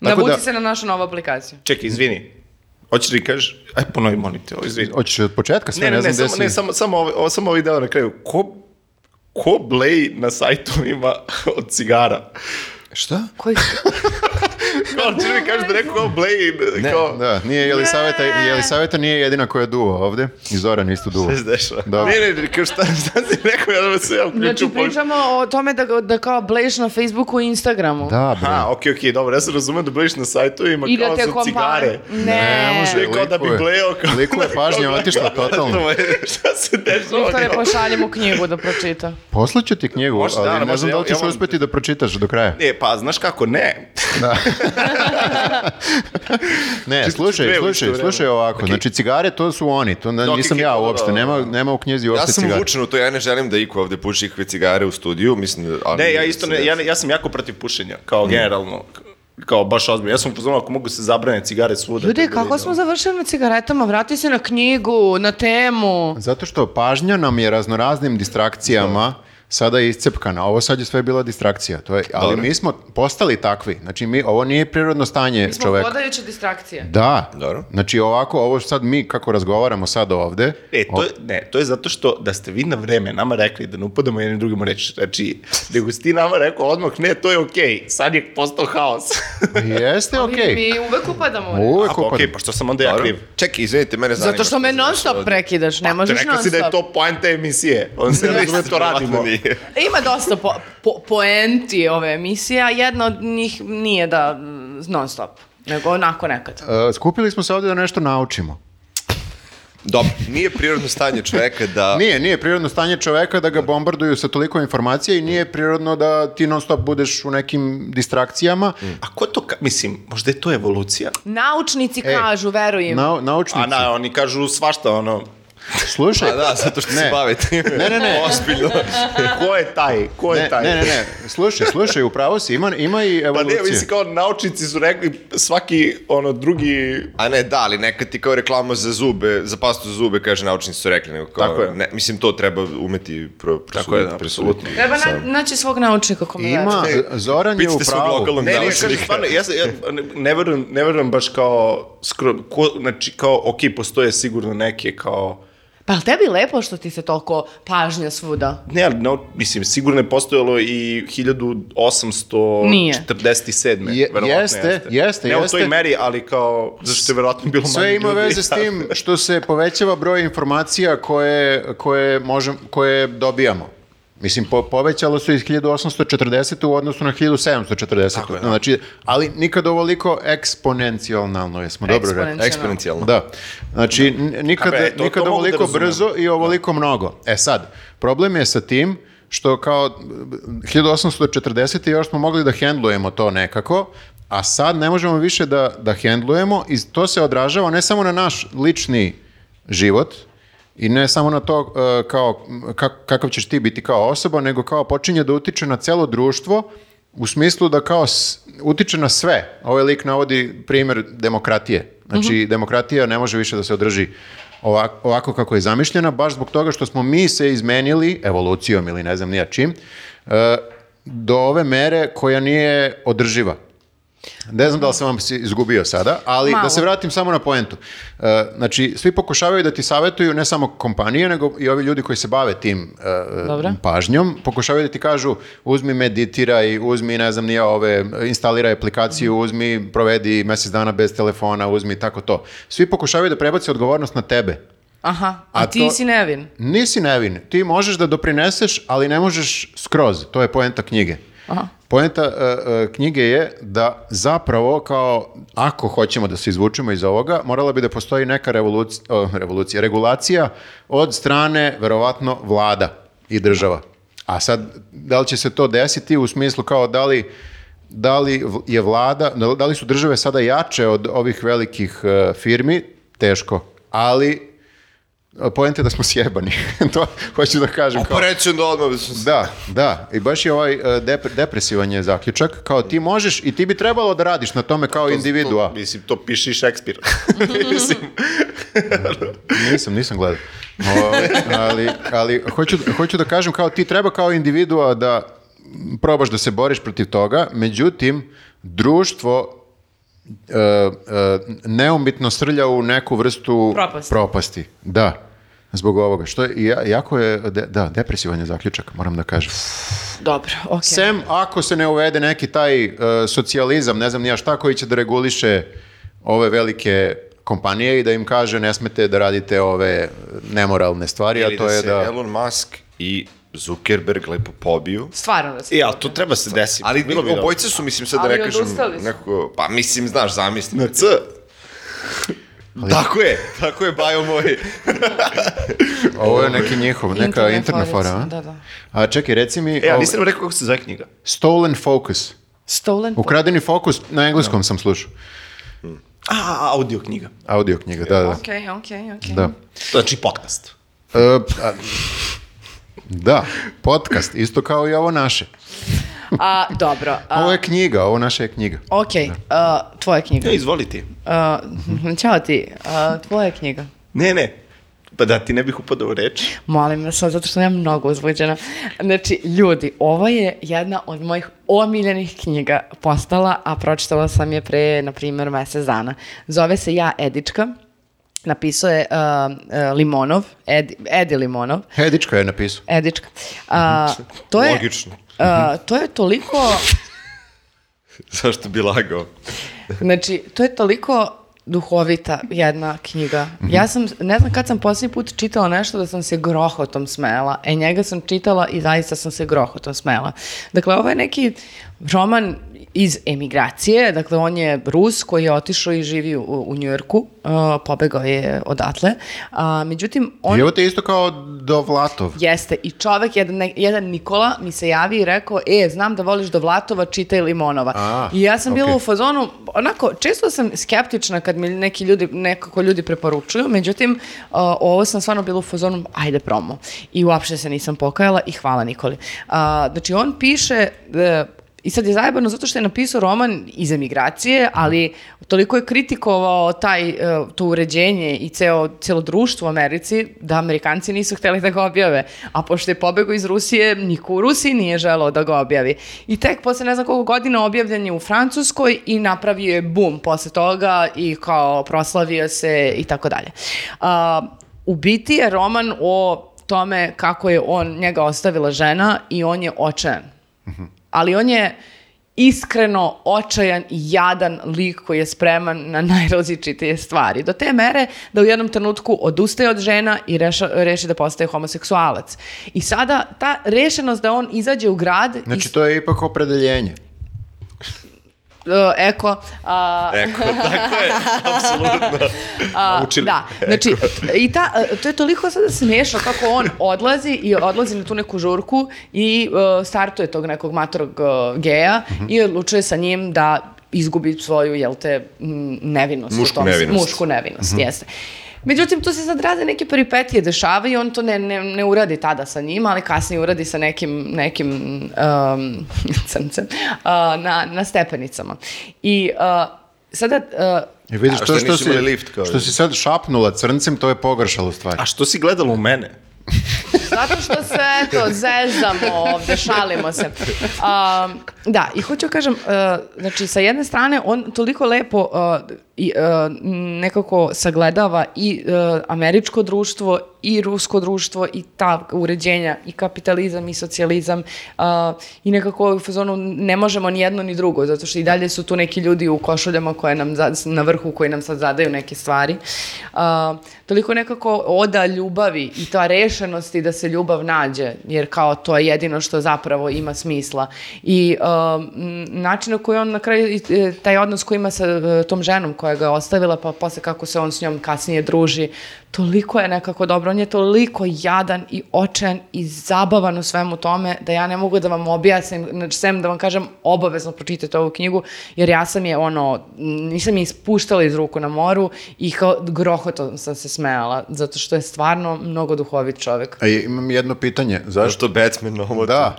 A: Tako
B: Navuci
A: da,
B: se na našu novu aplikaciju.
D: Čekaj, izvini. Hoćeš da mi kažeš? Aj, ponovi, molim te, ovo, izvini.
A: hoćeš od početka sve,
D: Ne,
A: ne,
D: ne, ne,
A: znam gde
D: samo, ne,
A: si.
D: samo, samo, ovaj, ovo- samo ovaj deo na kraju. Ko, ko bleji na sajtovima (laughs) od cigara?
C: Šta?
B: Koji...
D: Kao, ćeš mi kažeš da neko kao bleji, kao...
A: Da, nije Jelisaveta, Jelisaveta nije jedina koja duva ovde, i Zoran isto duva.
D: Šta se dešava?
A: Da.
D: Ne, ne, ne, kao šta, šta si rekao, ja da se ja uključu.
B: Znači,
D: ponovo.
B: pričamo o tome da, da kao bleješ na Facebooku i Instagramu.
A: Da, bre.
D: Aha, okej, okej, dobro, ja sam razumio da blejiš na sajtovima
B: I da
D: kao
B: te
D: za
B: kompa...
D: cigare.
B: Ne.
A: Ne može.
D: Kao da bi
A: Liku je-
D: blejao kao...
A: liku je pažnja otišla totalno.
D: To je- (laughs) Šta se dešava?
B: Viktore,
D: Kao-
B: pošaljem u knjigu da pročita.
A: Poslaću ti knjigu,
D: Možda,
A: ali
D: naravno,
A: ne znam
D: možda,
A: da li
D: ja-
A: ćeš
D: ja vam-
A: uspeti da pročitaš do kraja.
D: E, pa, znaš kako, ne.
A: Ne,
D: Čisto
A: slušaj,
D: dve u
A: slušaj,
D: isto vreme.
A: slušaj ovako.
D: Ok.
A: Znači cigare to su oni, to ne-
D: Da, ok,
A: nisam
D: ok,
A: ja
D: da, da,
A: uopšte,
D: da.
A: nema, nema u knjezi
C: Ja
A: uopšte
C: sam
A: cigare.
C: uvučen u to, ja ne želim da iko ovde puši ikve cigare u studiju, mislim da... ali-
D: Ne, ja isto ne, ja, ne- ja sam jako protiv pušenja, kao
C: Mm.
D: generalno, kao baš ozbiljno. Ja sam upozorio ako mogu se zabrane cigare
B: (laughs)
D: svuda.
B: Ljudi,
D: tako da
B: kako
D: ide,
B: smo završili na cigaretama? Vrati se na knjigu, na temu.
A: Zato što pažnja nam je raznoraznim
D: Da.
A: distrakcijama sada iscepkana. Ovo sad je sve bila distrakcija, to je, ali mi smo postali takvi. Znači mi, ovo nije prirodno stanje
B: Mi smo
A: čoveka.
B: hodajuće distrakcije.
A: Da,
C: Dobro.
A: znači ovako, ovo sad mi kako razgovaramo sad ovde,
D: E, to je, ne, to je zato što da ste vi na vreme nama rekli da ne upadamo jednim drugim reč. Znači, nego si ti nama rekao odmah, ne, to je okej, sad je postao
C: (laughs)
D: haos.
A: jeste okej.
B: Mi uvek upadamo. u ne.
A: Uvek
D: A, pa,
A: upadam.
D: okej, pa što sam onda ja
C: Dobro.
D: kriv?
C: Čekaj, izvinite, mene zanima.
B: Zato što me non stop prekidaš,
A: Pa,
B: ne možeš non
D: Rekao si da je to poenta emisije. On se
C: da
D: razume, to radimo. (laughs)
C: Nije.
B: Ima dosta po, po, poenti ove emisije, a jedna od njih nije da mm, non stop, nego onako nekad.
A: E, skupili smo se ovde da nešto naučimo.
C: Dobro, nije prirodno stanje čoveka da...
A: Nije, nije prirodno stanje čoveka da ga bombarduju sa toliko informacija i nije prirodno da ti non stop budeš u nekim distrakcijama.
C: Mm.
D: A ko to, ka, mislim, možda je to evolucija?
B: Naučnici
A: E,
B: kažu, verujem.
A: Na, naučnici.
D: A na, oni kažu svašta, ono,
A: Slušaj.
C: (laughs) A da, zato što
A: Ne.
C: se bave time.
A: Ne, ne, ne.
C: (laughs) Ozbiljno.
A: (laughs)
D: ko je taj, ko je
A: Ne,
D: taj?
A: ne, ne, ne, slušaj, slušaj, upravo si, ima, ima i
D: Pa
A: evolucije.
D: ne, mislim kao naučnici su rekli svaki ono drugi
C: A ne, da, ali nekad ti kao reklama za zube, za pastu za zube, kaže, naučnici su rekli, nego kao,
D: Tako je.
C: Ne, mislim, to treba umeti pro, prosuditi.
D: Tako je, da, apsolutno.
B: Treba na, naći svog naučnika kome
A: Ima,
D: Da,
C: Ne,
A: Zoran je u
C: pičite se u
A: pravu.
C: lokalnom-
D: Ne, ne,
C: Naučnik.
D: kažem, stvarno, ja, se- ja ne, ne, verujem, ne verujem baš kao, skro, ko, znači kao, ok, postoje sigurno neke kao,
B: Pa jel tebi lepo što ti se toliko pažnja svuda?
D: ne, ali, no, mislim, sigurno je postojalo i 1847.
B: Nije.
A: Je-
D: verovatno
A: jeste, jeste,
D: Ne u
A: jeste.
D: toj meri, ali kao, zašto je verovatno bilo manje
A: Sve ima
D: ljudi. da.
A: veze s tim što se povećava broj informacija koje, koje, možem, koje dobijamo. Mislim, po, povećalo su iz 1840. u odnosu na 1740.
D: Tako je, da.
A: znači, ali nikad ovoliko eksponencijalno, jesmo dobro rekli.
B: Eksponencijalno.
C: Eksponencijalno.
A: Da. Znači, n- nikad,
D: A be, to-
A: nikad
D: to mogu da
A: ovoliko
D: razumem. Da.
A: brzo i ovoliko mnogo. E sad, problem je sa tim što kao b- b- 1840. još smo mogli da hendlujemo to nekako, a sad ne možemo više da, da hendlujemo i to se odražava ne samo na naš lični život, I ne samo na to e, kao, m, kak- kakav ćeš ti biti kao osoba, nego kao počinje da utiče na celo društvo u smislu da kao s- utiče na sve. Ovaj lik navodi primer demokratije. Znači, demokratija ne može više da se održi ovako, ovako kako je zamišljena, baš zbog toga što smo mi se izmenili, evolucijom ili ne znam nija čim, e, do ove mere koja nije održiva. Ne znam da li sam vam si- izgubio sada, ali
B: Malo.
A: da se vratim samo na poentu. E, znači, svi pokušavaju da ti savjetuju, ne samo kompanije, nego i ovi ljudi koji se bave tim e,
B: Dobro.
A: pažnjom, pokušavaju da ti kažu uzmi meditiraj, uzmi, ne znam, nije ove, instaliraj aplikaciju, uzmi, provedi mesec dana bez telefona, uzmi, tako to. Svi pokušavaju da prebaci odgovornost na tebe.
B: Aha, a,
A: A
B: ti
A: to-
B: si nevin.
A: Nisi nevin. Ti možeš da doprineseš, ali ne možeš skroz. To je poenta knjige.
B: Aha.
A: Poenta e, e, knjige je da zapravo kao ako hoćemo da se izvučemo iz ovoga, morala bi da postoji neka revolucija, revolucija regulacija od strane verovatno vlada i država. A sad, da li će se to desiti u smislu kao da li da li v- je vlada, da li su države sada jače od ovih velikih e, firmi, teško, ali Poenta je da smo sjebani. (laughs) to hoću da kažem. kao-
C: Oprećen da odmah.
A: da, da. I baš je ovaj e, dep- depresivan je zaključak. Kao ti možeš i ti bi trebalo da radiš na tome kao individua.
D: To, mislim, to piše i Šekspir. (laughs) mislim,
A: Nisam, nisam gledao. O, ali ali hoću, hoću da kažem kao ti treba kao individua da probaš da se boriš protiv toga, međutim, društvo e, e, neumitno srlja u neku vrstu
B: Propasti.
A: propasti. Da, zbog ovoga. Što je, ja- jako je, de- da, depresivan je zaključak, moram da kažem.
B: Dobro, okej.
A: Sem ako se ne uvede neki taj e, socijalizam, ne znam ni ja šta, koji će da reguliše ove velike kompanije i da im kaže ne smete da radite ove nemoralne stvari, a
C: Ili
A: to
C: da
A: je
C: se
A: da...
C: Elon Musk i Zuckerberg lepo pobiju.
B: Stvarno da se...
D: ja, E, to treba se desiti.
C: Ali
D: Bilo bi dobro.
C: obojice su, mislim, sad da
B: Ali
C: ne kažem
B: odustali su.
C: nekako... Pa mislim, znaš, zamisli.
D: Na C.
C: (laughs) Tako je, tako je, bajo moj. (laughs)
A: Ovo je neki njihov, neka
B: Internet
A: interna fora,
B: forica,
A: a?
B: da, da.
A: A čekaj, reci mi...
D: E, ja
A: ovo-
D: nisam rekao kako se zove knjiga.
A: Stolen focus.
B: Stolen... po-
A: Ukradeni fokus, na engleskom sam slušao.
D: A, audio knjiga.
A: Audio knjiga, da, da.
B: Okej, okej, okej.
A: Da.
D: Znači podcast.
A: E, a- da, podcast, isto kao i ovo naše.
B: A, dobro. A,
A: Ovo je knjiga, ovo naše je knjiga.
B: Ok,
A: Da.
B: a, tvoja knjiga.
D: Ne, izvoliti.
B: A, (laughs) Ćao ti, a, tvoja knjiga.
D: Ne, ne. Pa da ti ne bih upadao u reč.
B: Molim vas, sad, zato što sam ja mnogo uzbuđena. Znači, ljudi, ovo je jedna od mojih omiljenih knjiga postala, a pročitala sam je pre, na primjer, mesec dana. Zove se Ja Edička, napisao je um, e, Limonov, Edi, Edi Limonov,
A: Hedička je napisao.
B: Edička. A, to je,
C: Logično.
B: a, to je toliko...
C: Zašto bi lagao?
B: Znači, to je toliko duhovita jedna knjiga. Ja sam, ne znam kad sam posljednji put čitala nešto da sam se grohotom smela. E, njega sam čitala i zaista sam se grohotom smela. Dakle, ovo je neki roman iz emigracije. Dakle, on je Rus koji je otišao i živi u, u Njujorku. Uh, pobegao je odatle. A, međutim, on...
A: I ovo ti je isto kao Dovlatov.
B: Jeste, i čovek, jedan, ne- jedan Nikola mi se javi i rekao, e, znam da voliš Dovlatova, čitaj Limonova.
A: A,
B: I ja sam bila
A: okej.
B: u fazonu, onako, često sam skeptična kad mi neki ljudi, nekako ljudi preporučuju, međutim, a, ovo sam stvarno bila u fazonu, ajde promo. I uopšte se nisam pokajala i hvala Nikoli. A, znači, on piše, e, i sad je zajebano zato što je napisao roman iz emigracije, ali toliko je kritikovao taj, e, to uređenje i ceo, celo društvo u Americi da Amerikanci nisu hteli da ga objave. A pošto je pobegao iz Rusije, niko u Rusiji nije želao da ga objavi. I tek posle ne znam koliko godina objavljen je u Francuskoj i napravio je bum posle toga i kao proslavio se i tako dalje. A, U biti je roman o tome kako je on njega ostavila žena i on je očajan ali on je iskreno očajan i jadan lik koji je spreman na (laughs) najrazličitije stvari. Do te mere da u jednom trenutku odustaje od žena i reša, reši da postaje homoseksualac. I sada ta rešenost da on izađe u grad i
A: Znači, to je ipak opredeljenje.
B: e, eko, a,
C: Eko, tako je, apsolutno.
B: a,
D: Naučili.
B: da, znači, t- i ta, e, to je toliko sada smiješno kako on odlazi i odlazi na tu neku žurku i e, startuje tog nekog matorog e, geja
C: Mhm.
B: i odlučuje sa njim da izgubi svoju, jel te, m, nevinost. u
C: Mušku
B: tom-
C: nevinost. Mhm.
B: Mušku nevinost, jeste. Međutim, tu se sad rade neke peripetije, dešava i on to ne, ne, ne uradi tada sa njima, ali kasnije uradi sa nekim, nekim um, (laughs) crncem uh, na, na stepenicama. I uh, sada uh,
A: I vidiš to
C: A, što
A: što
C: nisu
A: si,
C: imali lift, kao
A: što si sad šapnula crncem, to je pogrešalo stvar.
D: A što si gledala u mene?
B: Zato što se, eto, zezamo ovde, šalimo se. Um, da, i hoću kažem, uh, znači, sa jedne strane, on toliko lepo uh, i, uh, nekako sagledava i uh, američko društvo i rusko društvo i ta uređenja i kapitalizam i socijalizam uh, i nekako u fazonu ne možemo ni jedno ni drugo, zato što i dalje su tu neki ljudi u košuljama koje nam za- na vrhu koji nam sad zadaju neke stvari. A, toliko nekako oda ljubavi i ta rešenosti da se ljubav nađe, jer kao to je jedino što zapravo ima smisla. um, I a, m, način na koji on na kraju, i, e, taj odnos koji ima sa e, tom ženom koja koja ga je ostavila, pa posle kako se on s njom kasnije druži, toliko je nekako dobro, on je toliko jadan i očajan i zabavan u svemu tome da ja ne mogu da vam objasnim, znači sem da vam kažem obavezno pročitajte ovu knjigu, jer ja sam je ono, nisam je ispuštala iz ruku na moru i kao grohotom sam se smejala, zato što je stvarno mnogo duhovit čovek.
A: A i- imam jedno pitanje. Zašto?
C: Zašto Batman ovo?
A: Da,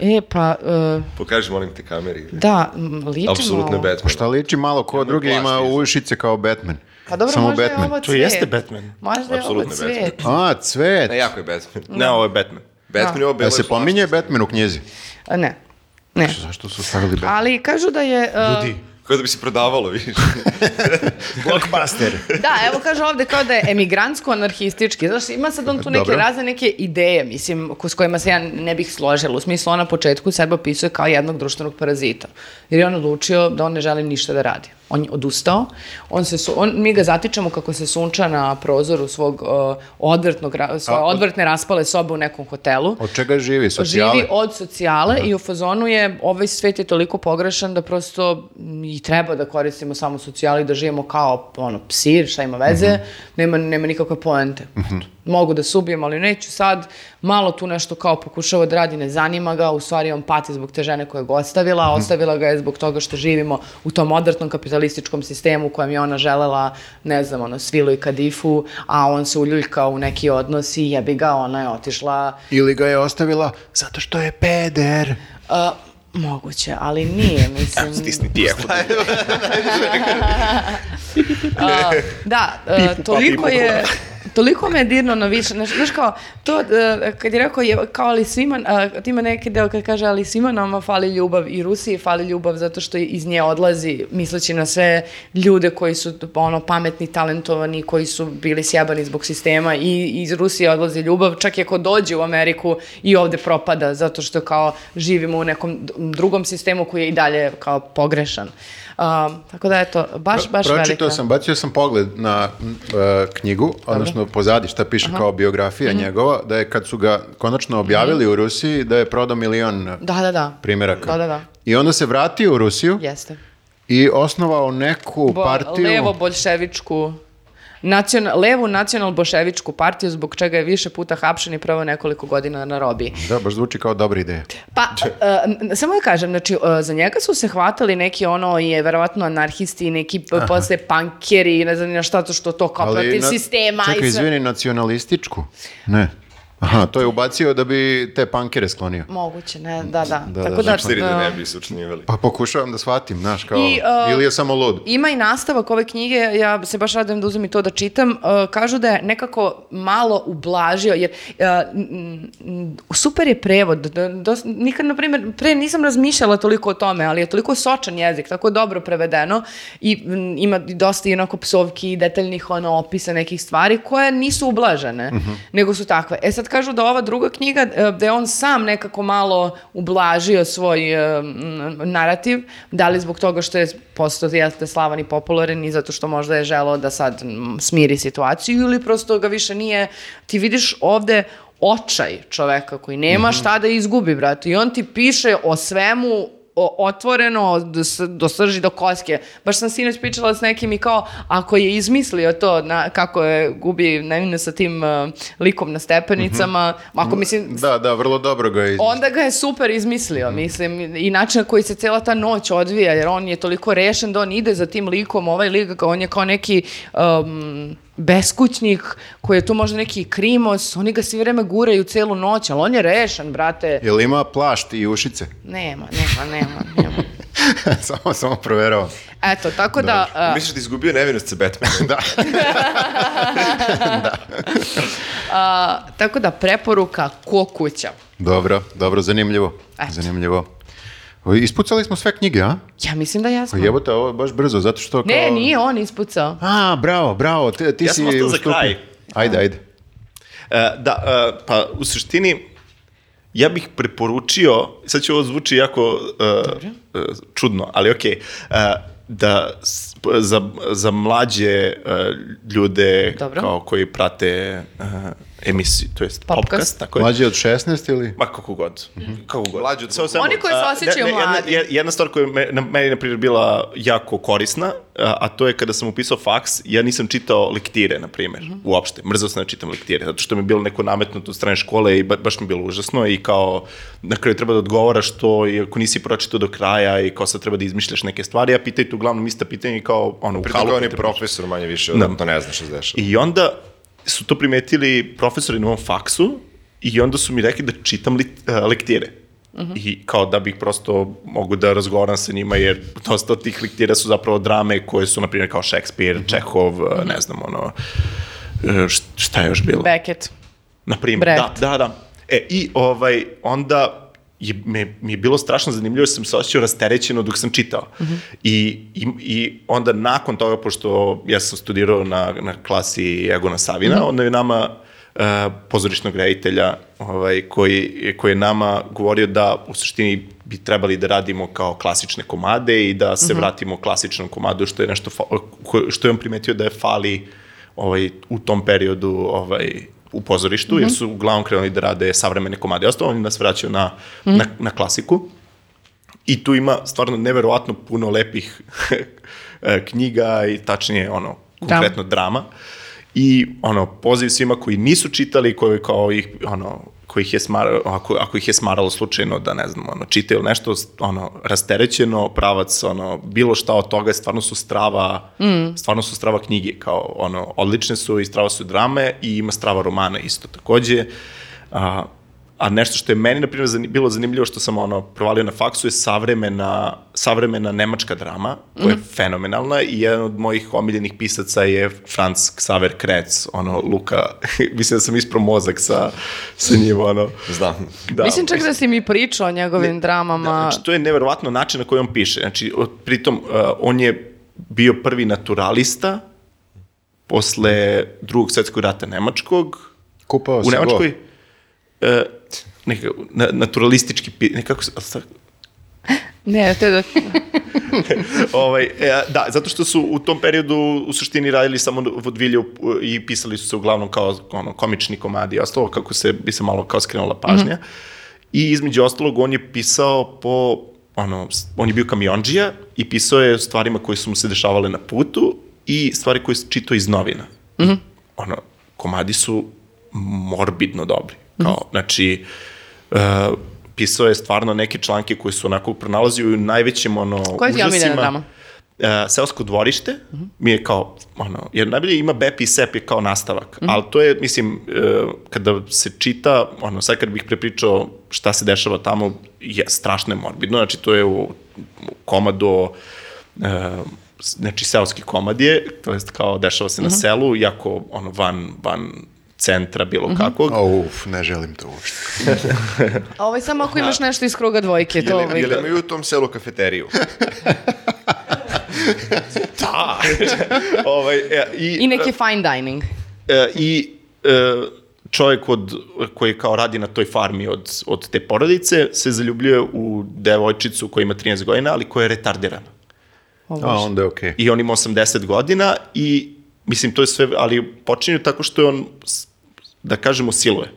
B: E, pa, e,
C: Pokaži, molim te, kameri.
B: da, m, liči
C: Apsolutno
B: malo.
C: je Batman.
A: šta liči malo ko drugi ima
C: plastično.
A: ušice kao Batman.
B: Pa dobro,
A: Samo
B: možda je
A: Batman.
B: ovo cvet.
D: To jeste Batman.
B: Možda je
C: Apsolutno
B: ovo
C: je
B: cvet.
C: Batman.
A: A, cvet.
C: Ne, jako je
B: Da.
C: Batman.
D: Ne, ovo je Batman.
C: Batman je ovo
A: Da
C: belo
A: se
C: i plastično.
A: pominje Batman u knjizi.
B: A, Ne, ne.
A: Zašto su stavili Batman?
B: Ali kažu da je... e,
C: Kao da bi se prodavalo, vidiš.
D: (laughs) Blockbuster.
B: Da, evo kaže ovde kao da je emigrantsko-anarhistički. Znaš, ima sad on tu neke
A: Dobro.
B: razne neke ideje, mislim, ko- s kojima se ja ne bih složila. U smislu, on na početku sebe opisuje kao jednog društvenog parazita. Jer je on odlučio da on ne želi ništa da radi. On je odustao. On se, su- on, mi ga zatičemo kako se sunča na prozoru svog uh, odvrtnog, ra- svoje
A: od-
B: odvrtne raspale sobe u nekom hotelu.
A: Od čega živi? Socijale?
B: Živi od socijale i u fazonu je ovaj svet je toliko pogrešan da prosto m, i treba da koristimo samo socijale i da živimo kao ono, psir, šta ima veze, nema, nema nikakve poente. Eto, Mogu da se ubijem, ali neću sad. Malo tu nešto kao pokušava da radi, ne zanima ga, u stvari on pati zbog te žene koja ga ostavila, a ostavila ga je zbog toga što živimo u tom odvrtnom kapitalističkom sistemu u kojem je ona želela, ne znam, ono, svilu i kadifu, a on se uljuljkao u neki odnos i jebi ga, ona je otišla
A: Ili ga je ostavila zato što je peder.
B: A, moguće, ali nije, mislim...
D: Stisni ti eho.
B: A, da, e, toliko je... Toliko me je dirno na više, znaš, znaš kao, to, e, kad je rekao, je, kao ali svima, a, ima neki deo kad kaže, ali svima nama fali ljubav i Rusiji fali ljubav zato što iz nje odlazi, misleći na sve ljude koji su, ono, pametni, talentovani, koji su bili sjebani zbog sistema i iz Rusije odlazi ljubav, čak i ako dođe u Ameriku i ovde propada zato što kao živimo u nekom d- drugom sistemu koji je i dalje kao pogrešan. A, tako da, eto, baš, baš
A: Pročitao
B: velika.
A: sam, bacio sam pogled na m, e, knjigu, odnosno pozadi šta piše kao biografija
B: Mhm.
A: njegova, da je kad su ga konačno objavili u Rusiji, da je prodao milion e,
B: Da, da, da.
A: primjeraka.
B: Mhm. Da, da, da.
A: I onda se vratio u Rusiju
B: Jeste.
A: i osnovao neku partiju.
B: Levo bolševičku Naciona, levu nacional-bolševičku partiju zbog čega je više puta hapšen i prvo nekoliko godina na robiji.
A: Da, baš zvuči kao dobra ideja. (laughs)
B: Pa, e, n- samo da kažem, znači, e, za njega su se hvatali neki ono, je verovatno anarhisti, neki p- posle pankeri, ne znam ni na šta to što to kao Pa, protiv
A: na-
B: sistema
A: Čekaj,
B: i sve.
A: izvini, nacionalističku? Ne. Aha, to je ubacio da bi te pankere sklonio.
B: Moguće, ne, da, da.
A: Da,
B: Tako
A: da,
B: da,
C: Siri da ne
B: e,
C: bi se učinjivali.
A: Pa pokušavam da shvatim, znaš, kao,
B: I, a,
A: ili je samo lud.
B: Ima i nastavak ove knjige, ja se baš radujem da uzem i to da čitam. Uh, kažu da je nekako malo ublažio, jer uh, n- n- super je prevod. D- dos- nikad, na primjer, pre nisam razmišljala toliko o tome, ali je toliko sočan jezik, tako dobro prevedeno i m, ima i dosta i onako psovki i detaljnih ono, opisa nekih stvari koje nisu ublažene, nego su takve. E sad kažu da ova druga knjiga, e, da je on sam nekako malo ublažio svoj e, m, narativ, da li zbog toga što je postao jeste slavan i popularan i zato što možda je želao da sad m, smiri situaciju ili prosto ga više nije, ti vidiš ovde očaj čoveka koji nema šta da izgubi, brate, i on ti piše o svemu o- otvoreno do, s- do srži do koske. Baš sam sinoć pričala s nekim i kao ako je izmislio to na, kako je gubi nevine sa tim uh, likom na stepenicama, ako mislim
A: Da, da, vrlo dobro ga je.
B: onda ga je super izmislio, mislim, i način na koji se cijela ta noć odvija, jer on je toliko rešen da on ide za tim likom, ovaj lik, on je kao neki um, beskućnik koji je tu možda neki krimos, oni ga svi vreme guraju celu noć, ali on je rešen, brate.
A: Jel ima plašt i ušice?
B: Nema, nema, nema, nema.
A: (laughs) samo, samo proveravam.
B: Eto, tako da... a,
C: Misliš da je izgubio nevinost sa Batmanom?
A: Da.
B: A, tako da preporuka ko kuća.
A: Dobro, dobro, zanimljivo.
B: Eto.
A: Zanimljivo. O, Ispucali smo sve knjige, a?
B: Ja mislim da ja
A: Pa
B: sam.
A: jebote, ovo je baš brzo, zato što kao...
B: Ne, nije on ispucao.
A: A, bravo, bravo, ti, ti
D: Ja
A: si
D: sam ostao za
A: ustupio.
D: kraj.
A: Ajde, ajde.
D: E, da, e, pa u suštini ja bih preporučio, sad će ovo zvuči jako e, e, čudno, ali okej, e, da s- p- za, za mlađe e, ljude
B: Dobro.
D: kao koji prate e, emisiju, to jest
B: Popcast.
D: popcast, tako je.
A: Mlađi od 16 ili?
D: Ma kako god. Kako god.
C: Mlađi od
D: Sve u svemu,
B: Oni koji se
D: a,
B: osjećaju
D: ne, ne, jedna-
B: mladi.
D: je- Jedna stvar koja me, na, meni, na primjer, bila jako korisna, a, a to je kada sam upisao faks, ja nisam čitao lektire, na primjer,
B: Mhm.
D: uopšte. Mrzao sam da čitam lektire, zato što mi je bilo neko nametnuto od strane škole i ba, baš mi je bilo užasno i kao na kraju treba da odgovaraš to i ako nisi pročitao do kraja i kao sad treba da izmišljaš neke stvari, a pitaju te uglavnom ista pitanja i kao ono, u halu
C: Primagovani
D: te
C: profesor manje više,
D: Da.
C: da. to ne zna što se dešava.
D: I onda su to primetili profesori na ovom faksu i onda su mi rekli da čitam lit, uh, lektire. I kao da bih prosto mogu da razgovaram sa njima, jer dosta od tih lektira su zapravo drame koje su, na primjer, kao Šekspir, Čehov, uh, ne znam, ono, uh, št- šta je još bilo?
B: Beckett.
D: Na primjer, da,
B: Brecht.
D: da, da. E, i ovaj, onda je, me, mi je bilo strašno zanimljivo, jer sam se osjećao rasterećeno dok sam čitao. I, i, I onda nakon toga, pošto ja sam studirao na, na klasi Egona Savina, onda je nama uh, pozorišnog reditelja ovaj, koji, koji je nama govorio da u suštini bi trebali da radimo kao klasične komade i da se vratimo klasičnom komadu, što je nešto fa- ko- što je on primetio da je fali ovaj, u tom periodu ovaj, u pozorištu, jer su uglavnom krenuli da rade savremene komade. Ostalo oni nas vraćaju na, na, na klasiku. I tu ima stvarno neverovatno puno lepih (laughs) e, knjiga i tačnije ono, konkretno drama. I ono, poziv svima koji nisu čitali, koji kao ih, ono, kojih je smaralo, ako, ako ih je smaralo slučajno da ne znam, ono, čitaju ili nešto, ono, rasterećeno, pravac, ono, bilo šta od toga, stvarno su strava, mm. stvarno su strava knjige, kao, ono, odlične su i strava su drame i ima strava romana isto takođe. A, A nešto što je meni, na primjer, zani, bilo zanimljivo što sam ono, provalio na faksu je savremena, savremena nemačka drama, koja
B: Mhm.
D: je fenomenalna i jedan od mojih omiljenih pisaca je Franz Xaver Krec, ono, Luka, (laughs) mislim da sam ispro mozak sa, sa njim, ono.
C: Znam.
D: Da,
B: Mislim čak da si mi pričao o njegovim
D: Da,
B: dramama.
D: znači, to je neverovatno način na koji on piše. Znači, od, pritom, uh, on je bio prvi naturalista posle drugog svetskog rata Nemačkog,
A: Kupao se
D: u
A: go.
D: Nemačkoj e, neka, na, naturalistički pi- nekako se- ali sad-
B: Ne, te da...
D: ovaj, e, da, zato što su u tom periodu u suštini radili samo vodvilje u- i pisali su se uglavnom kao ono, komični komadi i ostalo, kako se bi se malo kao skrenula pažnja. I između ostalog on je pisao po ono, s- on je bio kamionđija i pisao je o stvarima koje su mu se dešavale na putu i stvari koje je čitao iz novina. Ono, komadi su morbidno dobri. Kao, znači, uh, pisao je stvarno neke članke koje su onako pronalazio i u najvećim ono,
B: Koja ti je omiljena
D: užasima.
B: drama?
D: Uh, selsko dvorište mi je kao, ono, jer najbolje ima BEP i SEP je kao nastavak, ali to je, mislim, uh, kada se čita, ono, sad kad bih prepričao šta se dešava tamo, je strašno je morbidno, znači to je u, u komado, uh, znači seoski komad je, to jest kao dešava se na selu, jako, ono, van, van centra bilo kakvog.
A: O, uf, ne želim to uopšte.
B: A ovaj samo ako imaš nešto iz kruga dvojke, to
C: Jel,
B: ovaj...
C: jel imaju u tom selu
D: (laughs)
C: kafeteriju?
D: Znači- Da! (laughs) ovaj, e, i,
B: I neki fine dining.
D: E, i e, čovjek od, koji kao radi na toj farmi od, od te porodice se zaljubljuje u devojčicu koja ima 13 godina, ali koja je retardirana.
A: A, onda je okej.
D: I on ima 80 godina i mislim to je sve, ali počinju tako što je on, s- da kažemo, siluje.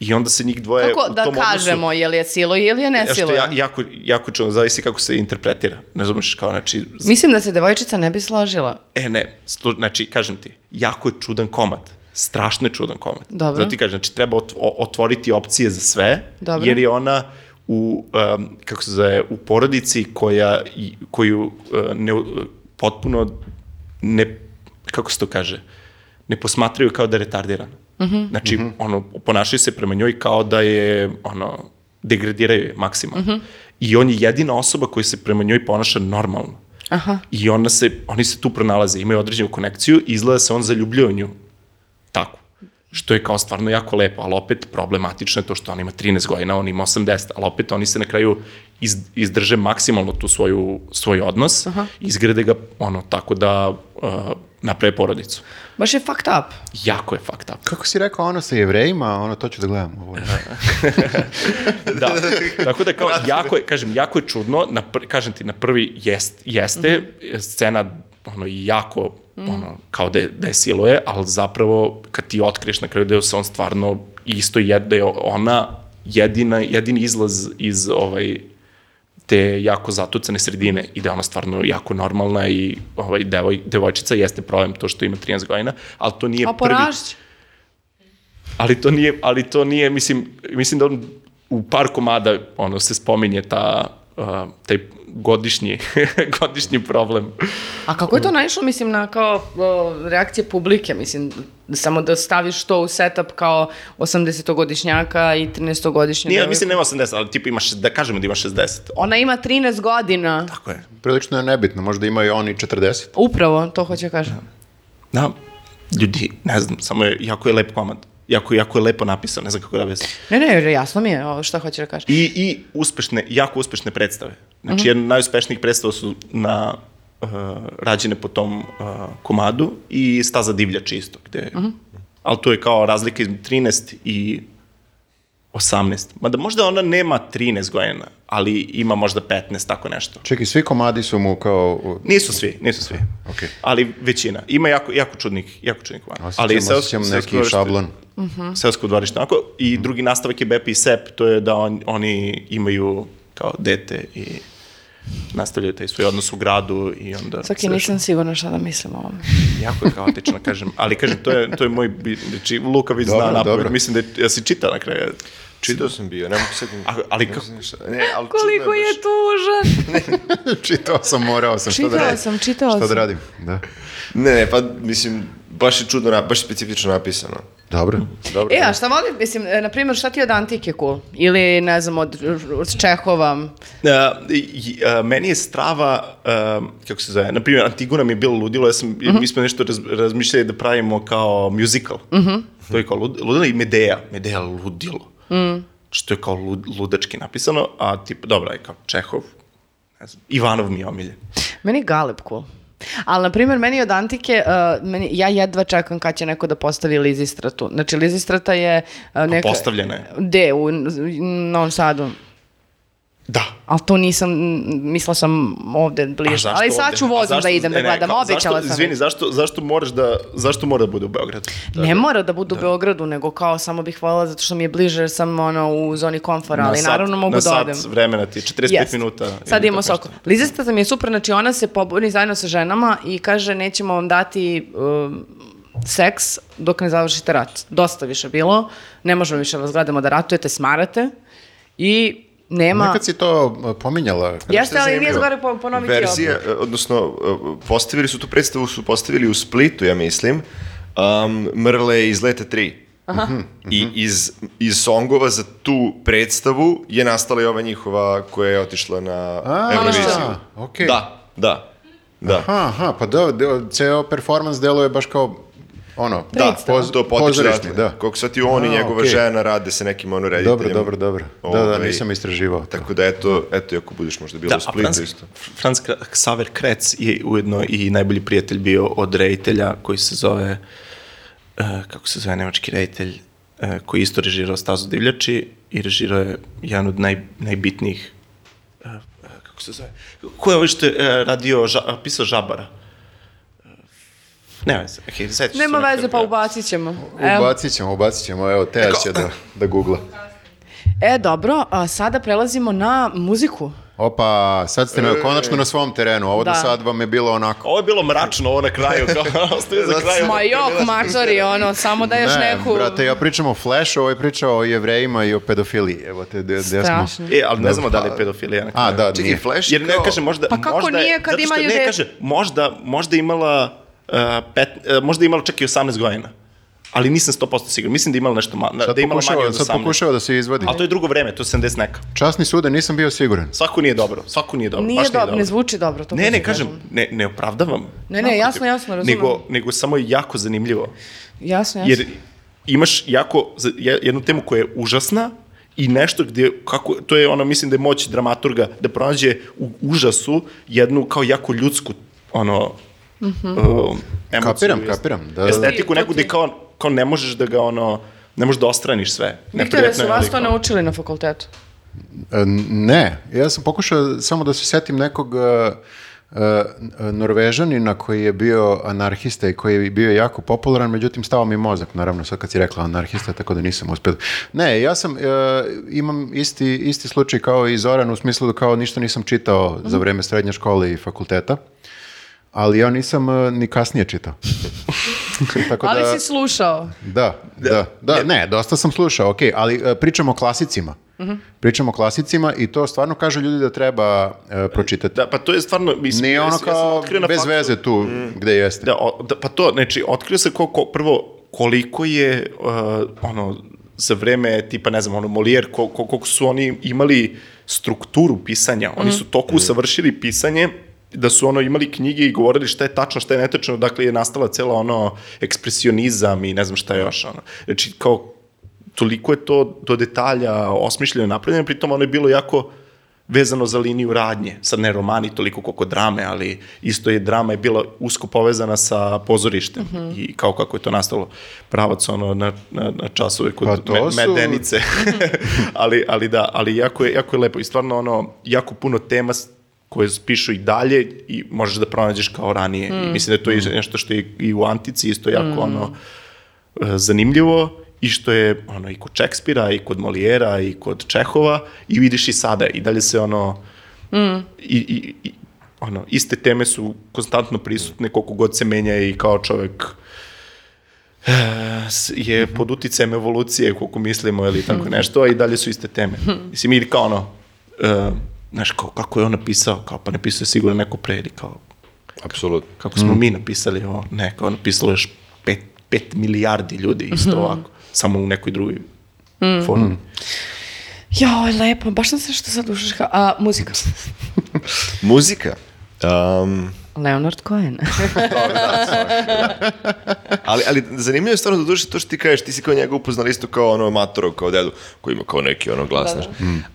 D: I onda se njih dvoje
B: Kako
D: u
B: da
D: tom
B: kažemo, je li je silo ili je ne
D: odnosu,
B: silo?
D: što ja, jako, jako čudno, zavisi kako se interpretira. Ne znam kao, znači,
B: Mislim da se devojčica ne bi složila.
D: E, ne, slu, znači, kažem ti, jako je čudan komad. Strašno je čudan komad.
B: Dobro.
D: Zato ti kažem, znači, treba ot- o- otvoriti opcije za sve,
B: Dobro.
D: jer je ona u, um, kako se zove, u porodici koja, i- koju uh, ne, potpuno ne, kako se to kaže, ne posmatraju kao da je retardirana.
B: Mhm.
D: Znači, ono, ponašaju se prema njoj kao da je, ono, degradiraju je maksimalno.
B: Mhm.
D: I on je jedina osoba koja se prema njoj ponaša normalno.
B: Aha.
D: I ona se, oni se tu pronalaze, imaju određenu konekciju i izgleda da se on zaljubljuje u nju. Tako. Što je kao stvarno jako lepo, ali opet problematično je to što on ima 13 godina, on ima 80, ali opet oni se na kraju iz, izdrže maksimalno tu svoju, svoj odnos, Aha. izgrade ga ono tako da uh, naprave porodicu.
B: Baš je fucked up.
D: Jako je fucked up.
A: Kako si rekao ono sa jevrejima, ono to ću da gledam. Ovo.
D: (laughs)
A: je-
D: da. Tako da kao jako je, kažem, jako je čudno, na pr, kažem ti, na prvi jest, jeste scena ono jako mm. ono, kao da je, da je siluje, ali zapravo kad ti otkriješ na kraju da je se on stvarno isto jed, da je ona jedina, jedini izlaz iz ovaj, te jako zatucane sredine i da je ona stvarno jako normalna i ovaj, devoj, devojčica jeste problem to što ima 13 godina, ali to
B: Pa
D: nije prvi...
B: Oporašć.
D: Ali to nije, ali to nije, mislim, mislim da on u par komada ono se spominje ta uh, taj godišnji (laughs) godišnji problem.
B: A kako je to naišlo, mislim, na kao o, reakcije publike, mislim, samo da staviš to u setup kao 80-godišnjaka i 13-godišnjaka.
D: Nije, mislim nema 80, ali tipa ima šest- da kažemo da ima 60.
B: Ona ima 13 godina.
D: Tako je.
A: Prilično je nebitno, možda imaju oni 40.
B: Upravo, to hoće kažem.
D: Da, ljudi, ne znam, samo je, jako je lep komad. Jako, jako je lepo napisan, ne znam kako da objasnim.
B: Ne, ne, jasno mi je ovo šta hoće da kažem.
D: I, I uspešne, jako uspešne predstave. Znači, jedna od najuspešnijih predstava su na, uh, rađene po tom uh, komadu i Staza divljači isto, gde... Ali to je kao razlika između 13 i 18. Mada možda ona nema 13 godina, ali ima možda 15, tako nešto.
A: Čekaj, svi komadi su mu kao... u-
D: Nisu svi, nisu svi.
A: Okej.
D: Ali većina. Ima jako, jako čudnih, jako čudnih komada.
A: Osjećam,
D: ali seosko-
A: osjećam
D: seosko
A: neki
D: dvorište-
A: šablon. Mhm.
D: Seosko dvorište, onako. I drugi nastavak je Bepi i Sep, to je da on, oni imaju kao dete i nastavljaju taj svoj odnos u gradu i onda...
B: Svaki nisam sigurna šta da mislim o ovome.
D: Jako je
A: (laughs)
D: kaotično, kažem. Ali kažem, to je, to je moj... bi- Znači, Luka već
A: Dobro,
D: zna
A: dobro.
D: napovet. Mislim da je, ja si čita na kraju.
C: Čitao sam bio, ne mogu sedim.
D: A- ali kako-
C: Ne, ali
B: Koliko je tužan!
A: (laughs) čitao sam, morao sam, što da
B: Čitala
A: radim?
B: sam, čitala
A: Što da
B: sam.
A: radim, da.
C: Ne, ne, pa mislim, baš je čudno, na- baš je specifično napisano.
A: Dobro, dobro.
B: E,
D: da.
B: a šta voli, mislim, e, na primjer, šta ti od antike cool? Ili, ne znam, od, od Čehova?
D: Uh, i- uh, meni je strava, um, kako se zove, na primjer, Antigona mi je bilo ludilo, ja sam,
B: Mhm.
D: mi smo nešto raz, razmišljali da pravimo kao musical.
B: Mhm.
D: To je kao lud, ludilo i Medea, Medea ludilo.
B: Mm.
D: Što je kao lud, ludački napisano, a tip, dobro, je kao Čehov, ne znam, Ivanov mi je omiljen.
B: Meni je Galeb cool. Ali, na primjer, meni od antike, uh, meni, ja jedva čekam kad će neko da postavi Lizistratu. Znači, Lizistrata je uh, neka...
D: Postavljena je.
B: Gde? U N- Novom Sadu.
D: Da.
B: Ali to nisam, m, mislila sam ovde
D: A
B: bliže.
D: zašto
B: Ali sad
D: ovde?
B: ću
D: A
B: vozom
D: zašto-
B: da
D: e,
B: idem da
D: ne, ne,
B: gledam,
D: kao,
B: obećala
D: zašto,
B: sam.
D: Izvini, zašto, zašto, moraš da, zašto mora da bude u Beogradu?
B: Ne mora da budu u Beogradu, nego kao samo bih voljela zato što mi je bliže jer sam ono u zoni komfora, ali
D: Na sat-
B: naravno mogu
D: na
B: da odem.
D: sat vremena ti, 45
B: Jeste.
D: minuta. ili
B: Sad imamo
D: tako
B: soko. Lizasta mi je super, znači ona se pobuni zajedno sa ženama i kaže nećemo vam dati um, seks dok ne završite rat. Dosta više bilo, ne možemo više da vas gledamo da ratujete, smarate i nema...
A: Nekad si to uh, pominjala.
B: Jeste, ali nije
A: zanimljivo.
B: zgore po- ponoviti
C: Verzija,
B: opet.
C: e, odnosno, e, postavili su tu predstavu, su postavili u Splitu, ja mislim, um, Mrle iz Leta 3.
D: Mhm.
C: I iz, iz songova za tu predstavu je nastala i ova njihova koja je otišla na
A: A,
C: Euroviziju.
A: okej.
C: Da, da, da.
A: Aha, aha, pa da, de- ceo performans deluje baš kao ono,
C: Da,
B: Predstava.
A: poz-
C: to potiče
A: pozorišni,
C: odatle.
A: da.
C: Koliko sad i on i
A: A,
C: njegova
A: okej.
C: žena rade sa nekim ono rediteljem.
A: Dobro, dobro, dobro. Da, da,
C: Ovaj,
A: nisam istraživao. Tako.
C: Tako da eto, eto i ako budeš možda bilo
D: Da,
C: u
D: a
C: Splitu
D: Franz,
C: isto.
D: Franz Kra- Xaver Krec je ujedno i najbolji prijatelj bio od reditelja koji se zove, uh, kako se zove nemački reditelj, uh, koji je isto režirao Stazu divljači i režirao je jedan od naj, najbitnijih, uh, uh, kako se zove, ko je ovaj što je uh, radio, ža, uh, pisao Žabara? Uh, Nema veze, okej, okay, da se.
B: Nema
D: na kraju.
B: veze, pa ubacit ćemo. Evo.
A: Ubacit ćemo, ubacit ćemo, evo, Teja će da, da googla.
B: E, dobro, a sada prelazimo na muziku.
A: Opa, sad ste
C: E.
A: me konačno na svom terenu, ovo do
B: Da.
A: sad vam je bilo onako.
D: Ovo je bilo mračno, ovo na kraju, (laughs) kao ostaje za kraj.
B: Ma jok, mačari, ono, samo da još
A: Ne,
B: neku...
A: brate, ja pričam o Flashu, ovo je pričao o jevrejima i o pedofiliji. Evo te, gde, gde smo?
B: Strašno.
D: E, ali ne znamo da li je pedofilija na kraju.
A: A, da,
C: Čekaj,
A: nije.
C: Flash
D: Jer ne
C: kao-
D: kaže možda
B: Pa kako
D: možda je-
B: nije kad
D: zato što
B: imaju
D: ne
B: dete?
D: kaže možda možda je imala uh, pet, uh, možda je imala čak i 18 godina. Ali nisam 100% siguran. Mislim da je imala nešto ma,
A: Sad
D: da je imala manje
A: E, pokušao,
D: od
A: sad
D: 18.
A: pokušao da se izvadi.
D: Ali to je drugo vreme, to je 70 neka.
A: Časni sude, nisam bio siguran.
D: Svako nije dobro, svako nije dobro.
B: Nije
D: baš
B: dobro, ne zvuči dobro. To
D: Ne,
B: hoću
D: ne,
B: da
D: kažem, ne, ne opravdavam.
B: Ne, ne, jasno, jasno, razumem.
D: Nego, nego samo je jako zanimljivo.
B: Jasno, jasno.
D: Jer imaš jako, za- je- jednu temu koja je užasna i nešto gdje, kako, to je ono, mislim da je moć dramaturga da pronađe u užasu jednu kao jako ljudsku, ono, mm
B: Mhm.
D: emociju.
A: Kapiram,
D: jest-
A: kapiram, da, da, da.
D: Estetiku
B: To ti-
D: neku gdje kao, kao ne možeš da ga, ono, ne možeš da ostraniš sve.
B: Viktore,
D: Neprijatno
B: su
D: je,
B: vas
D: ali
B: to
D: kao-
B: naučili na fakultetu?
A: E, Ne, ja sam pokušao samo da se setim nekog e, Norvežanina koji je bio anarhista i koji je bio jako popularan, međutim stao mi mozak, naravno, sad kad si rekla anarhista, tako da nisam uspio. Ne, ja sam, e, imam isti, isti slučaj kao i Zoran, u smislu da kao ništa nisam čitao
D: Mhm.
A: za vreme srednje škole i fakulteta, ali ja nisam e, ni kasnije čitao.
D: (laughs)
A: tako
B: Ali
A: da,
B: si slušao.
A: da, da, da, ne, dosta sam slušao, ok, ali e, pričamo o klasicima. Pričamo o klasicima i to stvarno kažu ljudi da treba e, pročitati.
D: Da, pa to je stvarno... Mislim,
A: Nije
D: ja
A: ono
D: sam- ja sam
A: kao
D: otkrio na
A: bez
D: faksu-
A: veze tu gde jeste.
D: Da, o- da, pa to, znači, otkrio se ko, ko, prvo koliko je, uh, ono, za vreme, tipa, ne znam, ono, Molijer, ko, ko, koliko su oni imali strukturu pisanja, oni su toliko usavršili pisanje, da su ono imali knjige i govorili šta je tačno, šta je netačno, dakle je nastala cela ono ekspresionizam i ne znam šta još ono. Znači kao toliko je to do detalja osmišljeno i napravljeno, pritom ono je bilo jako vezano za liniju radnje. Sad ne romani toliko koliko drame, ali isto je drama je bila usko povezana sa pozorištem i kao kako je to nastalo pravac ono na, na, na časove kod
A: Pa to
D: me-
A: su-
D: medenice. (laughs) ali, ali da, ali jako je, jako je lepo i stvarno ono, jako puno tema s- koje pišu i dalje i možeš da pronađeš kao ranije. I mislim da je to
A: Mhm.
D: i nešto što je i u antici isto jako ono, e, zanimljivo i što je ono i kod Čekspira i kod Molijera i kod Čehova i vidiš i sada i dalje se ono i, i, i ono, iste teme su konstantno prisutne koliko god se menja i kao čovek eh, s- je pod uticajem evolucije koliko mislimo ili tako nešto, a i dalje su iste teme. Mislim, ili kao ono, eh, znaš, kao, kako je on napisao, kao pa napisao je sigurno neko pre ili kao
C: Apsolutno.
D: kako smo mi napisali ovo, ne, kao napisalo još pet, pet milijardi ljudi isto ovako, samo u nekoj drugoj formi.
B: Joj, lepo, baš sam se što sad ušaš ka... A, muzika.
C: Muzika. Um,
B: Leonard (laughs) Cohen.
C: (laughs) ali, ali zanimljivo je stvarno doduše to što ti kažeš, ti si kao njega upoznali isto kao ono Matoro, kao dedu, koji ima kao neki ono glas, znaš.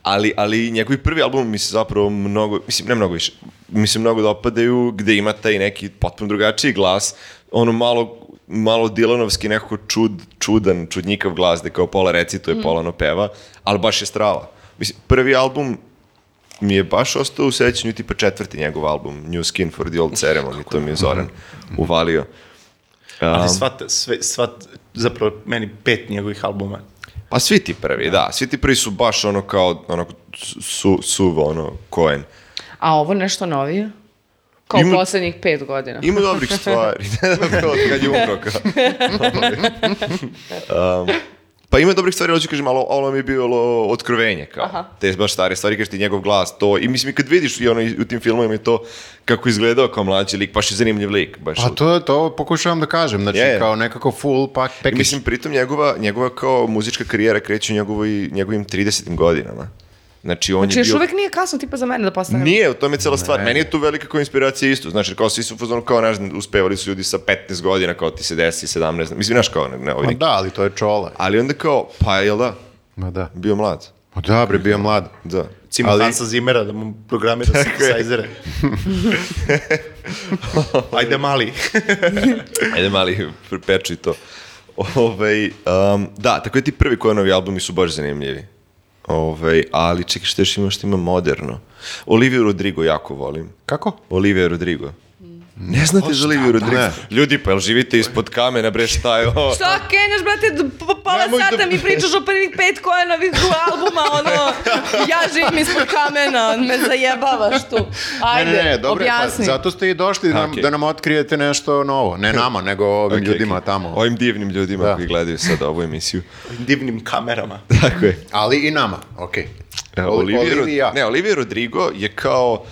C: Ali, ali njegovi prvi album mi se zapravo mnogo, mislim ne mnogo više, mi se mnogo dopadaju gde ima taj neki potpuno drugačiji glas, ono malo malo Dylanovski nekako čud, čudan, čudnjikav glas, gde kao pola recituje, pola ono peva, ali baš je strava. Mislim, prvi album mi je baš ostao u sećanju tipa četvrti njegov album, New Skin for the Old Ceremony, to mi je Mhm. Zoran uvalio.
D: Ali
C: Um,
D: sva, te- sve, sva, te- zapravo meni pet njegovih albuma.
C: Pa svi ti prvi, da. Svi ti prvi su baš ono kao, ono, su, suvo, ono, Cohen.
B: A ovo nešto novije? Kao
C: Ima-
B: poslednjih pet godina.
C: Ima (laughs) dobrih stvari. Ne znam kao od kad je umro, kao. (laughs) um, pa ima dobrih stvari, ali ću kažem, ali ono mi je bilo otkrovenje, kao. Te baš stare stvari, kažeš ti njegov glas, to. I mislim, i kad vidiš i ono, i u tim filmovima i to kako je izgledao kao mlađi lik, baš je zanimljiv lik. Baš
A: Pa to, to pokušavam da kažem, znači
C: Je, je.
A: kao nekako full pack,
C: I
A: package.
C: mislim, pritom njegova, njegova kao muzička karijera kreće u njegovoj, njegovim 30. godinama. Znači, on
B: Znači,
C: je
B: još
C: bio...
B: uvek nije kasno tipa za mene da postanem...
C: Nije, u tome je cela stvar. Meni je tu velika kao inspiracija isto. Znači, kao svi su u fazonu, kao, znaš, uspevali su ljudi sa 15 godina, kao ti se desi, 17, mislim, znaš, kao, ne, ne, ovaj
A: Ma
C: neki.
A: da, ali to je čola.
C: Ali onda kao, pa, jel da,
A: Ma da.
C: bio mlad.
A: Ma da, bre, bio mlad.
C: Da.
D: Cima
A: Ali-
D: Hansa Zimera da mu programira synthesizere. Ajde mali.
C: Ajde mali, prepeči to. Ovaj, um, da, tako je ti prvi Cohenovi albumi su baš zanimljivi. Ovaj, ali čekaj, što još ima, što ima moderno. Olivia Rodrigo jako volim.
A: Kako?
C: Olivia Rodrigo. Ne znate za Olivia Rodrigo? Ljudi, pa jel živite ispod kamena, bre, šta je ovo?
B: Šta kenjaš, brate, d- po- pola
C: Nemoj da-
B: sata mi pričaš o prvih pet Cohenovih albuma, ono, ja živim ispod kamena, me zajebavaš tu. Ajde,
A: dobro je, pa
B: objasni.
A: zato ste i došli nam,
C: Okej.
A: da nam otkrijete nešto novo. Ne nama, nego ovim
C: Ok,
A: ljudima
C: ok.
A: tamo.
C: Ovim divnim ljudima
A: Da.
C: koji gledaju sad ovu emisiju. (laughs)
D: Divnim kamerama.
C: Tako je.
A: Ali i nama, okej.
C: E,
A: Oli-
C: Olivia, Rod-
A: Da, Olivia.
C: Ne, Olivia Rodrigo je kao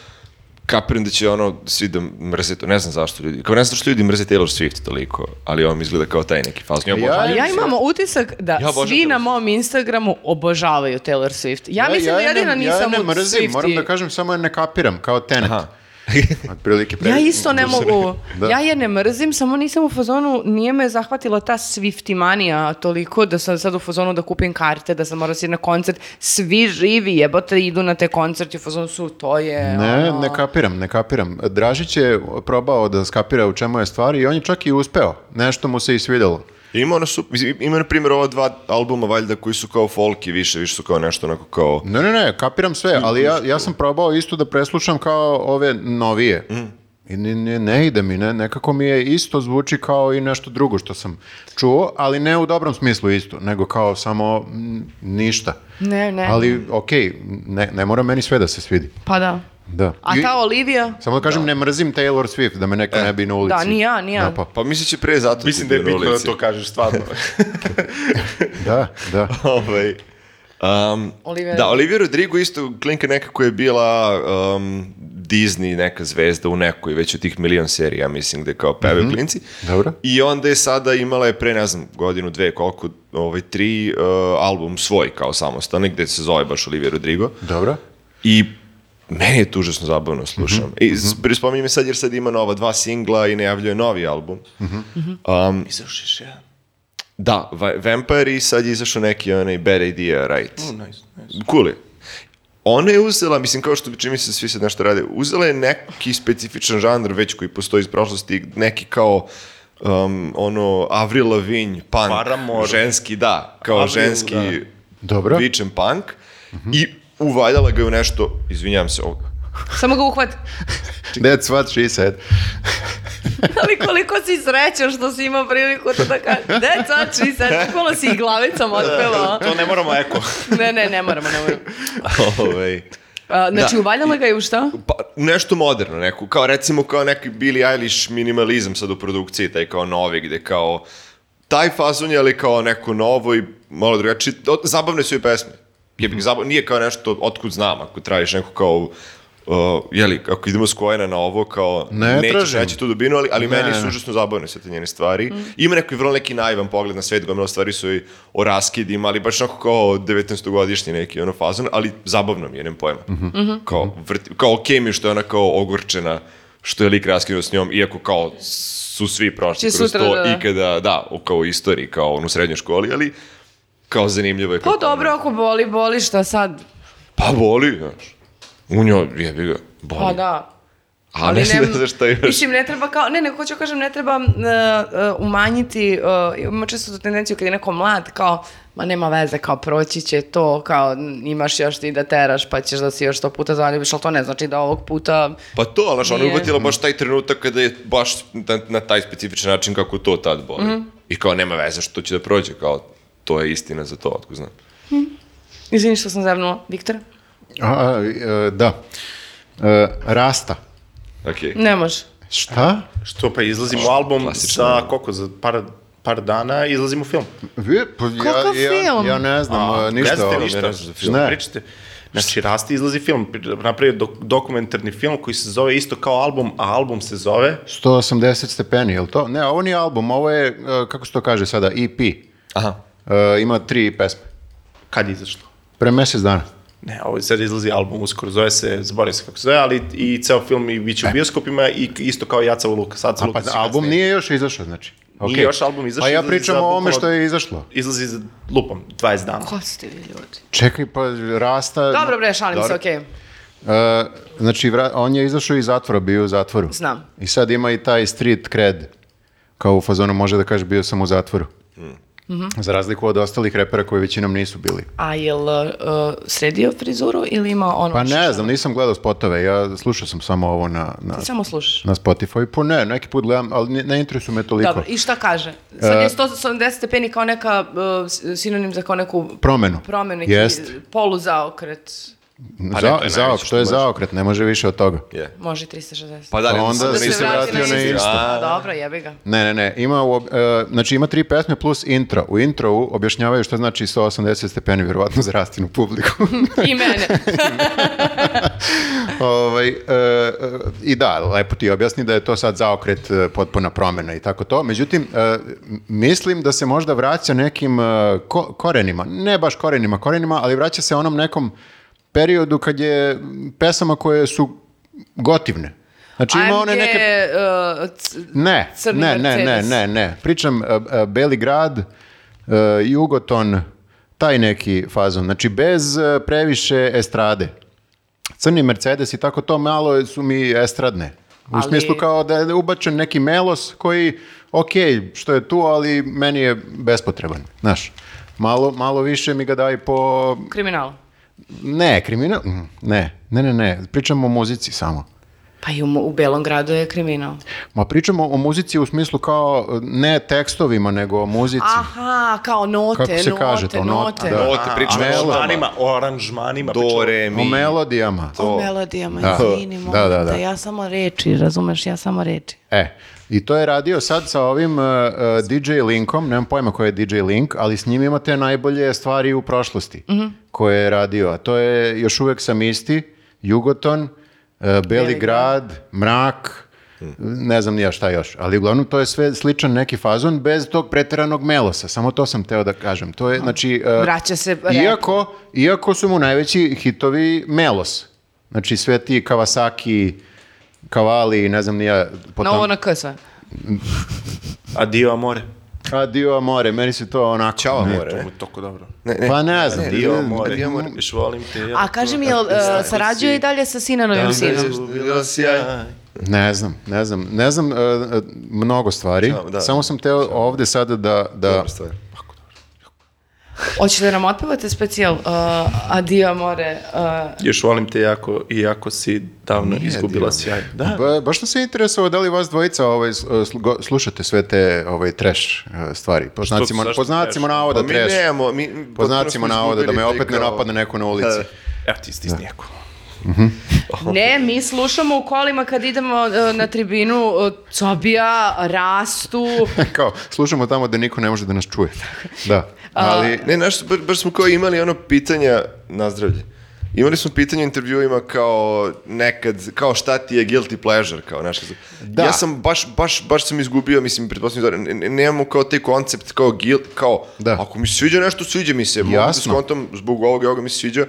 C: kapiram da će ono svi da mrze to. Ne znam zašto ljudi. Kao ne znam zašto ljudi mrze Taylor Swift toliko, ali on mi izgleda kao taj neki faz. Ja,
A: Ja-
C: ja,
B: Ali ja imam utisak da
C: obožavam
B: svi na
C: Taylor Swift.
B: mom Instagramu obožavaju Taylor Swift. Ja, mislim da
A: je ne-
B: jedina nisam
A: Ja je
B: u
A: ne mrzim, moram
B: Swifti.
A: da kažem, samo je ne kapiram, kao Tenet.
C: Aha.
A: (laughs) Otprilike pre-
B: Ja
A: (laughs)
B: isto ne mogu.
A: Da.
B: Ja je ne mrzim, samo nisam u fazonu, nije me zahvatila ta Swiftimanija toliko da sam sad u fazonu da kupim karte, da sam morao si na koncert. Svi živi jebote idu na te koncerte, u fazonu su, to je...
A: Ne,
B: ono-
A: ne kapiram, ne kapiram. Dražić je probao da skapira u čemu je stvar i on je čak i uspeo. Nešto mu se i svidelo.
C: ima ono su, mislim, ima na primjer ova dva albuma valjda koji su kao folk i više, više su kao nešto onako kao
A: Ne, ne, ne, kapiram sve, ali ja, ja sam probao isto da preslušam kao ove novije. I ne, ne, ne ide mi, ne, nekako mi je isto zvuči kao i nešto drugo što sam čuo, ali ne u dobrom smislu isto, nego kao samo mm, ništa.
B: Ne, ne.
A: Ali, okej, ne, ne mora meni sve da se svidi.
B: Pa da.
A: Da.
B: A
A: I-
B: ta Olivia?
A: Samo da kažem, ne mrzim Taylor Swift, da me neko ne bi na ulici.
B: da, ni ja, ni ja.
A: napao.
C: Pa mislim će pre zato
D: Mislim
C: ti
D: da je
C: bio na
D: bitno da
C: ulici.
D: to kažeš stvarno.
A: Da, da.
C: Ovaj, um,
B: Olivia-
C: Da, Olivia Rodrigo isto klinka neka koja je bila um, Disney neka zvezda u nekoj već od tih milion serija, mislim, gde kao peve klinci.
A: Dobro.
C: I onda je sada imala je pre, ne znam, godinu, dve, koliko, ovaj, tri uh, album svoj kao samostalni, gde se zove baš Olivia Rodrigo.
A: Dobro.
C: I meni je to užasno zabavno slušam. I s- prispominjem je sad jer sad ima nova dva singla i najavljuje novi album. Um,
D: Izrašiš jedan.
C: da, Va- Vampire i sad je izašao neki onaj Bad Idea, right?
D: Oh, nice, nice.
C: Cool je. Ona je uzela, mislim kao što čini mi se svi sad nešto rade, uzela je neki specifičan žanr već koji postoji iz prošlosti, neki kao um, ono Avril Lavigne, punk,
D: Paramore.
C: ženski, da, kao
D: Avril, da.
C: ženski
A: Dobro.
C: vičen punk i uvaljala ga je u nešto, izvinjam se, ovo,
B: Samo ga uhvati.
A: That's what she said.
B: Ali Pa koliko si srećan što si imao priliku to da kaže. Deca, či sad, bukvalno si i glavicom otpevao.
D: To ne moramo eko.
B: Ne, ne, ne moramo, ne moramo.
C: ovaj,
B: A, znači,
C: Da.
B: uvaljala ga je u šta?
C: pa, nešto moderno, neku, kao recimo kao neki Billie Eilish minimalizam sad u produkciji, taj kao novi, gde kao taj fazon je ali kao neko novo i malo drugačije, O, zabavne su i pesme. Je,
A: Mhm.
C: zabavno, nije kao nešto otkud znam, ako tražiš neku kao Uh, jeli, ako idemo s Kojena na ovo, kao
A: Ne
C: nećeš
A: tražim.
C: naći tu dubinu, ali, ali
A: Ne,
C: meni su
A: ne.
C: užasno zabavne sve te njene stvari.
B: Mhm.
C: Ima neki vrlo neki naivan pogled na svet, gomila stvari su i o raskidima, ali baš onako kao 19-godišnji neki ono fazon, ali zabavno mi je, nemam pojma.
B: Mhm.
C: Kao, vrti, kao okej mi je što je ona kao ogorčena, što je lik raskinuo s njom, iako kao su svi prošli
B: Će
C: kroz
B: sutra,
C: to
B: da, da.
C: ikada, da, u- kao u istoriji, kao ono u srednjoj školi, ali kao zanimljivo je.
B: Pa
C: kako-
B: dobro, ako boli, boli, šta sad?
C: Pa boli, znaš. U njoj jebi ga, boli.
B: Pa da.
C: A ne znam
B: nem-
C: zašto još.
B: Mislim, ne treba kao, ne, ne, hoću da kažem, ne treba uh, uh, umanjiti, uh, ima često tu tendenciju kad je neko mlad, kao, ma nema veze, kao proći će to, kao n- imaš još ti da teraš, pa ćeš da si još sto puta zaljubiš, ali to ne znači da ovog puta,
C: Pa to, ali znaš, ona je
B: Nije.
C: uhvatila baš taj trenutak kada je baš na, na taj specifičan način kako to tad boli. I kao nema veze što će da prođe, kao to je istina za to, otko znam.
B: izvini što sam zevnula, Viktor,
A: A, a, e, da. E, rasta.
C: Okej.
B: ne može.
A: Šta?
D: Što pa izlazimo u album
C: Klasično.
D: sa koliko za par par dana izlazimo u film.
A: Vi, pa,
B: Kakav
A: ja, ja,
B: film?
A: ja ne znam, e, ništa.
D: Gledate
A: o-
D: ništa.
C: ne znaš za film.
A: Ne.
D: Pričate. Znači, Rasti izlazi film, napravio dok, dokumentarni film koji se zove isto kao album, a album se zove
A: 180 stepeni, je li to? Ne, ovo nije album, ovo je, e, kako se to kaže sada, EP.
C: Aha.
A: E, ima tri pesme.
D: Kad je izašlo?
A: Pre mesec dana.
D: Ne, ovo sad izlazi album uskoro, zove se, zaboravim se kako se zove, ali i ceo film i bit će u bioskopima i isto kao Jaca Luka. Sad
A: E. A,
D: Luka
A: pa album nije još izašao, znači.
D: Nije
A: Okej.
D: još album izašao,
A: Pa ja
D: izlazi
A: pričam
D: za
A: o ovome
D: bukvalno-
A: što je izašlo.
D: Izlazi za lupom, 20 dana.
B: Ko ste vi ljudi?
A: Čekaj, pa rasta...
B: Dobro bre, šalim se,
A: Dobro.
B: okej.
A: E, znači, vra- on je izašao iz zatvora, bio je u zatvoru.
B: Znam.
A: I sad ima i taj street cred, kao u fazonu može da kaže bio sam u zatvoru.
B: Mhm.
A: Za razliku od ostalih repera koji većinom nisu bili.
B: A jel uh, sredio frizuru ili ima ono?
A: Pa
B: što-
A: ne znam, nisam gledao spotove, ja slušao sam samo ovo na, na,
B: Ti samo slušaš.
A: na Spotify. Pa ne, neki put gledam, ali ne, ne interesuje me toliko.
B: Dobro, i šta kaže?
A: E.
B: Sad je 180 stepeni kao neka uh, s- sinonim za kao neku
A: Promenu.
B: promenu, neki
A: Jest.
B: poluzaokret.
A: Pa
C: ne, to je najviše
A: zaokret,
C: što
A: to je
C: može.
A: zaokret, ne može više od toga.
C: Je.
B: Može i 360.
C: Pa da, ne,
A: Pa onda
C: da
A: si se
C: nisam-
A: vrati vratio na isto.
B: A,
C: A,
B: Pa Dobro, jebi ga.
A: Ne, ne, ne, ima, u ob- e, znači ima tri pesme plus intro. U introvu objašnjavaju što znači 180 stepeni, vjerovatno za rastinu publiku. (laughs)
B: I mene.
A: Ovaj, e, e, I da, lepo ti objasni da je to sad zaokret e, potpuna promena i tako to. Međutim, e, m- mislim da se možda vraća nekim e, ko- korenima, ne baš korenima, korenima, ali vraća se onom nekom periodu kad je m, pesama koje su gotivne. Znači ima one
B: AMG,
A: neke...
B: uh, c-
A: Ne,
B: crni
A: ne, ne, ne,
B: Mercedes.
A: ne, ne. Pričam e, e, Beli grad, e, Jugoton, taj neki fazon. Znači bez e, previše estrade. Crni Mercedes i tako to malo su mi estradne. U
B: Ali-
A: smislu kao da je ubačen neki melos koji, ok, što je tu, ali meni je bespotreban. Znaš, malo, malo više mi ga daj po...
B: kriminal.
A: Ne, kriminal... mm, Ne, ne, ne, ne. Pričamo o muzici samo.
B: Pa i u, mo- u Belom gradu je kriminal.
A: Ma pričamo o muzici u smislu kao e, ne tekstovima, nego o muzici.
B: Aha, kao note,
A: Kako se
B: note,
A: kaže to? Not-
B: Ah, note.
A: da.
C: Note, pričamo
A: a,
C: o
A: melodama.
C: notama.
D: Oranžmanima, oranžmanima.
C: Do, re,
A: O
C: mi.
A: melodijama.
B: O melodijama,
A: Da.
B: izvini,
A: Da,
B: molim te,
A: da, da.
B: ja samo reči, razumeš, ja samo reči.
A: E, i to je radio sad sa ovim e, e, DJ Linkom, nemam pojma ko je DJ Link, ali s njim imate najbolje stvari u prošlosti koje je radio, a to je još uvek sam isti, Jugoton, e, Beli grad, Mrak, ne znam ni ja šta još, ali uglavnom to je sve sličan neki fazon bez tog preteranog melosa, samo to sam teo da kažem. To je, znači, e,
B: Vraća se repu.
A: iako, iako su mu najveći hitovi melos, znači sve ti Kawasaki, Kavali, ne znam ni ja,
B: Na
A: potom
B: ovo na K sve.
D: Adio amore.
A: Adio amore, meni se to onako...
C: Ćao,
A: ne.
C: more.
D: To
C: ne?
D: mu je toliko dobro.
C: Ne, ne.
A: Pa ne znam.
D: Adio
A: ne-
D: amore.
C: Adio amore.
D: Još volim te. ja.
B: A kaži mi, jel, e, sarađuje i dalje sa Sinanovim
D: Da,
B: sinom?
D: da, bila si ja.
A: Ne znam, ne znam. Ne znam e, e, mnogo stvari.
C: Ćao, da.
A: Samo sam teo ovde sada da... da
C: Dobra stvar.
B: Hoćete da nam otpevate specijal uh, Adio Amore? Uh,
D: Još volim te jako, iako si davno izgubila
C: Adio.
D: sjaj. Da.
A: Ba- baš sam se interesovao da li vas dvojica ovaj, s- slu- go- slušate sve te ovaj, trash e, stvari. Po znacima,
D: zašto
A: po znacima
D: trash?
A: navoda
C: Pa mi
A: trash.
C: nemamo, mi
A: Po
C: potpuno
A: znacima
C: smo
A: navoda da me
C: izgubili
A: opet
C: taj
A: ne
C: kao-
A: napadne neko na
C: (laughs)
A: ulici.
C: Da, da.
D: Evo ti stisni jako.
B: ne, mi slušamo u kolima kad idemo uh, na tribinu uh, Cobija, Rastu,
A: (laughs) Kao, slušamo tamo da niko ne može da nas čuje. Da, ali...
C: Ne, znaš, baš, baš smo kao imali ono pitanja, nazdravlje, imali smo pitanja u intervjuima kao nekad, kao šta ti je guilty pleasure, kao nešto.
A: Da.
C: Ja sam baš, baš, baš sam izgubio, mislim, pretpostavljam, da ne- ne- nemamo kao taj koncept, kao guilt, kao,
A: Da.
C: ako mi se sviđa nešto, sviđa mi se, mogu da
A: Jasno.
C: skontam zbog ovoga, i ovoga mi se sviđa,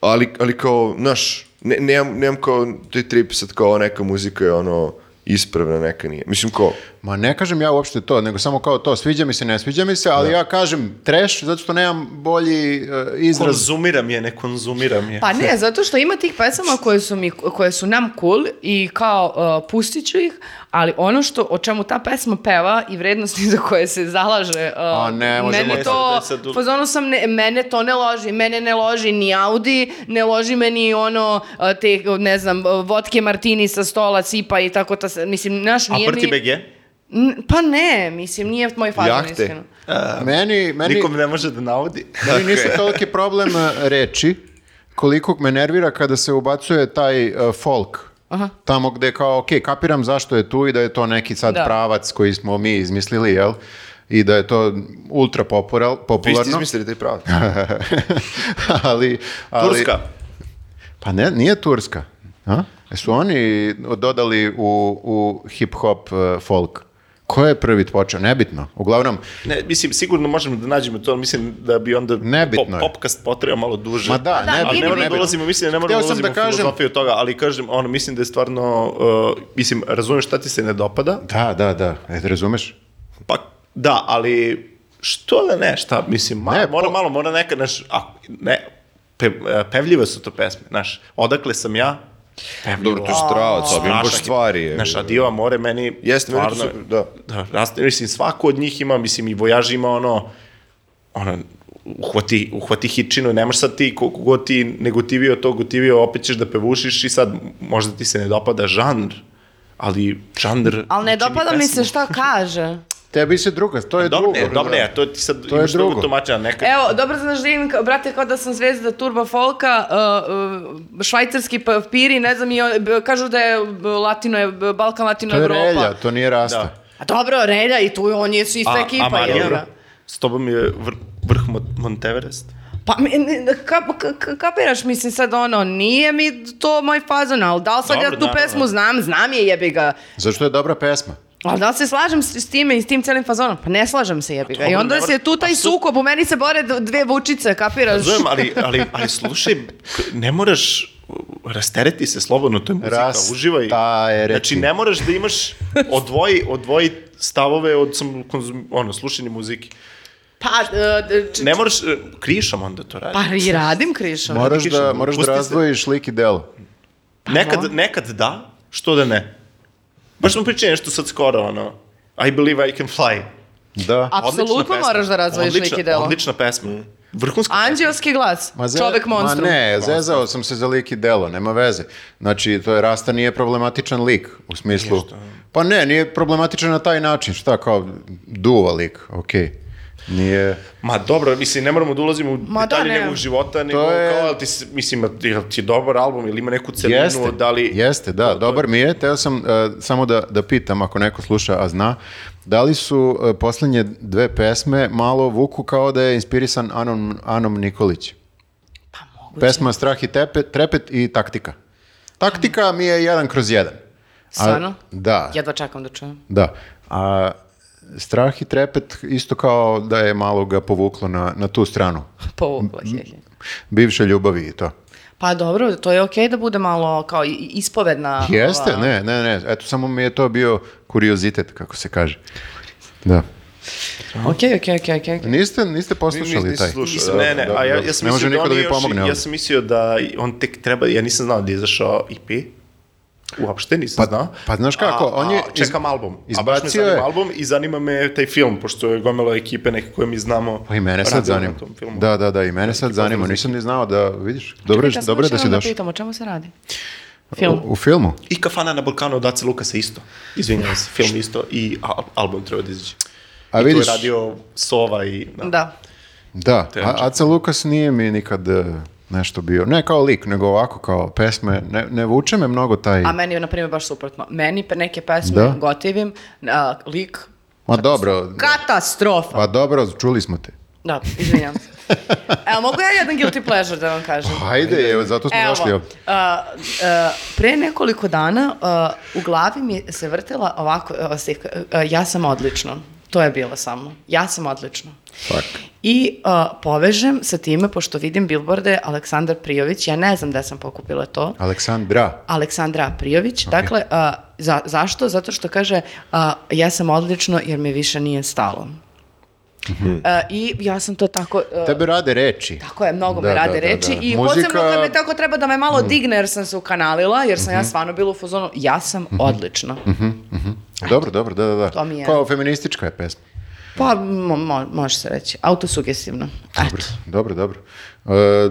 C: ali, ali kao, znaš, ne, nemam, nemam kao taj trip sad kao neka muzika je ono ispravna, neka nije. Mislim kao,
A: Ma ne kažem ja uopšte to, nego samo kao to, sviđa mi se, ne sviđa mi se, ali ja kažem trash zato što nemam bolji e, izraz.
D: Konzumiram je, ne konzumiram je.
B: Pa ne, zato što ima tih pesama koje su, mi, koje su nam cool i kao uh, pustit ću ih, ali ono što, o čemu ta pesma peva i vrednosti (laughs) za koje se zalaže, uh,
A: A ne, možemo
B: mene
A: to-
B: to,
D: sad- sad-
B: pozono sam, ne, mene to ne loži, mene ne loži ni Audi, ne loži me ni ono, uh, te, ne znam, uh, vodke martini sa stola sipa i tako, ta, mislim, naš
D: A
B: nije
D: prti
B: mi...
D: BG?
B: N- pa ne, mislim, nije moj fazon,
C: Jahte.
B: iskreno.
A: Meni, meni,
D: Nikom ne može da navodi.
A: meni nisu toliki problem e, reči koliko me nervira kada se ubacuje taj e, folk. Tamo gde kao, ok, kapiram zašto je tu i da je to neki sad
B: Da.
A: pravac koji smo mi izmislili, jel? I da je to ultra popular-
C: vi ste
A: popularno.
C: izmislili taj pravac.
A: (laughs) ali, ali,
D: Turska.
A: Pa ne, nije Turska. A? Su oni dodali u, u hip-hop e, folk? Ko je prvi počeo? Nebitno. Uglavnom,
D: Ne, mislim, sigurno možemo da nađemo to, ali mislim da bi onda
A: Nebitno je.
D: pop, popkast potrebao malo duže.
A: Ma da,
B: da,
A: nebitno,
D: Ali ne moramo da
A: nebitno.
D: ulazimo, mislim, ne moramo
A: Hteo
D: da
A: sam
D: ulazimo
A: da
D: u
A: kažem-
D: filozofiju toga, ali kažem, ono, mislim da je stvarno, uh, mislim, razumem šta ti se ne dopada,
A: Da, da, da. E, te razumeš?
D: pa da, ali što da ne, šta, mislim, malo,
A: Ne,
D: mora
A: po-
D: malo, mora neka, znaš, a, ne, pe, e, pevljive su to pesme, znaš, odakle sam ja, pevljivo.
C: Dobro, to je strava, to bi baš
D: Strašan
C: stvari.
D: je.
C: je.
D: Znaš, Adio Amore meni...
C: Jeste, meni to
D: stvarno-
C: super, da.
D: da rast, mislim, svako od njih ima, mislim, i Vojaž ima ono, ono, uhvati, uhvati hitčinu, nemaš sad ti, koliko god ti negotivio to, gotivio, opet ćeš da pevušiš i sad možda ti se ne dopada žanr, ali žanr...
B: Ali ne
D: čini
B: dopada mi se
D: pesmu.
B: šta kaže.
A: Tebi se druga, to je
D: Dobro,
A: drugo.
D: ne, dobro, ne, a to ti sad
A: To je
D: imaš
A: drugo.
D: drugo tumačenja, neka...
B: Evo, dobro znaš da imam, ka- brate, kao da sam zvezda turba folka, uh, uh, švajcarski papiri, ne znam, i o- b- kažu da je b- latino, je, b- Balkan, latino,
A: To je
B: Evropa.
A: relja, to nije rasta.
D: Da.
B: A dobro, relja i tu je- on je su ista ekipa, jel da?
D: Marijan,
B: ga?
D: s tobom je vr- vrh Mont- Monteverest.
B: Pa, mi- n- ka, ka, ka- kapiraš, mislim sad ono, nije mi to moj fazon, ali da li sad ja
D: Dobro,
B: tu
D: naravno.
B: pesmu znam, znam je jebi ga.
A: Zašto je dobra pesma?
B: Ali da li se slažem s, s time i s tim celim fazonom? Pa ne slažem se jebi ga. I
D: dobro,
B: onda
D: ne mora-
B: se tu taj
D: a su-
B: sukob, u meni se bore d- dve vučice, kapiraš?
D: Razumem, ali, ali, ali slušaj, ne moraš rastereti se slobodno, to je muzika,
A: Rastereti.
D: uživaj. Znači, ne moraš da imaš, odvoji, odvoji stavove od sam, konzum, ono, slušanje muzike.
B: Pa, e, d- č-
D: Ne moraš, e, krišam onda to radi.
B: pa i radim krišom.
A: Moraš
D: Kiša,
A: da, moraš da
D: pusti se.
A: razdvojiš lik i delo.
B: pa,
D: nekad, nekad da, što da ne. Baš smo pričali nešto sad skoro, ono, I believe I can fly.
A: Da.
B: Apsolutno
D: Odlična pesma.
B: moraš da razdvojiš
D: Odlična-
B: lik i delo.
D: Odlična pesma. Mm. vrhunska
B: Anđelski glas,
A: Ma ze-
B: čovek monstrum.
A: Ma ne, zezao sam se za lik i delo, nema veze. Znači, to je Rasta nije problematičan lik, u smislu... Pa ne, nije problematičan na taj način, šta kao duva lik, okej. Nije...
D: Ma dobro, mislim, ne moramo da ulazimo u
B: Ma da,
D: detalje
B: ne.
D: njegovog života, nego
A: je-
D: kao, ali ti, s- mislim, jel ti je dobar album, ili ima neku celinu,
A: Jeste,
D: da li...
A: jeste, da, dobar mi je. Teo sam uh, samo da, da pitam, ako neko sluša, a zna, da li su uh, poslednje dve pesme malo vuku kao da je inspirisan Anom, Anom Nikolić? Pa Pesma Strah i tepe, Trepet i Taktika. Taktika mi je jedan kroz jedan. A-
B: Stvarno?
A: Da,
B: Jedva čekam da čujem.
A: da. A Strah i Trepet isto kao da je malo ga povuklo na, na tu stranu. Mm-hmm.
B: Povukla, hehe.
A: Bivše ljubavi i to.
B: Pa dobro, to je okej da bude malo kao i- i- ispovedna.
A: Jeste,
B: ova-
A: ne, ne, ne. Eto, samo mi je to bio kuriozitet, kako se kaže. Da.
B: Okej, okej, okej, okej.
A: Niste, niste poslušali
C: Niste
A: taj?
C: slušali.
D: Mislim, ne, ne,
A: da,
D: a ja,
A: da.
D: ja sam
A: Ne može
D: mislio da
A: niko
D: on
A: da
D: je
A: mi
D: još,
A: pomogne ovde.
D: ja sam mislio da on tek treba, ja nisam znao da je izašao EP, uopšte nisam
A: Pa-
D: znao.
A: pa znaš kako,
D: A-
A: on je
D: A, čekam album, a baš me
A: izbacio
D: zanima
A: je-
D: album i zanima me taj film, pošto je gomelo ekipe neke koje mi znamo.
A: Pa i mene sad
D: radila na
A: zanima.
D: tom filmu.
A: Da, da, da, i mene sad zanima. Nisam ni znao da, vidiš, dobro, je- dobro je da si došao.
B: Pitamo, o čemu se radi?
A: U,
B: Film.
A: u filmu?
D: I kafana na Balkanu od Ace Lukasa isto. Izvinjavam se, film isto i al album treba da izađe.
A: A
D: I tu je
A: vidiš,
D: radio Sova i... Da.
B: Da.
A: da, a,
D: Teatralno.
A: Aca Lukas nije mi nikad e, nešto bio. Ne kao lik, nego ovako kao pesme. Ne, ne vuče me mnogo taj...
B: A meni je, na primjer, baš suprotno. Meni pe- neke pesme
A: Da.
B: gotivim, a, lik,
A: Ma dobro,
B: katastrofa.
A: pa dobro, čuli smo te. (laughs)
B: Da, izvinjam se. Evo, mogu ja jedan guilty pleasure da vam kažem?
A: Hajde, Pa evo, zato smo došli
B: Evo,
A: ovde.
B: a, a, pre nekoliko dana a, u glavi mi se vrtela ovako a, slika, a, ja sam odlično. To je bilo samo. Ja sam odlično.
A: Fuck.
B: I a, povežem sa time, pošto vidim bilborde Aleksandar Prijović, ja ne znam gde sam pokupila to.
A: Aleksandra.
B: Aleksandra Prijović. Dakle, a, za, zašto? Zato što kaže a, ja sam odlično jer mi više nije stalo.
A: Mhm.
B: A, I ja sam to tako... a,
A: Tebe rade reči.
B: Tako je, mnogo
A: Da,
B: me rade
A: da, da,
B: reči
A: da. Muzika-
B: i
A: Mhm.
B: posebno kad me tako treba da me malo digne jer sam se ukanalila, jer sam ja stvarno bila u fuzonu, ja sam
A: Mhm.
B: odlična.
A: Dobro, dobro, da, da, da.
B: To mi je-
A: Kao feministička je pesma.
B: Pa mo- mo- može se reći, autosugestivno. Eto.
A: Dobro, dobro, dobro. E,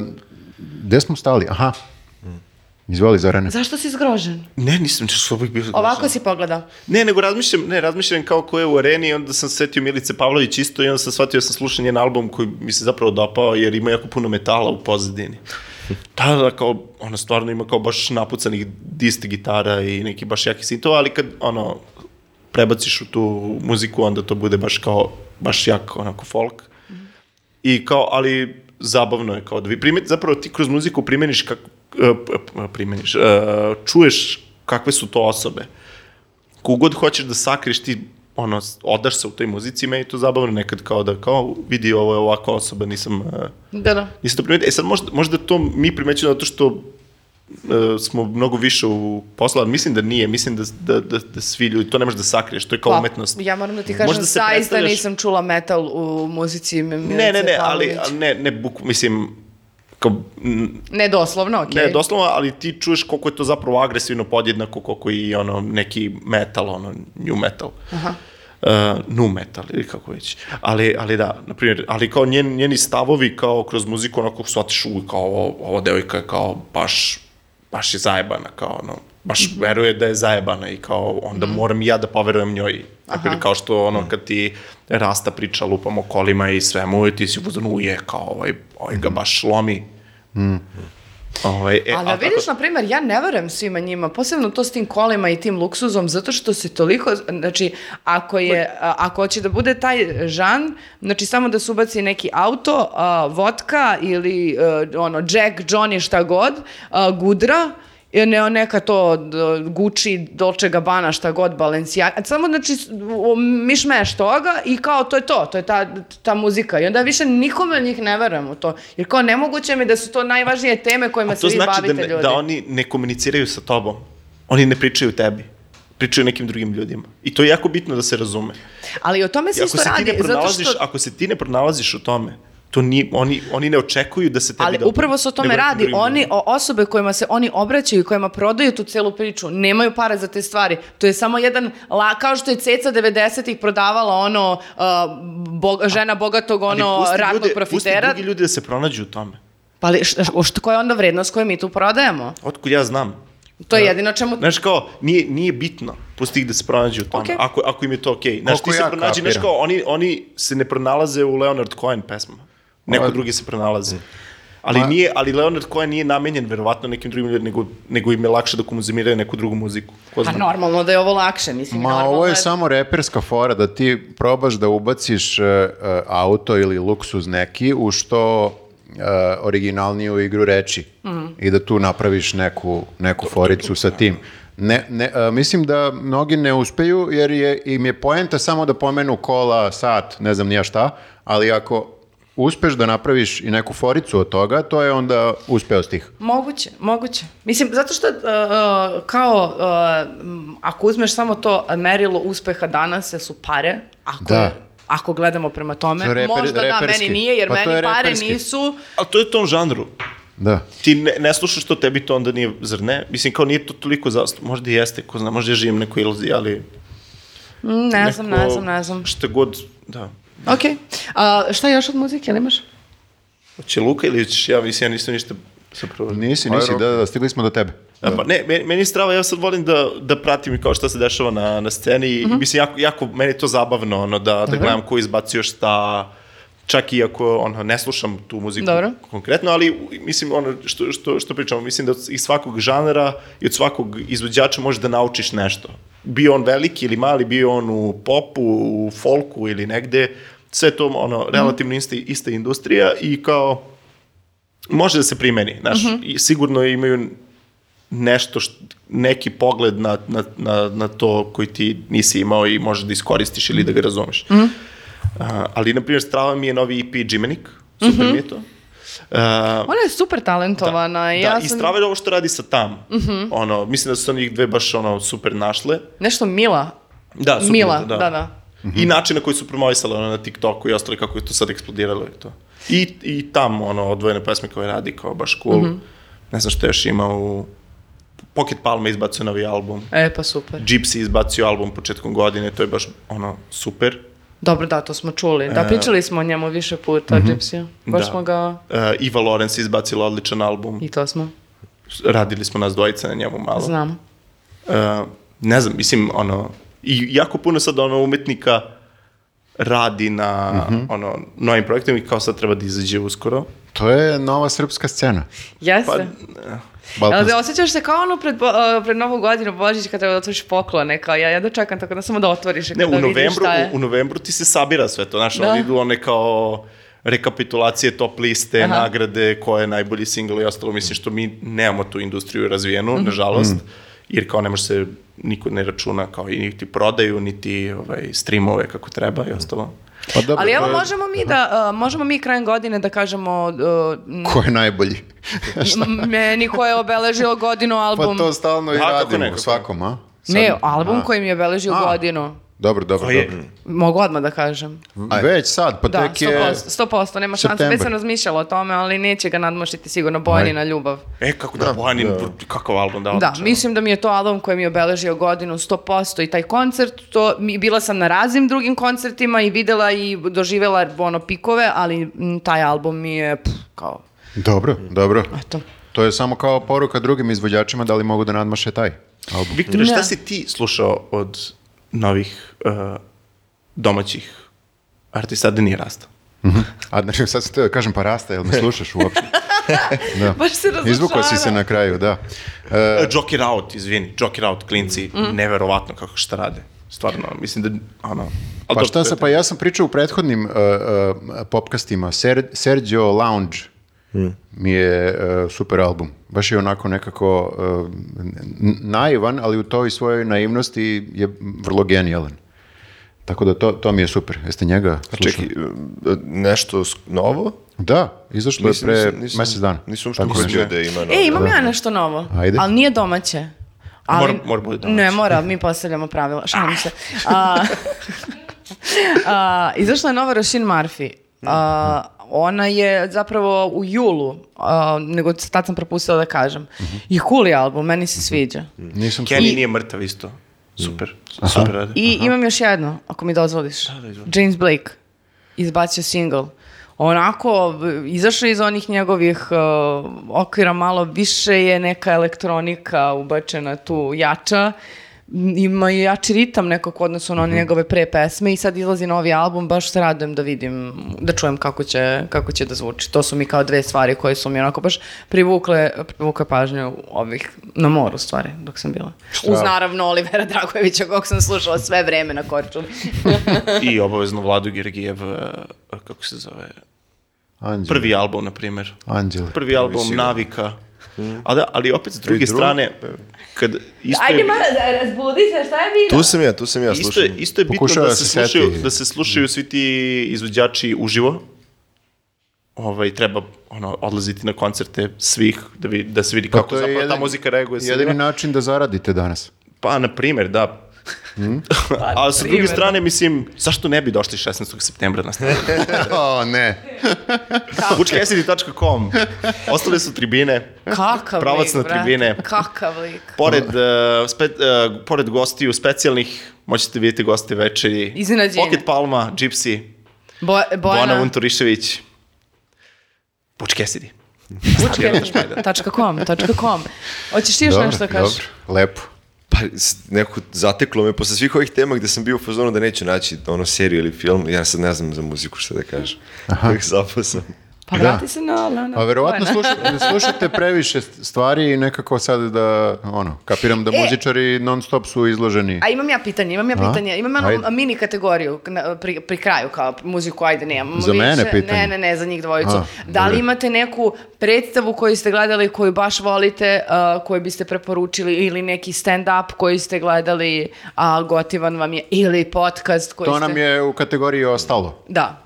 A: gde smo stali? Aha. Izvoli, Zorane.
B: Zašto si zgrožen?
D: Ne, nisam što bih bio...
B: Ovako si pogledao.
D: Ne, nego razmišljam, ne, razmišljam kao ko je u areni i onda sam se setio Milice Pavlović isto i onda sam shvatio da sam slušao njen album koji mi se zapravo dopao jer ima jako puno metala u pozadini. Da, da, kao, ona stvarno ima kao baš napucanih diste gitara i neki baš jaki sintova, ali kad, ono, prebaciš u tu muziku, onda to bude baš kao, baš jak, onako, folk. I kao, ali zabavno je kao da vi primeti, zapravo ti kroz muziku primeniš, kako, primeniš, e, čuješ kakve su to osobe kogod hoćeš da sakriš ti ono, odaš se u toj muzici, meni je to zabavno nekad kao da, kao, vidi, ovo je ovakva osoba, nisam, uh,
B: Da, da.
D: nisam to primetio. E sad, možda, možda to mi primećujemo zato što uh, smo mnogo više u poslu, ali mislim da nije, mislim da, da, da, da svi ljudi, to ne možeš da sakriješ, to je kao
B: Pa,
D: umetnost.
B: Ja moram da ti kažem,
D: Možda se
B: zaista
D: predstavljaš-
B: nisam čula metal u muzici M-
D: Ne,
B: Milice
D: ne, ne, ali,
B: Pavlović.
D: ali ne, ne, buk, mislim, kao, n-
B: Ne doslovno, okej.
D: Ne, doslovno, ali ti čuješ koliko je to zapravo agresivno podjednako koliko i ono neki metal, ono new metal. Aha. Uh, nu metal ili kako već. Ali, ali da, na primjer, ali kao njen, njeni stavovi kao kroz muziku onako shvatiš u kao ovo, ova devojka je kao baš, baš je zajebana, kao ono, baš veruje da je zajebana i kao onda moram i ja da poverujem njoj. Dakle, kao što ono kad ti rasta priča lupam o kolima i svemu i ti si uzanuje kao ovaj, ovaj ga baš lomi. Ovaj, e,
B: Ali da
D: a tako-
B: vidiš, na primjer, ja ne verujem svima njima, posebno to s tim kolima i tim luksuzom, zato što se toliko, znači, ako je, a, ako hoće da bude taj žan, znači samo da se ubaci neki auto, a, vodka ili a, ono, Jack, Johnny, šta god, a, gudra, e, ne, neka to d- Gucci, Dolce Gabbana, šta god, Balenciaga, samo znači s- o, mišmeš toga i kao to je to, to je ta, ta muzika i onda više nikome od njih ne verujem u to, jer kao nemoguće mi da su to najvažnije teme kojima
D: A to
B: vi
D: znači da,
B: bavite
D: ne,
B: ljudi.
D: da oni ne komuniciraju sa tobom. Oni ne pričaju tebi. Pričaju nekim drugim ljudima. I to je jako bitno da se razume.
B: Ali o tome se
D: I ako
B: isto
D: se, ti
B: radi,
D: ne
B: zato
D: pronalaziš,
B: što...
D: ako se ti ne pronalaziš u tome, to ni, oni, oni ne očekuju da se tebi
B: Ali
D: dobro-
B: upravo se o tome
D: nego nekim
B: radi.
D: drugim
B: Oni, o- osobe kojima se oni obraćaju, i kojima prodaju tu celu priču, nemaju pare za te stvari. To je samo jedan, la, kao što je Ceca 90-ih prodavala ono, uh, bog, žena bogatog
D: Ali
B: ono,
D: pusti
B: ratnog
D: ljude-
B: profitera.
D: Pusti drugi ljudi da se pronađu u tome.
B: Pa ali š, š- što, koja je onda vrednost koju mi tu prodajemo?
D: Otkud ja znam.
B: To
D: E,
B: je jedino čemu...
D: Znaš kao, nije, nije bitno. Pusti ih da se pronađu u tome.
B: Okej.
D: Ako, ako im je to okej. Znaš,
A: Koliko
D: ti se
A: ja
D: pronađi, znaš
A: kapiram.
D: kao, oni, oni se ne pronalaze u Leonard Cohen pesmama. Neko
A: Pa-
D: drugi se pronalazi. Ali,
A: Pa-
D: nije, ali Leonard Cohen nije namenjen verovatno nekim drugim ljudima, nego, nego im je lakše da konzumiraju neku drugu muziku.
B: Pa
D: Ko zna?
B: normalno da je ovo lakše, mislim.
A: Ma
B: normalno da-
A: ovo je samo reperska fora da ti probaš da ubaciš e, e, auto ili luksuz neki u što e, originalniju igru reči i da tu napraviš neku, neku foricu sa tim. Ne, ne, e, mislim da mnogi ne uspeju jer je, im je poenta samo da pomenu kola, sat, ne znam nija šta, ali ako uspeš da napraviš i neku foricu od toga, to je onda uspeo stih.
B: Moguće, moguće. Mislim, zato što uh, uh, kao, uh, m, ako uzmeš samo to merilo uspeha danas, jer su pare, ako,
A: Da.
B: ako gledamo prema tome,
A: To je reper-
B: možda da,
A: reperski.
B: meni nije, jer
A: Pa to je
B: meni pare
A: reperski.
B: nisu,
D: Ali to je u tom žanru.
A: Da.
D: Ti ne, ne slušaš to, tebi to onda nije, zar ne? Mislim, kao nije to toliko zastup. Možda i jeste, ko zna, možda ja živim neku iluziju, ali...
B: Mm, ne znam, ne
D: neko-
B: znam, ne znam.
D: Šta god, da.
B: Ok, a, šta još od muzike, ili imaš?
D: Hoće Luka ili ćeš ja, mislim, ja nisam ništa zapravo...
A: Nisi, nisi, da, da, stigli smo do tebe.
D: Da. Pa ne, meni, meni je strava, ja sad volim da, da pratim i kao šta se dešava na, na sceni i mislim, jako, jako, meni je to zabavno, ono, da, da gledam ko izbacio šta, čak i ako, ono, ne slušam tu muziku
B: Dobro.
D: konkretno, ali mislim, ono, što, što, što pričamo, mislim da od- iz svakog žanra i od svakog izvođača možeš da naučiš nešto. Bio on veliki ili mali, bio on u popu, u folku ili negde, sve to, ono, relativno isti, ista industrija i kao, može da se primeni, znaš, i sigurno imaju nešto, št, neki pogled na, na, na, na to koji ti nisi imao i možeš da iskoristiš ili da ga razumeš.
B: Mhm.
D: Mm. A, ali, na primjer, strava mi je novi EP Džimenik, super
B: Mhm.
D: mi je to. A,
B: Ona je super talentovana. i
D: da,
B: ja
D: i
B: sam Mhm.
D: strava je ovo što radi sa tam. ono, mislim da su se njih dve baš ono, super našle.
B: nešto mila.
D: Da, super.
B: mila,
D: je to,
B: da, da.
D: I način na koji su promovisali ono, na TikToku i ostali kako je to sad eksplodiralo i to. I, i tam ono, odvojene pesme koje radi kao baš cool.
B: Mhm.
D: Ne znam što još ima u... Pocket Palma je izbacio novi album.
B: E, pa super.
D: Gypsy izbacio album početkom godine, to je baš ono super.
B: Dobro, da, to smo čuli. Da, pričali smo o njemu više puta, Gypsy. Baš
D: E. Da.
B: smo ga...
D: E, Iva Lawrence je izbacila odličan album.
B: I to smo.
D: Radili smo nas dvojica na njemu malo.
B: Znamo.
D: E, ne znam, mislim, ono, i jako puno sad ono umetnika radi na ono, novim projektima i kao sad treba da izađe uskoro.
A: To je nova srpska scena.
B: Jeste.
D: Pa,
B: Jel
A: Balkanska.
B: da osjećaš se kao ono pred, bo, uh, pred Novu godinu Božić kad treba da otvoriš poklone, kao ja jedno čekam tako da samo da otvoriš i
D: ne,
B: kao da
D: u,
B: vidiš
D: novembru,
B: šta je.
D: u, u novembru ti se sabira sve to, znaš,
B: Da.
D: oni idu one kao rekapitulacije top liste,
B: Aha.
D: nagrade, ko je najbolji single i ostalo, mislim što mi nemamo tu industriju razvijenu,
B: Mhm.
D: nažalost, jer kao ne može se, niko ne računa kao i niti prodaju, niti ovaj, streamove kako treba i ostalo.
A: Pa dobro,
B: Ali evo
A: to je-
B: možemo mi da, uh, možemo mi krajem godine da kažemo uh, m-
A: Ko je
B: (laughs)
A: najbolji?
B: m- meni ko je obeležio godinu
A: E, (laughs) pa
B: album.
A: to stalno i
D: A, kako ne,
A: radimo u
D: kako
A: svakom, a? Sad-
B: Ne, album koji mi je obeležio
A: A.
B: godinu.
A: Dobro, dobro,
D: Ko je?
A: dobro.
B: Mogu odmah da kažem.
A: Već sad, pa
B: Da,
A: tek
B: sto
A: je...
B: posto, sto posto, nema šanse. Već
A: septembar.
B: sam razmišljala o tome, ali neće ga nadmošiti sigurno Bojanina ljubav.
D: E, kako da, Bojanin, kakav album da
B: Da,
D: odličan.
B: mislim da mi je to album koji mi je obeležio godinu 100% i taj koncert, to, mi, bila sam na raznim drugim koncertima i videla i doživela ono pikove, ali m, taj album mi je pff, kao,
A: Dobro, dobro.
B: eto.
A: To je samo kao poruka drugim izvođačima da li mogu da nadmaše taj album.
D: Viktore,
B: Da.
D: šta si ti slušao od novih uh, domaćih artista da nije rastao?
A: (laughs) A znači, sad sam teo da kažem pa rasta, jel me slušaš uopšte? Da.
B: Baš se razočarao.
A: Izvukao si se na kraju, da. Eh,
D: Uh, Joker Out, izvini, Joker Out, klinci,
B: Mm.
D: neverovatno kako šta rade. Stvarno, mislim da, ono... ali
A: Pa
D: dobro, to
A: šta
D: je
A: se,
D: tema.
A: pa ja sam pričao u prethodnim uh, uh, popkastima, Ser, Sergio Lounge mi je uh, super album. Baš je onako nekako uh, n- naivan, ali u toj svojoj naivnosti je vrlo genijalan. Tako da to, to mi je super. Jeste njega slušali?
C: Čekaj, e, nešto sk- novo?
A: Da, izašlo je
C: Nisam-
A: pre
C: nisam- nisam-
A: mesec dana.
C: Nisam uopšte
A: Tako
C: mislio
A: nešto.
C: da ima novo.
B: E, imam ja nešto novo,
A: Ajde.
B: ali nije domaće. Ali,
D: Mora- mora bude domaće. Ah.
B: Ne mora, mi postavljamo pravila, šalim se. (laughs) A, a, izašla je nova Rošin Marfi. A, ona je zapravo u julu, a, nego tad sam propustila da kažem.
D: Mhm.
B: I cool je album, meni se sviđa.
A: Nisam
D: Kenny nije mrtav isto. Super, super radi.
B: I imam još jedno, ako mi dozvoliš. James Blake izbacio single. Onako, b- izašao je iz onih njegovih uh, okvira malo, više je neka elektronika ubačena tu jača, M, ima i jači ritam nekako u odnosu na one njegove pre pesme i sad izlazi novi album, baš se radujem da vidim, da čujem kako će, kako će da zvuči. To su mi kao dve stvari koje su mi onako baš privukle, privukle pažnju ovih, na moru stvari dok sam bila. Uz naravno Olivera Dragojevića kog sam slušala sve vreme na Korčuli.
D: I obavezno Vladu Gergijev, eh, kako se zove,
A: Anđele.
D: prvi album, na primjer.
A: Anđele. Mm.
D: Prvi album, Navika. A da, ali opet s druge strane, kad isto je,
B: Ajde, Mara, razbudi se, šta je bilo?
C: Tu sam ja, tu sam ja,
D: isto, je-
C: slušam.
D: isto je bitno
A: Pokušava
D: da se,
A: se sjeti.
D: slušaju, da se slušaju svi ti izvođači uživo. Ovaj, treba ono, odlaziti na koncerte svih, da, vi, da se vidi kako
A: Pa to je
D: zapravo ta
A: jedan-
D: muzika reaguje. sa
A: Jedini
D: njima.
A: način da zaradite danas.
D: Pa, na primjer, da.
A: Hmm?
D: (laughs) Ali sa druge
B: Pa, primer, da.
D: strane, mislim, zašto ne bi došli 16. septembra
B: (laughs)
D: na stadion?
A: O, ne.
D: Bučkesidi.com Ostale su tribine.
B: Kakav
D: Pravac
B: lik,
D: na
B: brate,
D: tribine.
B: Kakav lik.
D: Pored, uh, spe, uh, pored gostiju specijalnih, moćete vidjeti goste večeri.
B: Iznenađenje.
D: Pocket Palma, Gypsy,
B: Bo,
D: Bojana
B: Bojana,
D: Vunturišević, Bučkesidi.
B: tačka com, tačka com. Hoćeš ti još nešto da kažeš?
A: dobro, lepo.
C: Pa, s- nekako zateklo me posle svih ovih tema gde sam bio u fazonu da neću naći ono seriju ili film, ja sad ne znam za muziku šta da kažem. Aha. Zapao sam.
B: Pa
A: Da.
B: vrati se na Lana.
A: A verovatno
B: Bojana. (laughs)
A: slušate, slušate previše stvari i nekako sad da, ono, kapiram da
B: E.
A: muzičari non stop su izloženi.
B: A imam ja pitanje, imam ja
A: A?
B: pitanje. Imam
A: Ajde.
B: jednu mini kategoriju na- pri, pri kraju kao muziku, ajde nemam.
A: Za mene pitanje?
B: Ne, ne, ne, za njih dvojicu.
A: A,
B: da li
A: dobro.
B: imate neku predstavu koju ste gledali, koju baš volite, a, koju biste preporučili ili neki stand-up koji ste gledali, a gotivan vam je, ili podcast koji
A: To
B: ste...
A: nam je Mm. u kategoriji ostalo.
B: Da.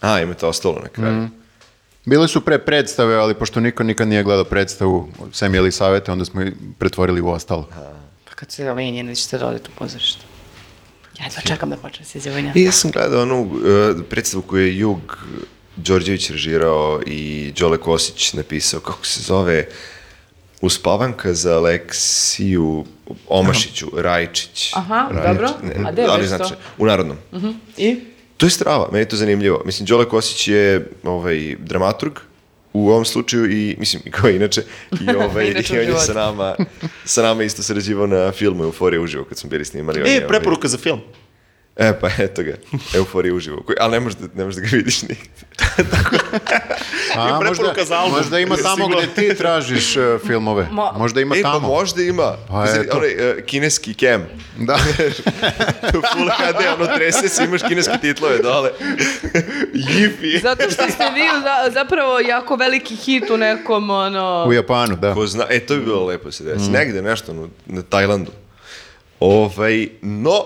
C: A, ima to ostalo na kraju.
A: Bile su pre predstave, ali pošto niko nikad nije gledao predstavu, sem jeli savete, onda smo i pretvorili u
D: (laughs)
A: ostalo.
B: Pa kad se Lenjeni ćete roditi da u pozorištu. Ja jedva čekam da počne se izjavinja.
C: I ja sam gledao onu uh, predstavu koju je Jug Đorđević režirao i Đole Kosić napisao, kako se zove, Uspavanka za Aleksiju Omašiću, Rajčić.
B: Aha, dobro. A gde je Mhm.
C: ali
B: već to?
C: znači, u Narodnom.
B: I?
C: To je strava, meni je to zanimljivo. Mislim, Đole Kosić je ovaj, dramaturg u ovom slučaju i, mislim, i kao inače, i,
B: (laughs)
C: ovaj,
B: Inače u
C: i on je
B: životu.
C: sa nama, sa nama isto sarađivao na filmu Euforija uživo kad smo bili snimali. on je,
D: E,
C: ovaj,
D: preporuka za film.
C: E, pa eto ga, Euforija uživo, koji, ali ne možeš, da, ne možeš da ga vidiš nigde.
A: A,
D: preporuka za album.
A: možda ima
D: Je
A: tamo
D: stigla.
A: gde ti tražiš e, filmove.
B: Ma-
A: možda ima
C: E, pa
A: tamo.
C: možda ima.
A: Pa
C: Mislim,
A: eto.
C: onaj, e, kineski kem. (laughs)
A: Da.
C: Full HD, ono, trese se, imaš kineske titlove dole. (laughs) Jifi.
B: Zato što ste vi za- zapravo jako veliki hit u nekom, ono...
A: U Japanu, da.
C: Ko zna, e, to bi bilo lepo se
A: Mm.
C: desi. Negde nešto na, na Tajlandu. Ovaj, no,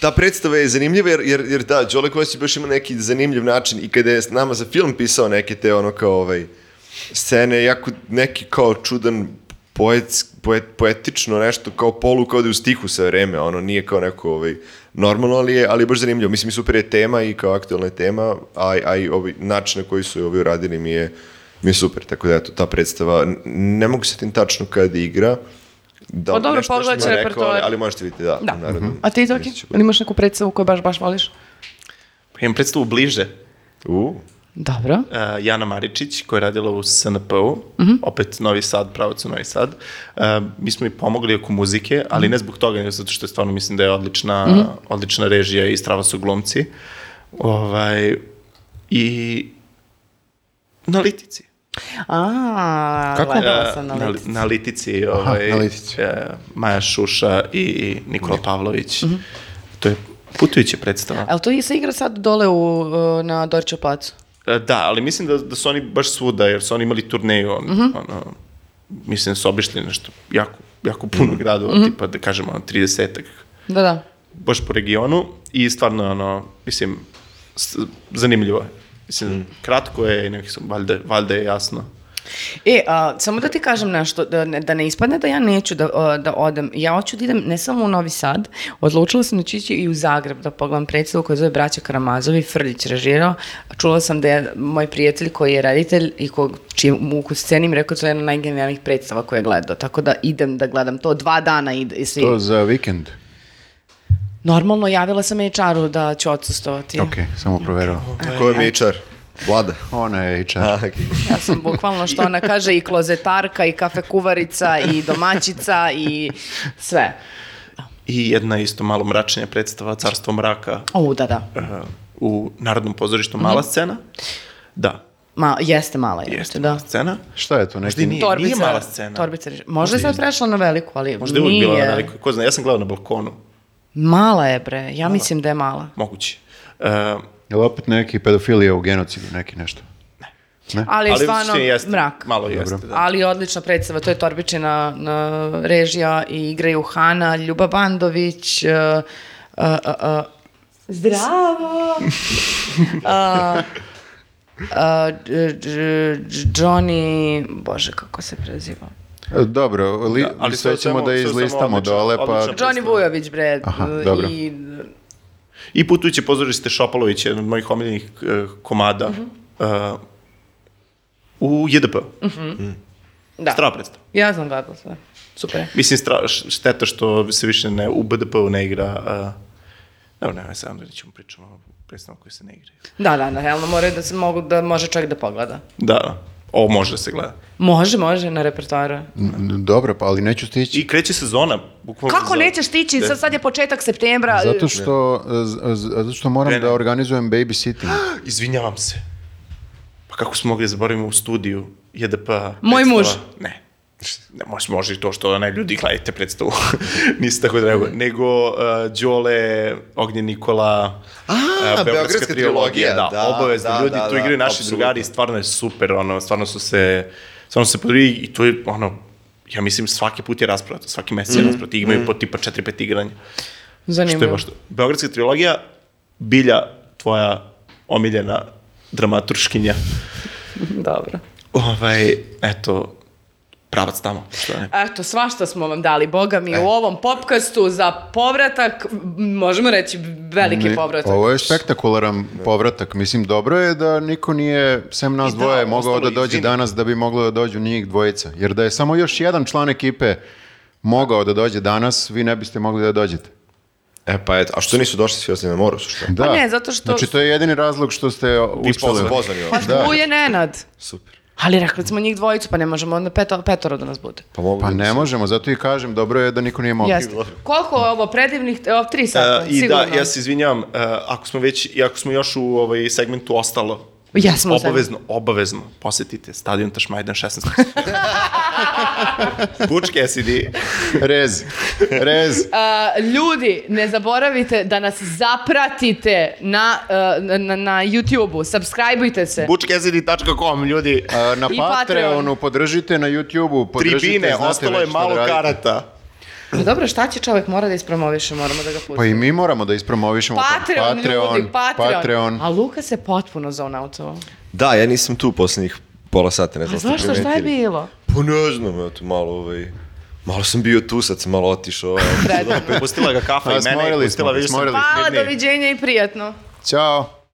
C: ta predstava je zanimljiva jer, jer, jer da, Đole Kovacić baš ima neki zanimljiv način i kada je s nama za film pisao neke te ono kao ovaj, scene, jako neki kao čudan poet, poet, poetično nešto, kao polu, kao da je u stihu sa vreme, ono nije kao neko ovaj, normalno, ali je, ali je baš zanimljivo. Mislim, i super je tema i kao aktualna je tema, a, i- a i ovaj, način na koji su je ovi uradili mi je, mi je super, tako da eto, ta predstava, n- ne mogu se tim tačno kad igra, Da,
B: Pa dobro,
C: nešto- nešto
B: pogledat ću
C: mi je rekao, ali,
B: repertoar.
C: ali možete vidjeti, da.
B: Da.
C: u narodnom
B: A ti, Zoki,
C: listiću.
B: ili imaš neku predstavu koju baš, baš voliš?
D: Imam predstavu bliže.
C: U,
B: Dobro.
D: Uh, Jana Maričić, koja je radila u SNP-u, opet Novi Sad, pravac u Novi Sad. Uh, mi smo i pomogli oko muzike, ali ne zbog toga, nego zato što je stvarno mislim da je odlična, odlična režija i strava su glumci. Ovaj, I na litici.
B: A, Kako? gledala sam na
D: na,
B: listi.
D: na litici, ovaj,
A: na litici.
D: e, Maja Šuša i Nikola Pavlović. To je putujuća predstava.
B: Jel to i se igra sad dole u, uh, na Dorčev placu?
D: E, Da, ali mislim da, da su oni baš svuda, jer su oni imali turneju, on, ono, mislim da su obišli nešto jako, jako puno gradova, tipa da kažemo ono, 30-ak,
B: Da, da.
D: baš po regionu i stvarno je ono, mislim, s- zanimljivo je. Mislim, kratko je i nekako, valjda, valjda je jasno.
B: E, a, samo da ti kažem nešto, da ne, da ne ispadne da ja neću da, a, da odem. Ja hoću da idem ne samo u Novi Sad, odlučila sam da ću ići i u Zagreb da pogledam predstavu koja se zove Braća Karamazovi, Frljić režirao. Čula sam da je moj prijatelj koji je reditelj i kog, čiji ukus cenim, rekao da je to jedna od najgenijalnijih predstava koje je gledao. Tako da idem da gledam to. Dva dana ide. i svi-
A: To za vikend.
B: Normalno javila sam HR-u da ću odsustovati.
A: Ok, samo proverao.
C: Ko je mičar? Vlada.
A: Ona je HR.
C: A, okej.
B: Ja sam bukvalno što ona kaže i klozetarka i kafe kuvarica i domaćica i sve.
D: I jedna isto malo mračnija predstava, Carstvo mraka,
B: O, da, da.
D: uh, u Narodnom pozorištu,
B: Mhm.
D: mala scena. Da,
B: Ma, jeste mala, jeste,
D: jeste
B: da.
D: mala scena.
A: Šta je to? Neki...
D: i nije.
B: Torbica,
D: mala scena.
B: Torbica, reži- možda je sad prešla na veliku, ali
D: Možda je uvijek
B: nije.
D: bila na velikoj, ko zna, ja sam gledao na balkonu,
B: Mala je, bre. Ja mislim da je mala.
D: moguće. Uh,
A: Je li opet neki pedofilija u genocidu, neki nešto?
B: Ali, je stvarno
D: suštinje jeste,
B: mrak.
D: Malo jeste,
A: Dobro.
D: da.
B: Ali odlična predstava, to je Torbičina na, režija i igraju Hana, Ljuba Bandović, eh, eh, eh, eh, Zdravo! (laughs) A, a, dž- dž- dž- Johnny, bože kako se preziva.
A: E, Dobro, li,
D: Da, ali
A: ali
D: sve
A: sve
D: u
A: ćemo
D: svemu-
A: da
D: sve u svemu
A: izlistamo
D: odlično,
A: dole, pa...
D: odlično.
B: Johnny Vujović bre
A: Aha,
B: eh,
A: dobro.
B: i
D: I putujuće pozorište Šopalović, jedan od mojih omiljenih eh, komada,
B: Mhm.
D: eh, u JDP.
B: da.
D: Strava predstava.
B: Ja sam gledala sve. Super. je.
D: Mislim, stra, š- šteta što se više ne, u BDP-u ne igra... Uh, evo, nema, sad da ćemo pričamo o predstavama koje se ne igraju.
B: Da, da, da, realno moraju da se mogu da može čovjek da pogleda.
D: Da, ovo može da se gleda.
B: Može, može na repertoaru. je.
A: N- Dobro, pa ali neću stići.
D: I kreće sezona, bukvalno...
B: Kako nećeš tići? Sad, sad je početak septembra.
A: Zato što, e, z- z- zato što moram
D: Krene.
A: da organizujem babysitting.
D: Izvinjavam se. Pa kako smo mogli da zaboravimo u studiju JDP-a?
B: Moj
D: predstava?
B: muž.
D: Ne. Ne, može, može i to što da ne ljudi gledajte predstavu. (laughs) Nisi tako drago. Nego uh, Đole, Ognjen Nikola, A,
C: Beogradska trilogija,
D: Da,
C: da,
D: obavezno.
C: da,
D: ljudi
C: da,
D: tu
C: da,
D: igraju naši
C: apsolutno.
D: drugari i stvarno je super. Ono, stvarno su se, stvarno su se podrili i to je ono, ja mislim svaki put je rasprava, svaki mesec
C: Mhm.
D: je rasprava. Ti imaju po tipa 4-5 igranja.
B: Zanimljivo.
D: Što je baš to. Beogradska trilogija, Bilja, tvoja omiljena dramaturškinja.
B: Dobro.
D: Ovaj, eto, pravac tamo. Što ne?
B: Eto, svašta smo vam dali, boga mi, u ovom popkastu za povratak, m, možemo reći veliki
A: Ne,
B: povratak.
A: Ovo je spektakularan povratak. Mislim, dobro je da niko nije, sem nas
D: I da,
A: dvoje, mogao
D: ostalo
A: da
D: ih,
A: dođe
D: izvini.
A: danas da bi moglo da dođu njih dvojica. Jer da je samo još jedan član ekipe mogao da dođe danas, vi ne biste mogli da dođete.
C: E pa eto, a što nisu došli svi osim na moru, su šta?
A: Da.
B: ne, zato što-
A: Znači, to je jedini razlog što ste uspeli.
C: pozvani. Pozvani,
B: Pa
C: ono.
A: Da.
B: tu je Nenad.
C: Super.
B: Ali rekli smo njih dvojicu, pa ne možemo onda peto, petoro da nas bude.
C: Pa mogu
A: Pa
C: da-
A: ne možemo, zato i kažem, dobro je da niko nije mogao.
B: Jeste. Koliko je ovo predivnih, o, tri sata,
D: E, I
B: sigurno.
D: da, ja se izvinjam, e, ako smo već, i ako smo još u ovaj segmentu ostalo,
B: Jesmo u
D: obavezno, obavezno, posetite stadion Tašmajdan (laughs) 16. Pučke SID.
A: (laughs) Rez,
B: (laughs)
A: rez.
B: A, Uh, ljudi, ne zaboravite da nas zapratite na, e, na, na, na YouTube-u, subscribeujte se.
D: Bučkesidi.com, ljudi.
A: A, Na
B: I Patreon.
A: Patreonu podržite na YouTube-u, podržite,
D: E, Tribine,
A: znate
D: ostalo je
A: već šta
D: malo
A: da radite.
D: karata.
B: Ma Dobro, šta će čovjek mora da ispromoviše, moramo da ga pustimo.
A: Pa i mi moramo da ispromovišemo.
B: Patreon, ljudi, Patreon.
A: Patreon.
B: A Luka se potpuno zonautovao.
C: Da, ja nisam tu poslednjih pola sata, ne znam
B: A
C: ste
B: zašto, šta je
C: primetili.
B: bilo?
C: Pa ne znam, eto, malo ovaj... Malo sam bio tu, sad sam malo otišao. ovaj,
B: (laughs) Predano.
D: Pustila ga kafa i
A: A,
D: mene,
A: smorili
D: pustila
A: smo,
D: više sam
A: smorili smo.
B: Hvala, doviđenja i prijatno.
A: Ćao.